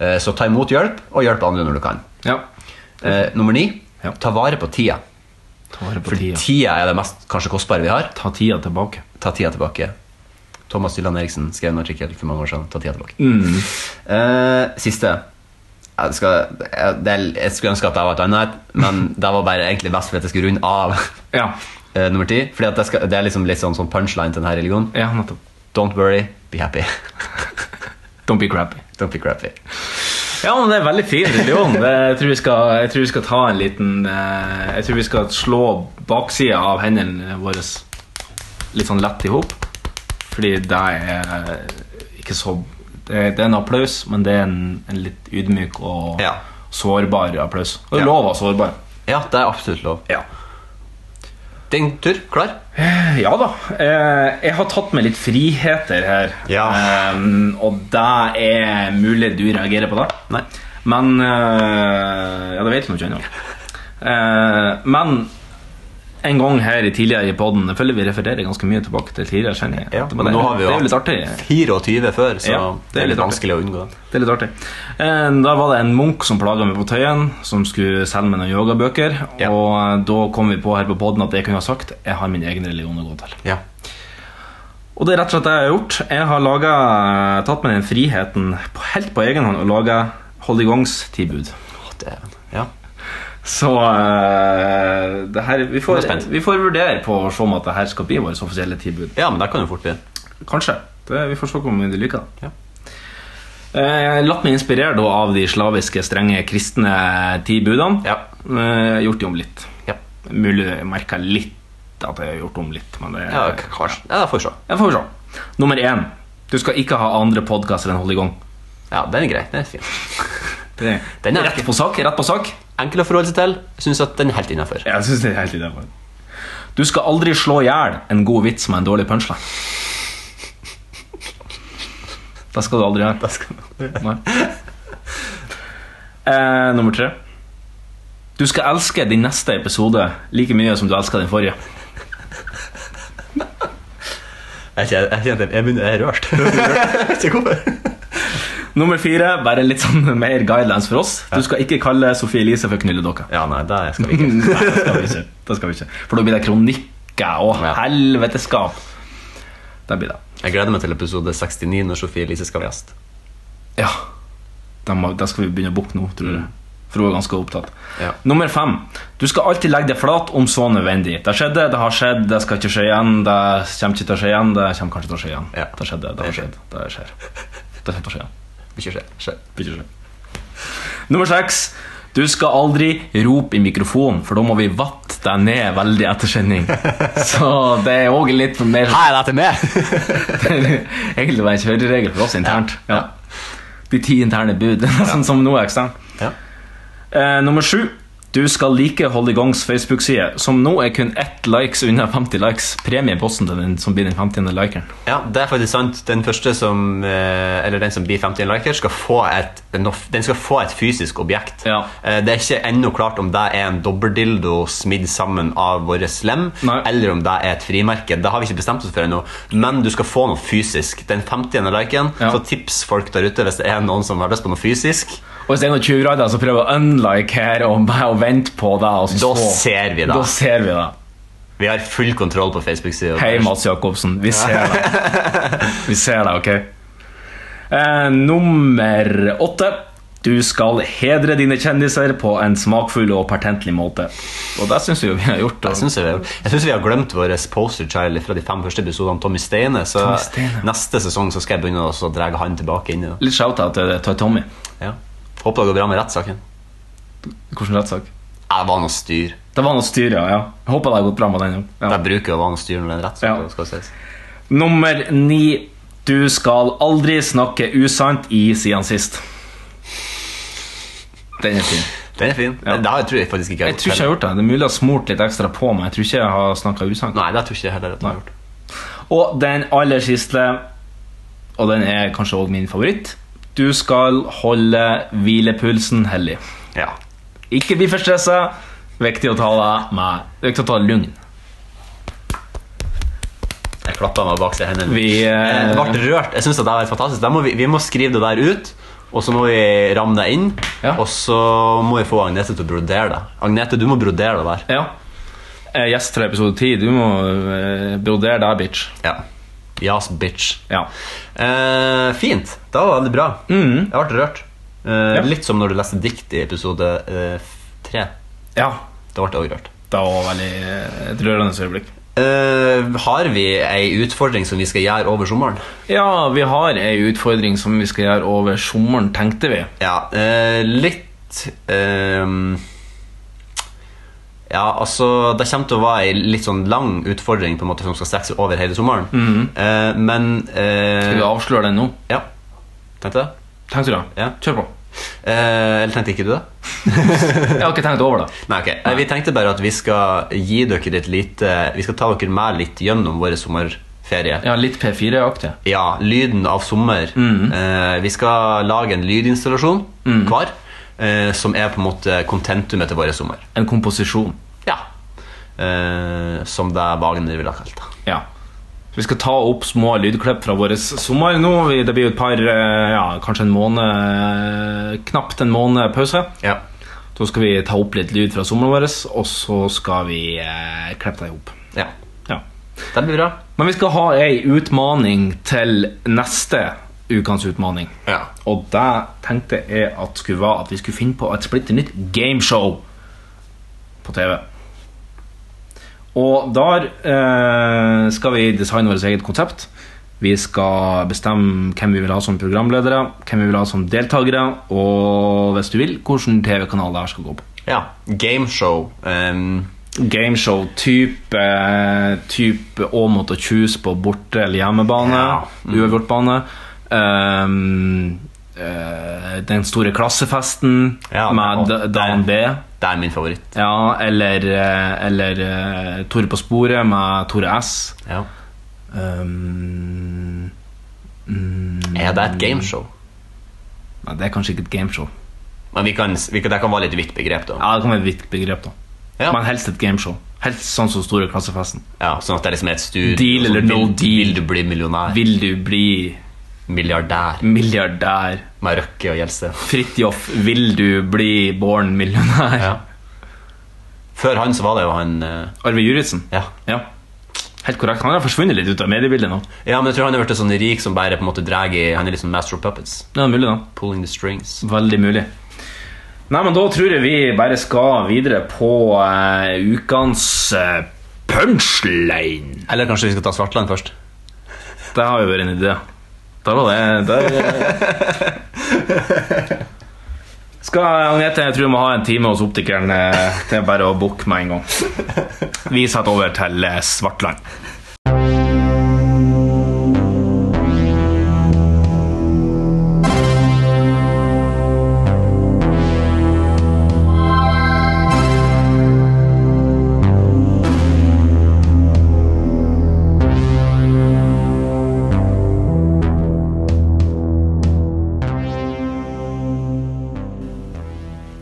S3: Eh, så ta imot hjelp, og hjelp andre når du kan.
S2: Ja.
S3: Eh, nummer ni
S2: Ja.
S3: ta vare på tida.
S2: Ta vare på
S3: For
S2: tida.
S3: tida er det mest kanskje kostbare vi har.
S2: Ta tida tilbake.
S3: Ta tida tilbake. Thomas Dylan Eriksen skrev en artikkel for mange år siden. Ta tida tilbake.
S2: Mm.
S3: Eh, siste. Jeg, skal, jeg, det er- jeg skulle ønske at det var et annet, men det var bare egentlig best for at jeg skulle runde av.
S2: Ja.
S3: Eh, nummer ti. Fordi at det, skal, det er liksom litt sånn, sånn punchline til denne religionen.
S2: ja, nettopp.
S3: Don't worry, be happy.
S2: Don't be crappy.
S3: Don't be crappy.
S2: Ja, men det er veldig fin religion. Det, jeg, tror vi skal, jeg tror vi skal ta en liten eh, Jeg tror vi skal slå baksida av hendene våre litt sånn lett i hop. Fordi det er ikke så Det er det er en applaus, men det er en, en litt ydmyk og sårbar applaus. Og det er
S3: Ja.
S2: lov å være sårbar.
S3: Ja, det er absolutt lov. Din tur. Klar?
S2: Eh, Ja da. Eh, Jeg har tatt med litt friheter her. Eh, Og det er mulig du reagerer på det. Men eh, Ja, det vet du ikke ennå. Eh, Men en gang her i tidligere i podden Jeg føler vi refererer ganske mye tilbake til tidligere sendinger. Det-
S3: Men nå har vi
S2: det er
S3: jo
S2: jo litt
S3: hatt
S2: artig.
S3: 24 før, så
S2: Ja,
S3: det er litt
S2: artig.
S3: vanskelig å unngå.
S2: Det er litt artig. Eh, Da var det en munk som plaga meg på Tøyen, som skulle selge meg noen yogabøker. Og eh, da kom vi på her på podden at jeg kunne ha sagt jeg har min egen religion å gå til. Og det er rett og slett det jeg har gjort. Jeg har laget, eh, tatt meg den friheten på, helt på egen hånd og laga holdigongstilbud.
S3: Ja.
S2: Så eh, det her, vi,
S3: Jeg
S2: får,
S3: er spent.
S2: vi får vurdere på å se om at det her skal bli vårt offisielle tilbud.
S3: Ja, men det kan jo fort bli.
S2: Kanskje. Det, vi får se om du liker det. Eh, latt meg inspirere da av de slaviske, strenge kristne ti budene. Eh, gjort de om litt. Mulig jeg merker litt at jeg har gjort om litt. Men det,
S3: Ja, k- kanskje. Ja, det får vi se.
S2: Jeg får se. Nummer én. Du skal ikke ha andre podkaster enn Hold i gang.
S3: Ja, den er grei. Den er fin.
S2: Det,
S3: Den er
S2: rett på sak. Rett på sak.
S3: Enkel å forholde seg til. Jeg syns at den er helt innafor.
S2: Jeg synes det er helt innenfor. Du skal aldri slå i hjel en god vits med en dårlig punchline. Det skal du aldri gjøre. Nei. Eh, nummer tre. Du skal elske din neste episode like mye som du elsker den forrige.
S3: Jeg kjenner, jeg kjenner jeg begynner, jeg er rørt.
S2: Nummer fire, bare litt sånn mer guidelines for oss. Du skal ikke kalle Sofie Elise for knulledokke.
S3: Ja, nei, det skal vi ikke.
S2: Nei, det skal vi ikke. Det skal vi ikke. For da blir det kronikker og helveteskap. Det blir det.
S3: Jeg gleder meg til episode 69 når Sofie Elise skal være gjest.
S2: Ja. Da, må, da skal vi begynne å booke nå, tror jeg. For hun er ganske opptatt. Nummer fem. Du skal alltid legge deg flat om så nødvendig. Det skjedde, det har skjedd, det skal ikke skje igjen, det kommer ikke til å skje igjen, det kommer kanskje til å skje igjen. Det skjedde, det har skjedd, det skjer. Det kommer til å skje igjen.
S3: Ikke skje. skje.
S2: Vil ikke skje. Nummer seks. Du skal aldri rope i mikrofonen, for da må vi vatte deg ned veldig etter sending. Så det er òg litt mer
S3: Her er det til meg!
S2: det er egentlig bare en kjøreregel for oss internt. Ja. De ti interne bud, sånn som nå er eksternt. Eh, nummer sju. Du skal like Hold i gangs Facebook-side, som nå er kun ett likes unna 50 likes. Premie i posten til den som blir den 50. likeren.
S3: Ja, det er faktisk sant. Den første som eh, Eller den som blir 50 liker, skal få et, den of- den skal få et fysisk objekt. Eh, Det er ikke ennå klart om det er en dobbeldildo smidd sammen av våre lem, eller om det er et frimerke. Det har vi ikke bestemt oss for ennå, men du skal få noe fysisk. Den 50. liken, så tips folk der ute hvis det er noen som har lyst på noe fysisk.
S2: Og hvis det er noen tjuvradder som prøver å unlike her og, og vente på det og
S3: Da
S2: så-
S3: ser vi det.
S2: Da ser vi det.
S3: Vi har full kontroll på Facebook-sida.
S2: Hei, Mats Jacobsen. Vi ser deg. Vi ser deg, ok? Eh, nummer åtte. Du skal hedre dine kjendiser på en smakfull og pertentlig måte. Og det syns vi jo vi har gjort.
S3: Jeg syns vi, har- jeg synes vi har glemt vår poster child fra de fem første episodene, Tommy Steine. Så
S2: Tommy Steine.
S3: neste sesong så skal jeg begynne å så dra han tilbake inn i det.
S2: Litt shout-out til Toy Tommy.
S3: Ja. Håper det går bra med rettssaken.
S2: Hvilken rettssak?
S3: Det var noe styr.
S2: Det var noe styr, ja. ja. Jeg Håper det har gått bra med den. ja.
S3: Det bruker å være noe styr når det er en rettssak. skal sies.
S2: Ja. Nummer ni. Du skal aldri snakke usant i siden sist. Den er fin.
S3: Den er fin. Det har jeg tror jeg faktisk ikke
S2: Jeg tror ikke jeg har gjort det. Det er mulig jeg har smurt litt ekstra på meg. Jeg tror ikke jeg har snakka usant.
S3: Nei, det tror ikke jeg heller at jeg har gjort.
S2: Og den aller siste, og den er kanskje òg min favoritt Du skal holde hvilepulsen hellig. Ikke bli for stressa. Viktig å ta det med Det er viktig å ta det lugn.
S3: Jeg klappa meg bak seg i hendene.
S2: Vi, eh,
S3: Eh, Jeg ble rørt. Jeg synes at det er fantastisk. Da må vi, vi må skrive det der ut, og så må vi ramme det inn. Og så må vi få Agnete til å brodere det. Agnete, du må brodere det der.
S2: Ja. Eh, Gjest fra episode 10, du må eh, brodere deg, bitch.
S3: Ja. Yes, bitch.
S2: Ja.
S3: Eh, fint. Det var veldig bra.
S2: Mm.
S3: Jeg ble rørt. Eh, Litt som når du leste dikt i episode eh, f- tre.
S2: Ja.
S3: Da ble jeg også rørt.
S2: Det var veldig eh, et rørende øyeblikk.
S3: Eh, har vi ei utfordring som vi skal gjøre over sommeren?
S2: Ja, vi har ei utfordring som vi skal gjøre over sommeren, tenkte vi.
S3: Ja, eh, litt ehm, Ja, altså Det kommer til å være ei litt sånn lang utfordring på en måte som skal strekke seg over hele sommeren.
S2: Mhm.
S3: Eh, men eh,
S2: Skal vi avsløre den nå?
S3: Ja. Tenkte jeg det?
S2: Tenkte du det?
S3: Ja.
S2: Kjør på.
S3: Eh, eller tenkte ikke du det?
S2: Jeg har ikke tenkt over det.
S3: Nei, ok. Eh, Vi tenkte bare at vi skal gi dere et lite Vi skal ta dere med litt gjennom vår sommerferie.
S2: Ja, Litt P4-aktig.
S3: Ja, lyden av sommer.
S2: Mm.
S3: Eh, vi skal lage en lydinstallasjon hver. eh, som er på en måte kontentumet til vår sommer.
S2: En komposisjon.
S3: Ja. Eh, som det Wagner ville ha kalt det.
S2: Ja. Vi skal ta opp små lydklipp fra vår sommer nå. Vi- Det blir jo et par, eh, ja, kanskje en måned Knapt en måned pause.
S3: Ja.
S2: Da skal vi ta opp litt lyd fra sommeren vår, og så skal vi eh, klippe det i hop.
S3: ja.
S2: Ja.
S3: Det blir bra.
S2: Men vi skal ha ei utmaning til neste ukens utmaning.
S3: Ja.
S2: Og det tenkte jeg at skulle være at vi skulle finne på et splitter nytt gameshow på TV. Og der eh, skal vi designe vårt eget konsept. Vi skal bestemme hvem vi vil ha som programledere, hvem vi vil ha som deltakere, og hvis du vil, hvilken TV-kanal det her skal gå på.
S3: ja. Gameshow. Um,
S2: Gameshow type, eh, type å måtte choose på borte- eller hjemmebane.
S3: mm.
S2: Uavgjortbane. Um, eh, den store klassefesten
S3: Ja, og-
S2: med D- Dan B.
S3: det er min favoritt.
S2: Ja, eller, eh, eller eh, Tore på sporet med Tore S.
S3: Ja.
S2: Um,
S3: Er det et gameshow?
S2: nei, det er kanskje ikke et gameshow.
S3: Men vi kan, vi kan, det kan være litt vidt begrep, da.
S2: Ja, det kan være et vidt begrep, da.
S3: Ja.
S2: Men helst et gameshow. Helst sånn som Store klassefesten.
S3: Ja, sånn at det liksom er et studio.
S2: Deal eller
S3: sånn,
S2: no
S3: vil,
S2: deal.
S3: Vil du bli millionær?
S2: Vil du bli
S3: Milliardær
S2: milliardær?
S3: med Røkke og Gjelsten.
S2: Fridtjof, vil du bli born millionær?
S3: Ja. Før han så var det jo han eh,
S2: Arve Juritzen?
S3: Ja.
S2: Ja. Helt korrekt. Han har forsvunnet litt ut av mediebildet nå.
S3: ja, men jeg tror han har blitt sånn rik som bare på en måte drar i Han er liksom master of puppets.
S2: Ja, mulig da.
S3: Pulling the strings.
S2: Veldig mulig. Nei, men da tror jeg vi bare skal videre på eh, ukens eh, punchline.
S3: Eller kanskje vi skal ta Svartland først?
S2: Det har jo vært en idé. Da var det der- Skal Agnete, jeg tror jeg må ha en time hos optikeren. eh, Det er bare å booke med en gang. Vi setter over til eh, Svartland.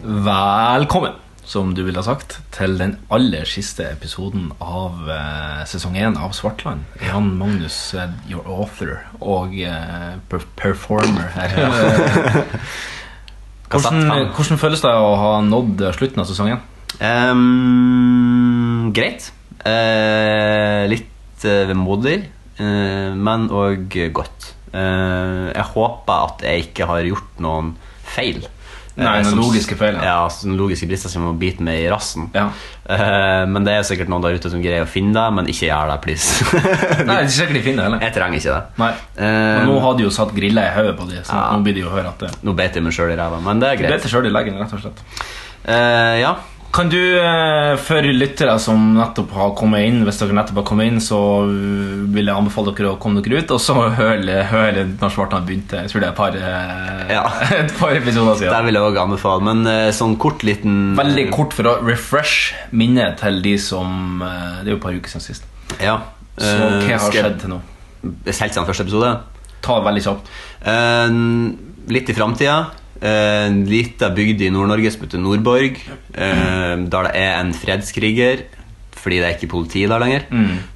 S2: Velkommen, som du ville ha sagt, til den aller siste episoden av eh, sesong 1 av Svartland. Jan Magnus, eh, your author og eh, per performer her. hvordan,
S3: Kassettfan.
S2: hvordan føles det å ha nådd slutten av sesongen?
S3: Ehm, greit. Eh, litt eh, vemodig, eh, men òg godt. Eh, jeg håper at jeg ikke har gjort noen feil. Eh,
S2: Nei, noen
S3: som-
S2: logiske feil, ja.
S3: Ja, sånne logiske brister som å bite meg i rassen.
S2: Ja.
S3: Eh, men det er sikkert noen der ute som greier å finne det, men ikke gjør det, please.
S2: Nei, det er sikkert ikke fint det heller.
S3: jeg trenger ikke det.
S2: Nei.
S3: Eh,
S2: Men nå har de jo satt grilla i hodet på det, så
S3: Ja.
S2: nå blir det jo å høre at det
S3: Nå beit jeg meg sjøl i ræva, men det er
S2: Du
S3: greit.
S2: vet det sjøl i leggen, rett og slett.
S3: Eh, ja.
S2: Kan du, eh, for lyttere som nettopp har kommet inn, hvis dere nettopp har kommet inn, så uh, vil jeg anbefale dere å komme dere ut, og så høre hør når Svartland begynte. Jeg tror det er et par, eh,
S3: Ja.
S2: et par episoder
S3: Det
S2: siden.
S3: vil jeg òg anbefale, men eh, sånn kort liten
S2: Veldig kort for å refresh minnet til de som eh, Det er jo et par uker siden sist.
S3: Ja.
S2: Så hva
S3: Eh,
S2: har
S3: skal jeg-
S2: skjedd til nå?
S3: Helt siden første episode.
S2: Ta det veldig kjapt.
S3: Eh, litt i framtida. Eh, En lita bygd i Nord-Norge som heter Nordborg, eh, der det er en fredskriger fordi det er ikke politi der lenger.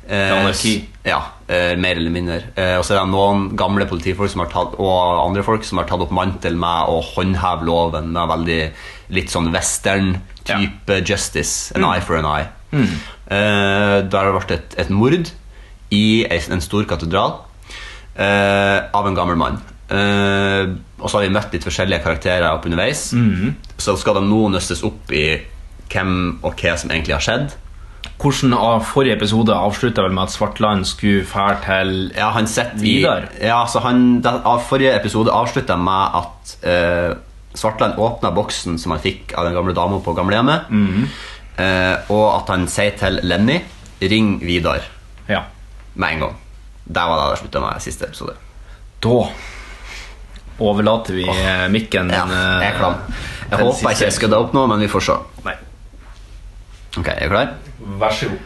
S2: er
S3: Eh,
S2: anarki.
S3: s- Ja, eh, mer eller mindre. Eh, og så er det noen gamle politifolk som har tatt, og andre folk som har tatt opp mantel med å håndheve loven med veldig litt sånn western-type justice. An eye for an eye. Eh, der har det vært et, et mord i ei- en stor katedral eh, av en gammel mann. Eh, og så har vi møtt litt forskjellige karakterer opp underveis. Så skal de nå nøstes opp i hvem og hva som egentlig har skjedd.
S2: Hvordan av forrige episode avslutta vel med at Svartland skulle fære til
S3: Ja, han sitter i
S2: Vidar?
S3: Ja, så han, da, av Forrige episode avslutta jeg med at eh, Svartland åpna boksen som han fikk av den gamle dama på gamlehjemmet, eh, og at han sier til Lenny 'ring Vidar'
S2: Ja.
S3: med en gang. Der var det jeg slutta med siste episode.
S2: Da overlater vi eh, mikken
S3: Ja, jeg er klam. Jeg håper ikke jeg skal da opp nå, men vi får se.
S2: Nei.
S3: Ok, er du
S2: eh,
S3: klar?
S2: Vær så god.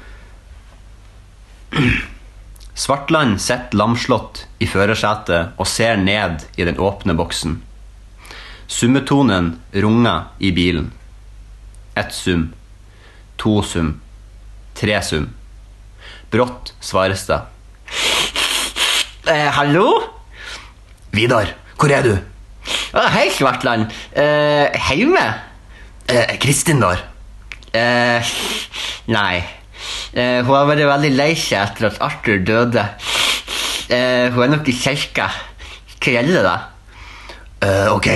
S3: Svartland sitter lamslått i førersetet og ser ned i den åpne boksen. Summetonen runger i bilen. Ett sum. To sum. Tre sum. Brått svares det.
S9: Eh, hallo?
S3: Vidar, hvor er du?
S9: Å, hei, Svartland. Eh, Hjemme?
S3: Eh, Kristin, der.
S9: Eh, nei. Eh, hun har vært veldig lei seg etter at Arthur døde. Eh, hun er nok i kirka. Hva gjelder det?
S3: Eh, ok.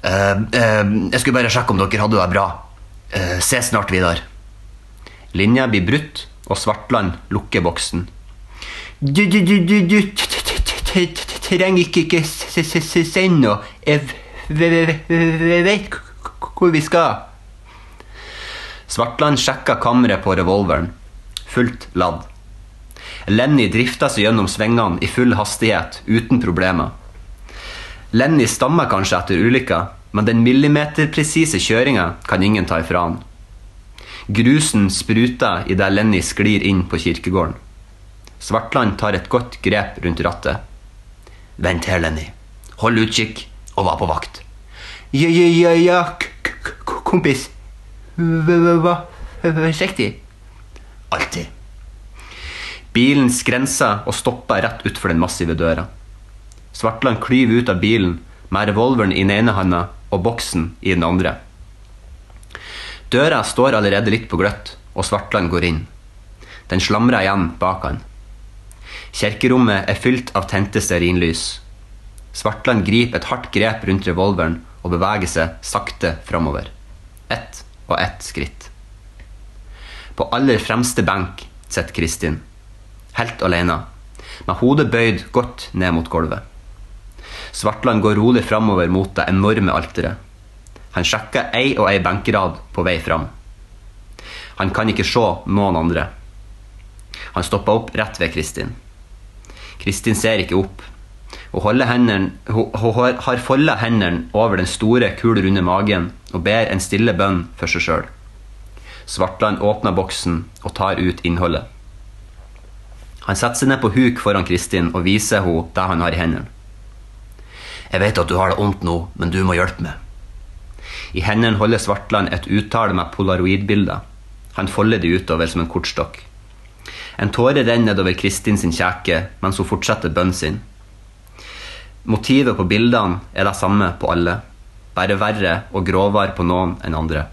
S3: Eh, eh, jeg skulle bare sjekke om dere hadde det bra. Eh, se snart, Vidar. Linja blir brutt, og Svartland lukker boksen.
S9: Du, du, du, du, du t- t- t- t- t- t- trenger ikke, ikke s- s- s- s- si noe.
S3: Eh,
S9: Jeg v- v- v- v- vet k- k- hvor vi skal.
S3: Svartland sjekka kammeret på revolveren. Fullt ladd. Lenny drifta seg gjennom svingene i full hastighet, uten problemer. Lenny stammer kanskje etter ulykka, men den millimeterpresise kjøringa kan ingen ta ifra han. Grusen spruter idet Lenny sklir inn på kirkegården. Svartland tar et godt grep rundt rattet. Vent her, Lenny. Hold utkikk, og vær på vakt.
S9: Ja, ja, ja, ja, k- k- k- kompis. V- v- Hva? Forsiktig.
S3: Alltid. Bilen skrenser og stopper rett utfor den massive døra. Svartland klyver ut av bilen med revolveren i den ene handa og boksen i den andre. Døra står allerede litt på gløtt, og Svartland går inn. Den slamrer igjen bak han. Kirkerommet er fylt av tente stearinlys. Svartland griper et hardt grep rundt revolveren og beveger seg sakte framover. Ett og ett skritt. På aller fremste benk sitter Kristin. Helt alene. Med hodet bøyd godt ned mot gulvet. Svartland går rolig framover mot det enorme alteret. Han sjekker ei og ei benkerad på vei fram. Han kan ikke se noen andre. Han stopper opp rett ved Kristin. Kristin ser ikke opp. Hun, holder hendene, hun, hun har- har foldet hendene over den store, kulrunde magen og ber en stille bønn for seg sjøl. Svartland åpner boksen og tar ut innholdet. Han setter seg ned på huk foran Kristin og viser henne det han har i hendene. Jeg vet at du har det vondt nå, men du må hjelpe meg. I hendene holder Svartland et uttale med polaroidbilder. Han folder det utover som en kortstokk. En tåre renner nedover Kristin sin kjeke mens hun fortsetter bønnen sin. Motivet på bildene er det samme på alle, bare verre og grovere på noen enn andre.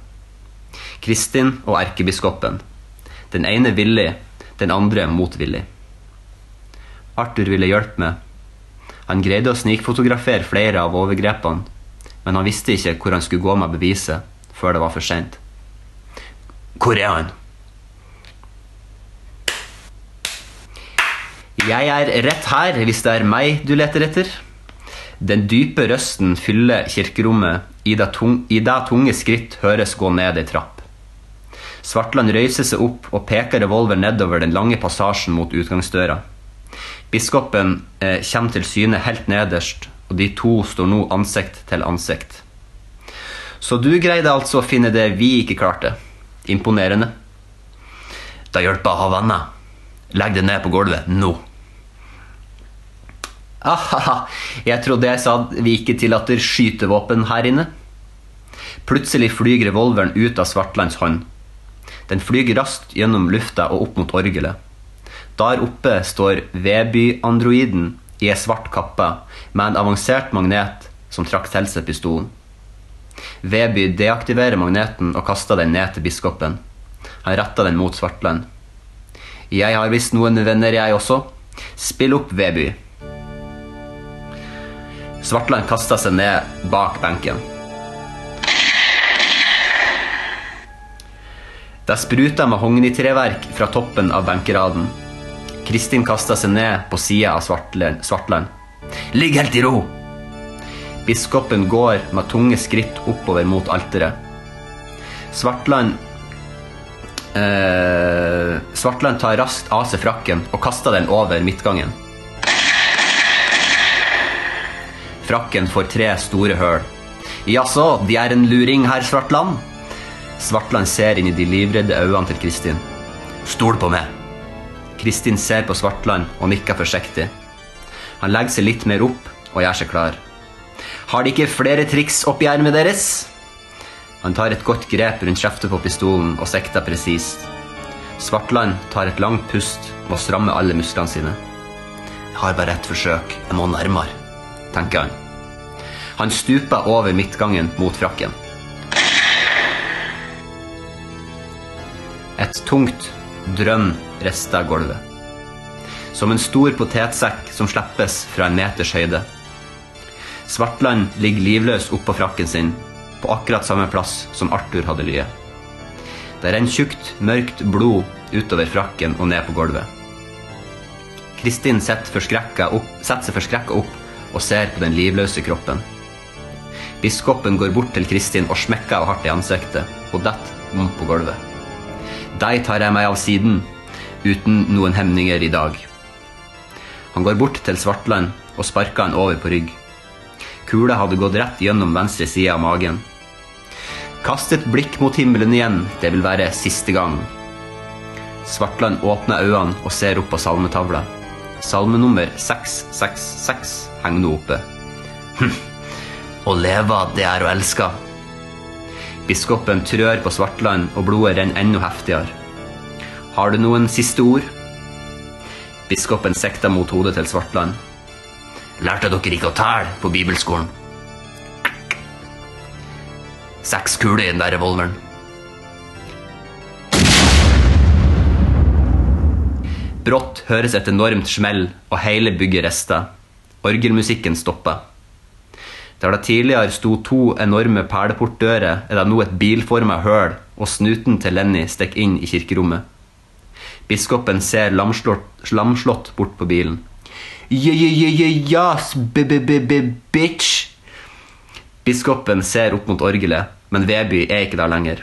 S3: Kristin og erkebiskopen. Den ene villig, den andre motvillig. Arthur ville hjelpe meg. Han greide å snikfotografere flere av overgrepene, men han visste ikke hvor han skulle gå med beviset før det var for sent. Hvor er han? Jeg er rett her hvis det er meg du leter etter. Den dype røsten fyller kirkerommet i det, tung, i det tunge skritt høres gå ned ei trapp. Svartland røyser seg opp og peker revolver nedover den lange passasjen mot utgangsdøra. Biskopen eh, kommer til syne helt nederst, og de to står nå ansikt til ansikt. Så du greide altså å finne det vi ikke klarte. Imponerende. Da hjelper å ha venner. Legg det ned på gulvet nå. Ahaha, jeg trodde jeg sa at vi ikke tillater skytevåpen her inne. Plutselig flyr revolveren ut av Svartlands hånd. Den flyr raskt gjennom lufta og opp mot orgelet. Der oppe står Veby-androiden i ei svart kappe med en avansert magnet som trakk til seg pistolen. Veby deaktiverer magneten og kaster den ned til biskopen. Han retter den mot Svartland. Jeg har visst noen venner, jeg også. Spill opp, Veby. Svartland kasta seg ned bak benken. Det spruta mahognitreverk fra toppen av benkeraden. Kristin kasta seg ned på sida av Svartlen- Svartland. Ligg helt i ro! Biskopen går med tunge skritt oppover mot alteret. Svartland eh, Svartland tar raskt av seg frakken og kaster den over midtgangen. Frakken får tre store høl. Jaså, de er en luring, herr Svartland? Svartland ser inn i de livredde øynene til Kristin. Stol på meg. Kristin ser på Svartland og nikker forsiktig. Han legger seg litt mer opp og gjør seg klar. Har de ikke flere triks oppi ermet deres? Han tar et godt grep rundt kjeftet på pistolen og sikter presist. Svartland tar et langt pust og strammer alle musklene sine. Jeg har bare ett forsøk, jeg må nærmere, tenker han. Han stuper over midtgangen mot frakken. Et tungt drønn rister gulvet. Som en stor potetsekk som slippes fra en meters høyde. Svartland ligger livløs oppå frakken sin, på akkurat samme plass som Arthur hadde lyet. Det renner tjukt, mørkt blod utover frakken og ned på gulvet. Kristin setter forskrekka opp- setter seg forskrekka opp og ser på den livløse kroppen. Biskopen går bort til Kristin og smekker henne hardt i ansiktet. Hun detter om på gulvet. Deg tar jeg meg av siden, uten noen hemninger i dag. Han går bort til Svartland og sparker han over på rygg. Kula hadde gått rett gjennom venstre side av magen. Kast et blikk mot himmelen igjen, det vil være siste gang. Svartland åpner øynene og ser opp på salmetavla. Salmenummer 666 henger nå oppe. Hm. Å leve, det er å elske. Biskopen trør på Svartland, og blodet renner enda heftigere. Har du noen siste ord? Biskopen sikter mot hodet til Svartland. Lærte dere ikke å telle på bibelskolen? Seks kuler i den der revolveren. Brått høres et enormt smell, og hele bygget rister. Orgelmusikken stopper. Der det tidligere sto to enorme perleportdører, er det nå et bilforma høl, og snuten til Lenny stikker inn i kirkerommet. Biskopen ser lamslått, lamslått bort på bilen. Ja, ja, ja, ja, yes, b -b -b -b bitch! Biskopen ser opp mot orgelet, men Veby er ikke der lenger.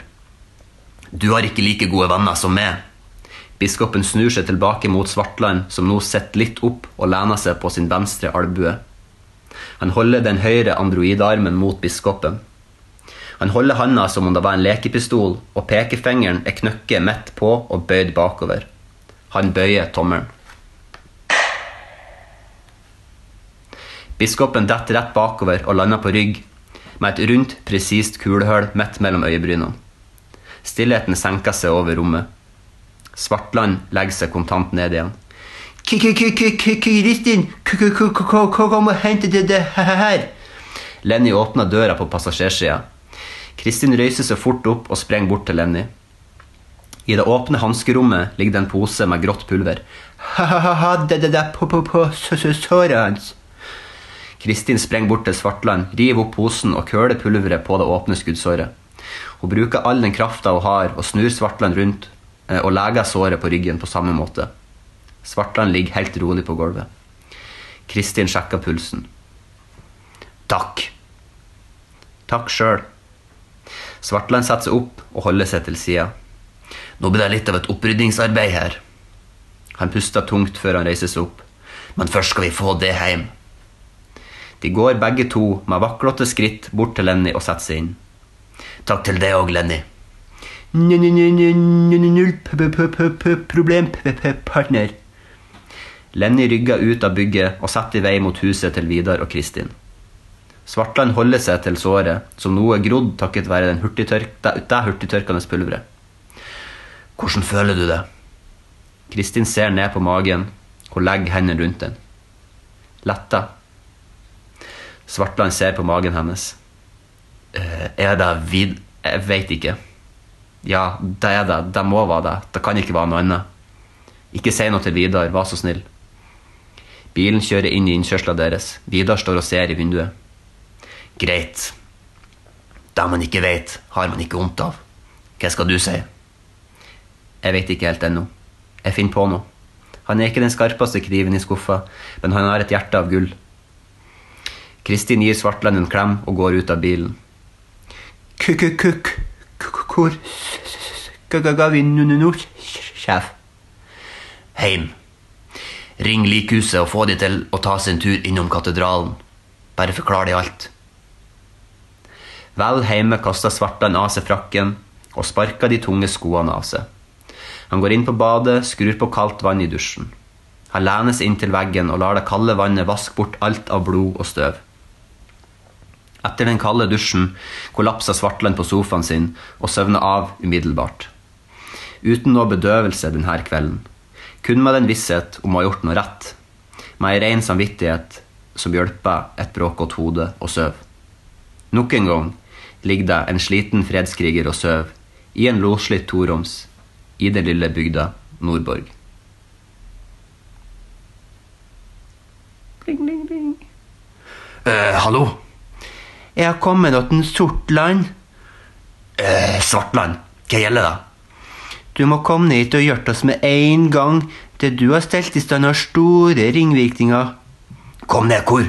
S3: Du har ikke like gode venner som meg. Biskopen snur seg tilbake mot Svartland, som nå sitter litt opp og lener seg på sin venstre albue. Han holder den høyre androidarmen mot biskopen. Han holder handa som om det var en lekepistol, og pekefingeren er knøkket midt på og bøyd bakover. Han bøyer tommelen. Biskopen detter rett bakover og lander på rygg, med et rundt, presist kulehull midt mellom øyebrynene. Stillheten senker seg over rommet. Svartland legger seg kontant ned igjen. K-k-k-k-k-Kristin, kom og hent det her! Lenny åpner døra på passasjersida. Kristin røyser seg fort opp og sprenger bort til Lenny. I det åpne hanskerommet ligger det en pose med grått pulver. Ha-ha-ha, det det der på-på-på, såret hans. Kristin sprenger bort til Svartland, river opp posen og køler pulveret på det åpne skuddsåret. Hun bruker all den krafta hun har, og snur Svartland rundt eh, og leger såret på ryggen på samme måte. Svartland ligger helt rolig på gulvet. Kristin sjekker pulsen. Takk. Takk sjøl. Svartland setter seg opp og holder seg til sida. Nå blir det litt av et opprydningsarbeid her. Han puster tungt før han reiser seg opp. Men først skal vi få det hjem. De går begge to med vaklete skritt bort til Lenny og setter seg inn. Takk til deg òg, Lenny. Null problem, partner. Lenny rygger ut av bygget og setter i vei mot huset til Vidar og Kristin. Svartland holder seg til såret, som nå er grodd takket være den hurtigtørk- det det hurtigtørkende pulveret. Hvordan føler du det? Kristin ser ned på magen. Hun legger hendene rundt den. Letta. Svartland ser på magen hennes. «Eh, Er det vid... Jeg veit ikke. Ja, det er det. Det må være det. Det kan ikke være noe annet. Ikke si noe til Vidar, vær så snill. Bilen kjører inn i innkjørsla deres. Vidar står og ser i vinduet. Greit. Det man ikke vet, har man ikke vondt av. Hva skal du si?
S9: Jeg vet ikke helt ennå. Jeg finner på noe. Han er ikke den skarpeste kniven i skuffa, men han har et hjerte av gull. Kristin gir Svartland en klem og går ut av bilen. Kukk-kukk, hvor skal vi nå, sjef? Heim. Ring likhuset og få de til å ta sin tur innom katedralen. Bare forklar de alt. Vel heime kaster Svartland av seg frakken og sparker de tunge skoene av seg. Han går inn på badet, skrur på kaldt vann i dusjen. Han lener seg inntil veggen og lar det kalde vannet vaske bort alt av blod og støv. Etter den kalde dusjen kollapser Svartland på sofaen sin og søvner av umiddelbart. Uten noe bedøvelse denne kvelden. Kun med den visshet om å ha gjort noe rett. Med ei rein samvittighet som hjelper et bråkete hode å søve. Nok en gang ligger det en sliten fredskriger og søv i en loslitt toroms i den lille bygda Nordborg. Ring, ring, ring.
S11: Eh, hallo?
S9: Jeg har kommet til Sortland.
S11: Eh, Svartland, hva gjelder det?
S9: Du må komme ned hit og hjelpe oss med en gang. Det du har stelt i stand, har store ringvirkninger.
S11: Kom ned hvor?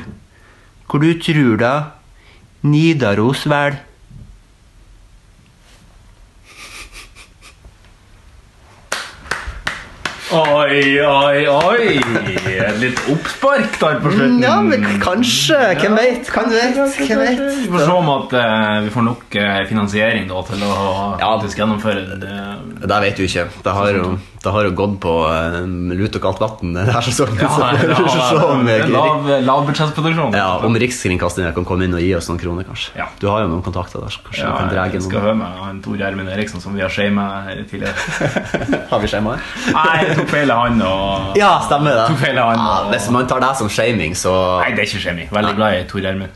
S9: Hvor du tror da. Nidaros, vel.
S2: Oi, oi, oi! Et litt oppspark der på slutten.
S9: Ja, men kanskje. Hvem vet? Hvem vet? Hvem vet?
S2: Vi får se om at eh, vi får nok eh, finansiering da, til å faktisk gjennomføre det.
S3: Det vet du ikke. Det har jo, det har jo gått på eh, lut og kaldt vann denne sesongen.
S2: Ja,
S3: så
S2: det
S3: vi får se
S2: var-
S3: om,
S2: det er
S3: eh,
S2: lav, lav budsjettproduksjon.
S3: ja, om Rikskringkastingen kan komme inn og gi oss noen kroner, kanskje.
S2: Ja.
S3: Du har jo noen kontakter der. så Kanskje
S2: Ja,
S3: du kan dra
S2: jeg
S3: noen.
S2: skal høre med han Tor Gjermund Eriksen, som vi har shama her tidligere.
S3: Har vi skjema her?
S2: Nei, jeg tok feil av han. Og...
S3: Ja, stemmer det.
S2: Tok feil av han
S3: Ja,
S2: og...
S3: Ah, hvis man tar deg som shaming, så
S2: Nei, det er ikke shaming. Veldig glad i Tor Gjermund.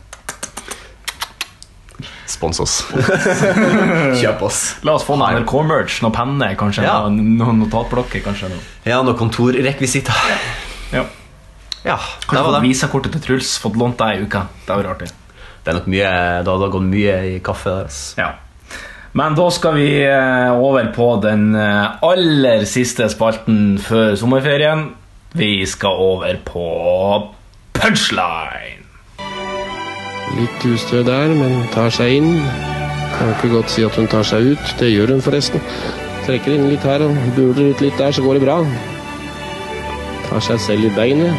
S3: Spons oss. Kjøp oss.
S2: La oss få noe NRK-merch, noen penner, kanskje.
S3: Ja.
S2: Noen noen notatblokker, kanskje. Noe.
S3: Ja, noen kontorrekvisitter.
S2: Ja.
S3: Ja, det
S2: Kanskje
S3: var
S2: fått
S3: det.
S2: visakortet til Truls, fått lånt deg i uka. Det hadde vært artig.
S3: Det er nok mye Det har gått mye i kaffe der. ass.
S2: Ja. Men da skal vi eh, over på den eh, aller siste spalten før sommerferien. Vi skal over på punchline.
S12: Litt ustø der, men tar seg inn. Kan ikke godt si at hun tar seg ut. Det gjør hun forresten. Trekker inn litt her og buler ut litt der, så går det bra. Tar seg selv i beinet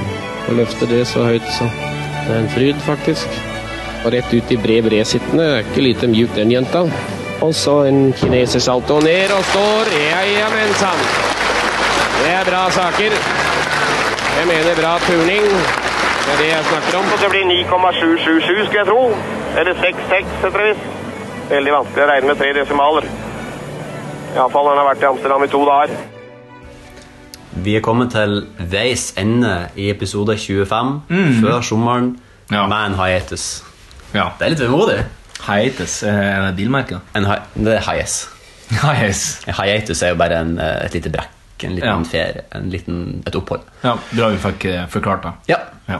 S12: og løfter det så høyt så det er en fryd, faktisk. Og rett ut i bred bred sittende. Det er Ikke lite mjuk, den jenta. Og så en kinesersalto ned og står. Ja, ja, men sann. Det er bra saker. Jeg mener bra turning. Det er det jeg snakker om.
S13: Det blir 9,777, skulle jeg tro. Eller 66, etter visst. Veldig vanskelig å regne med tre desimaler. Iallfall han har vært i Amsterdam i to dager.
S3: Vi er kommet til veis ende i episode 25
S2: Mm.
S3: før sommeren. Med en hiatus. Det er litt vemodig.
S2: Hiatus er det bilmerket?
S3: En hi det er hiatus. En hiatus er jo bare en, eh, et lite brekk. En liten
S2: Ja.
S3: ferie. En liten, et opphold.
S2: Ja, Bra vi fikk eh, forklart det.
S3: Ja.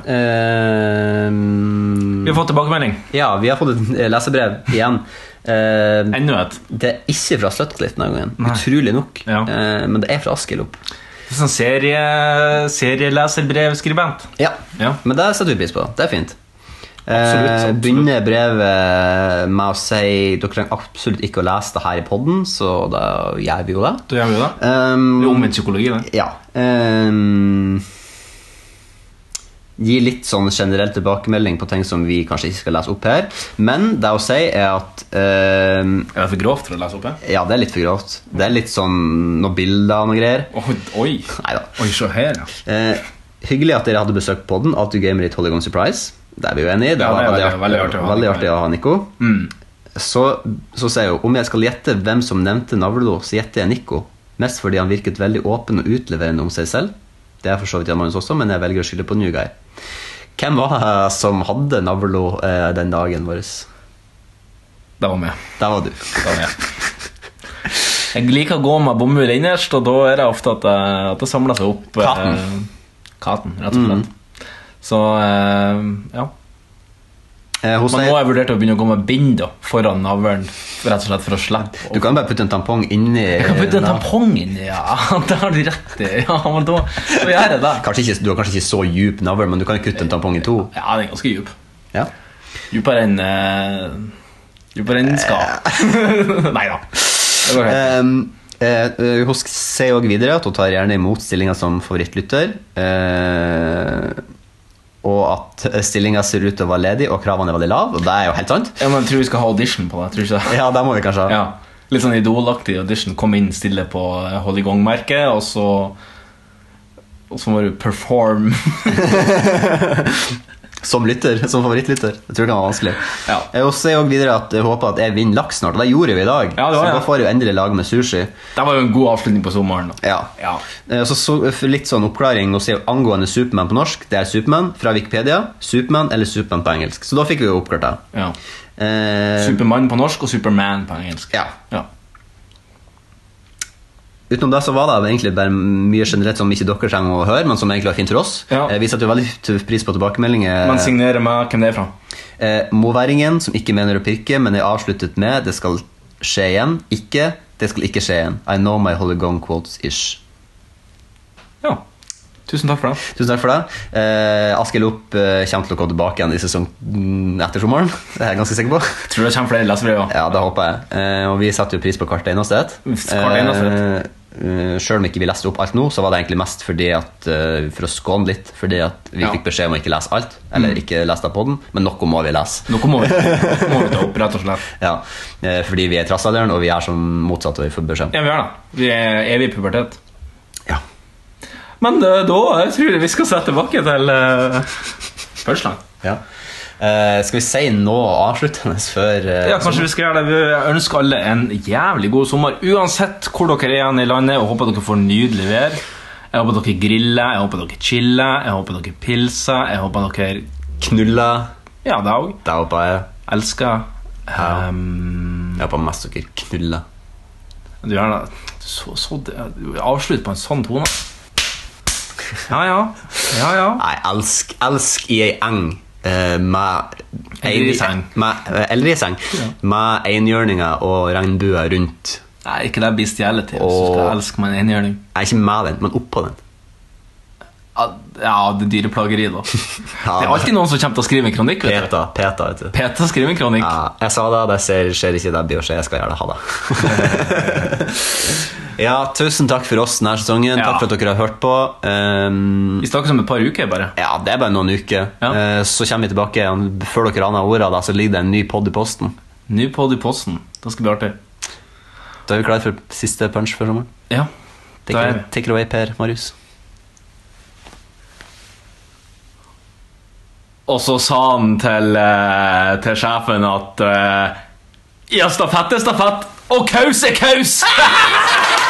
S3: Ehm,
S2: Vi har fått tilbakemelding.
S3: Ja, vi har fått et lesebrev igjen. Ehm,
S2: Enda et.
S3: Det er ikke fra Støttklitt denne gangen,
S2: Nei.
S3: utrolig nok. Eh, men det er fra Askelopp.
S2: Det er Sånn serie, serieleserbrevskribent.
S3: Ja. men det setter vi pris på. Det er fint.
S2: Absolutt,
S3: Eh,
S2: absolutt.
S3: begynner brevet med å si dere trenger absolutt ikke å lese det her i podden, så da gjør vi jo det.
S2: Da gjør vi det.
S3: Um,
S2: Det er omvendt psykologi, det.
S3: Ja. ehm, gi litt sånn generell tilbakemelding på ting som vi kanskje ikke skal lese opp her. Men det å si er at ehm,
S2: Er det for grovt for å lese opp? her?
S3: Ja, det er litt for grovt. Det er litt sånn noen bilder og noen greier.
S2: Oi, oi.
S3: Neida.
S2: oi se her, ja.
S3: Eh, hyggelig at dere hadde besøkt podden. Alt du gamer i Tollygon Surprise. Det er vi jo enig i. Det
S2: Ja,
S3: var
S2: det er veldig-
S3: veldig,
S2: veldig artig å
S3: artig,
S2: ha Nico
S3: veldig artig å ha Nico.
S2: Mm.
S3: Så, så sier hun om jeg skal gjette hvem som nevnte Navlelo, så gjetter jeg Nico. Mest fordi han virket veldig åpen og utleverende om seg selv. Det er for så vidt Jan Magnus også, men jeg velger å skylde på New Guy. Hvem var det som hadde Navlelo eh, den dagen vår?
S2: Det var meg.
S3: Der var du. Eh,
S2: Da er jeg. Jeg liker å gå med bomull innerst, og da er det ofte at, eh, at det samler seg opp. eh,
S3: Katten.
S2: Mm. katten, rett og slett. Så eh, ja. Eh, hos Men nå har jeg vurdert å begynne å gå med bind da, foran navlen. Rett og slett for å slippe
S3: Du kan bare putte en tampong inni
S2: Jeg kan putte en tampong inni, ja! Det har du rett i. Ja, men da, da gjør jeg det.
S3: Kanskje ikke, du har kanskje ikke så djup navl, men du kan kutte en tampong i to.
S2: Ja, den er ganske djup.
S3: Ja.
S2: Djupere enn uh, Djupere enn den skal. Nei da. Det går helt.
S3: Um, Eh, hun sier òg videre at hun tar gjerne imot stillinga som favorittlytter. Eh, og at stillinga ser ut til å være ledig, og kravene er veldig lave. Og det er jo helt sant.
S2: Ja, men jeg tror vi skal ha audition på det. Tror ikke det?
S3: Ja, det må vi kanskje ha.
S2: Ja. Litt sånn idolaktig audition. Kom inn, stille på eh, hold i gang-merket, og så Og så må du perform.
S3: Som lytter, som favorittlytter. Jeg tror det kan være vanskelig.
S2: Ja.
S3: Hun sier også videre at jeg håper at jeg vinner laks snart, og det gjorde vi i dag.
S2: Ja, det var
S3: så
S2: det.
S3: da får jeg jo endelig lage med sushi.
S2: Det var jo en god avslutning på sommeren. Da.
S3: Ja.
S2: Ja.
S3: Eh, Så, så for litt sånn oppklaring og sier angående Superman på norsk. Det er Superman fra Wikipedia. Superman eller Superman på engelsk. Så da fikk vi jo oppklart det.
S2: Ja.
S3: Eh,
S2: Supermann på norsk og Superman på engelsk.
S3: ja.
S2: Ja.
S3: Utenom det så var det egentlig bare mye generelt som ikke dere trenger å høre, men som egentlig var fint for oss.
S2: Ja.
S3: Eh, Vi setter jo veldig stor pris på tilbakemeldinger.
S2: Man signerer med hvem det er fra.
S3: Eh, Moværingen som ikke mener å pirke, men er avsluttet med 'det skal skje igjen'. Ikke 'det skal ikke skje igjen'. I know my holigong quotes ish.
S2: Ja. Tusen takk for det.
S3: Tusen takk for det. Eh, Askild Opp eh, kommer til å komme tilbake igjen i sesong mm, etter sommeren. Det er jeg ganske sikker på.
S2: Tror det kommer flere lesebrev. også.
S3: Ja, det håper jeg. Eh, og vi setter jo pris på hvert eneste et.
S2: Hvert eneste et.
S3: Eh, eh, Selv om ikke vi leste opp alt nå, så var det egentlig mest fordi at, eh, for å skåne litt. Fordi at vi
S2: Ja. Mm.
S3: fikk beskjed om å ikke lese alt, eller ikke lese det på den, men noe må vi lese.
S2: Noe må vi, noe må vi ta opp, rett og slett.
S3: Ja, eh, fordi vi er i trassalderen, og vi er som motsatt av vi får beskjed om.
S2: Ja, vi gjør det. Vi er evig i pubertet.
S3: Ja.
S2: Men eh, da jeg tror jeg vi skal se tilbake til uh, spørsmålet.
S3: Ja. Eh, skal vi si noe avsluttende før eh,
S2: Ja, kanskje vi skal gjøre det. Vi ønsker alle en jævlig god sommer, uansett hvor dere er igjen i landet. Og håper dere får nydelig vær. Jeg håper dere griller, jeg håper dere chiller, jeg håper dere pilser. Jeg håper dere
S3: knulla?
S2: Ja, det òg.
S3: Det håper jeg.
S2: Elsker. Um,
S3: Jeg håper mest dere knulla.
S2: du gjør det. Så, så, avslutt på en sånn tone. Ja, ja. Ja, ja.
S3: Nei, elsk, elsk i ei eng. eh, med
S2: Eller i seng.
S3: Med, eller i seng. Med einhjørninger og regnbuer rundt.
S2: Nei, ikke det blir stjålet til. Hvis du skal
S3: Åh.
S2: elske meg en enhjørning.
S3: Nei, ikke med den, men oppå den.
S2: Ja, ja, det er dyreplageri, da. Det er
S3: Ja.
S2: alltid noen som kommer til å skrive en kronikk. vet du.
S3: Peta, peta, vet du.
S2: Peter skriver en kronikk.
S3: Ja, jeg sa det, det ser, skjer ikke, det blir å skje. Jeg skal gjøre det. Ha det. ja, tusen takk for oss denne sesongen.
S2: Ja.
S3: Takk for at dere har hørt på. Um,
S2: Vi snakkes om et par uker, bare.
S3: ja, det er bare noen uker.
S2: Ja.
S3: Eh, så kommer vi tilbake igjen. Før dere aner ordet av det, så ligger det en ny pod i posten.
S2: Ny podd i posten. Det skal bli artig.
S3: Da er vi klare for siste punch for sommeren.
S2: Ja.
S3: Take,
S2: Da er
S3: it- take it away, Per Marius.
S2: Og så sa han til, eh, til sjefen at eh, Ja, stafett er stafett, og kaus er kaus!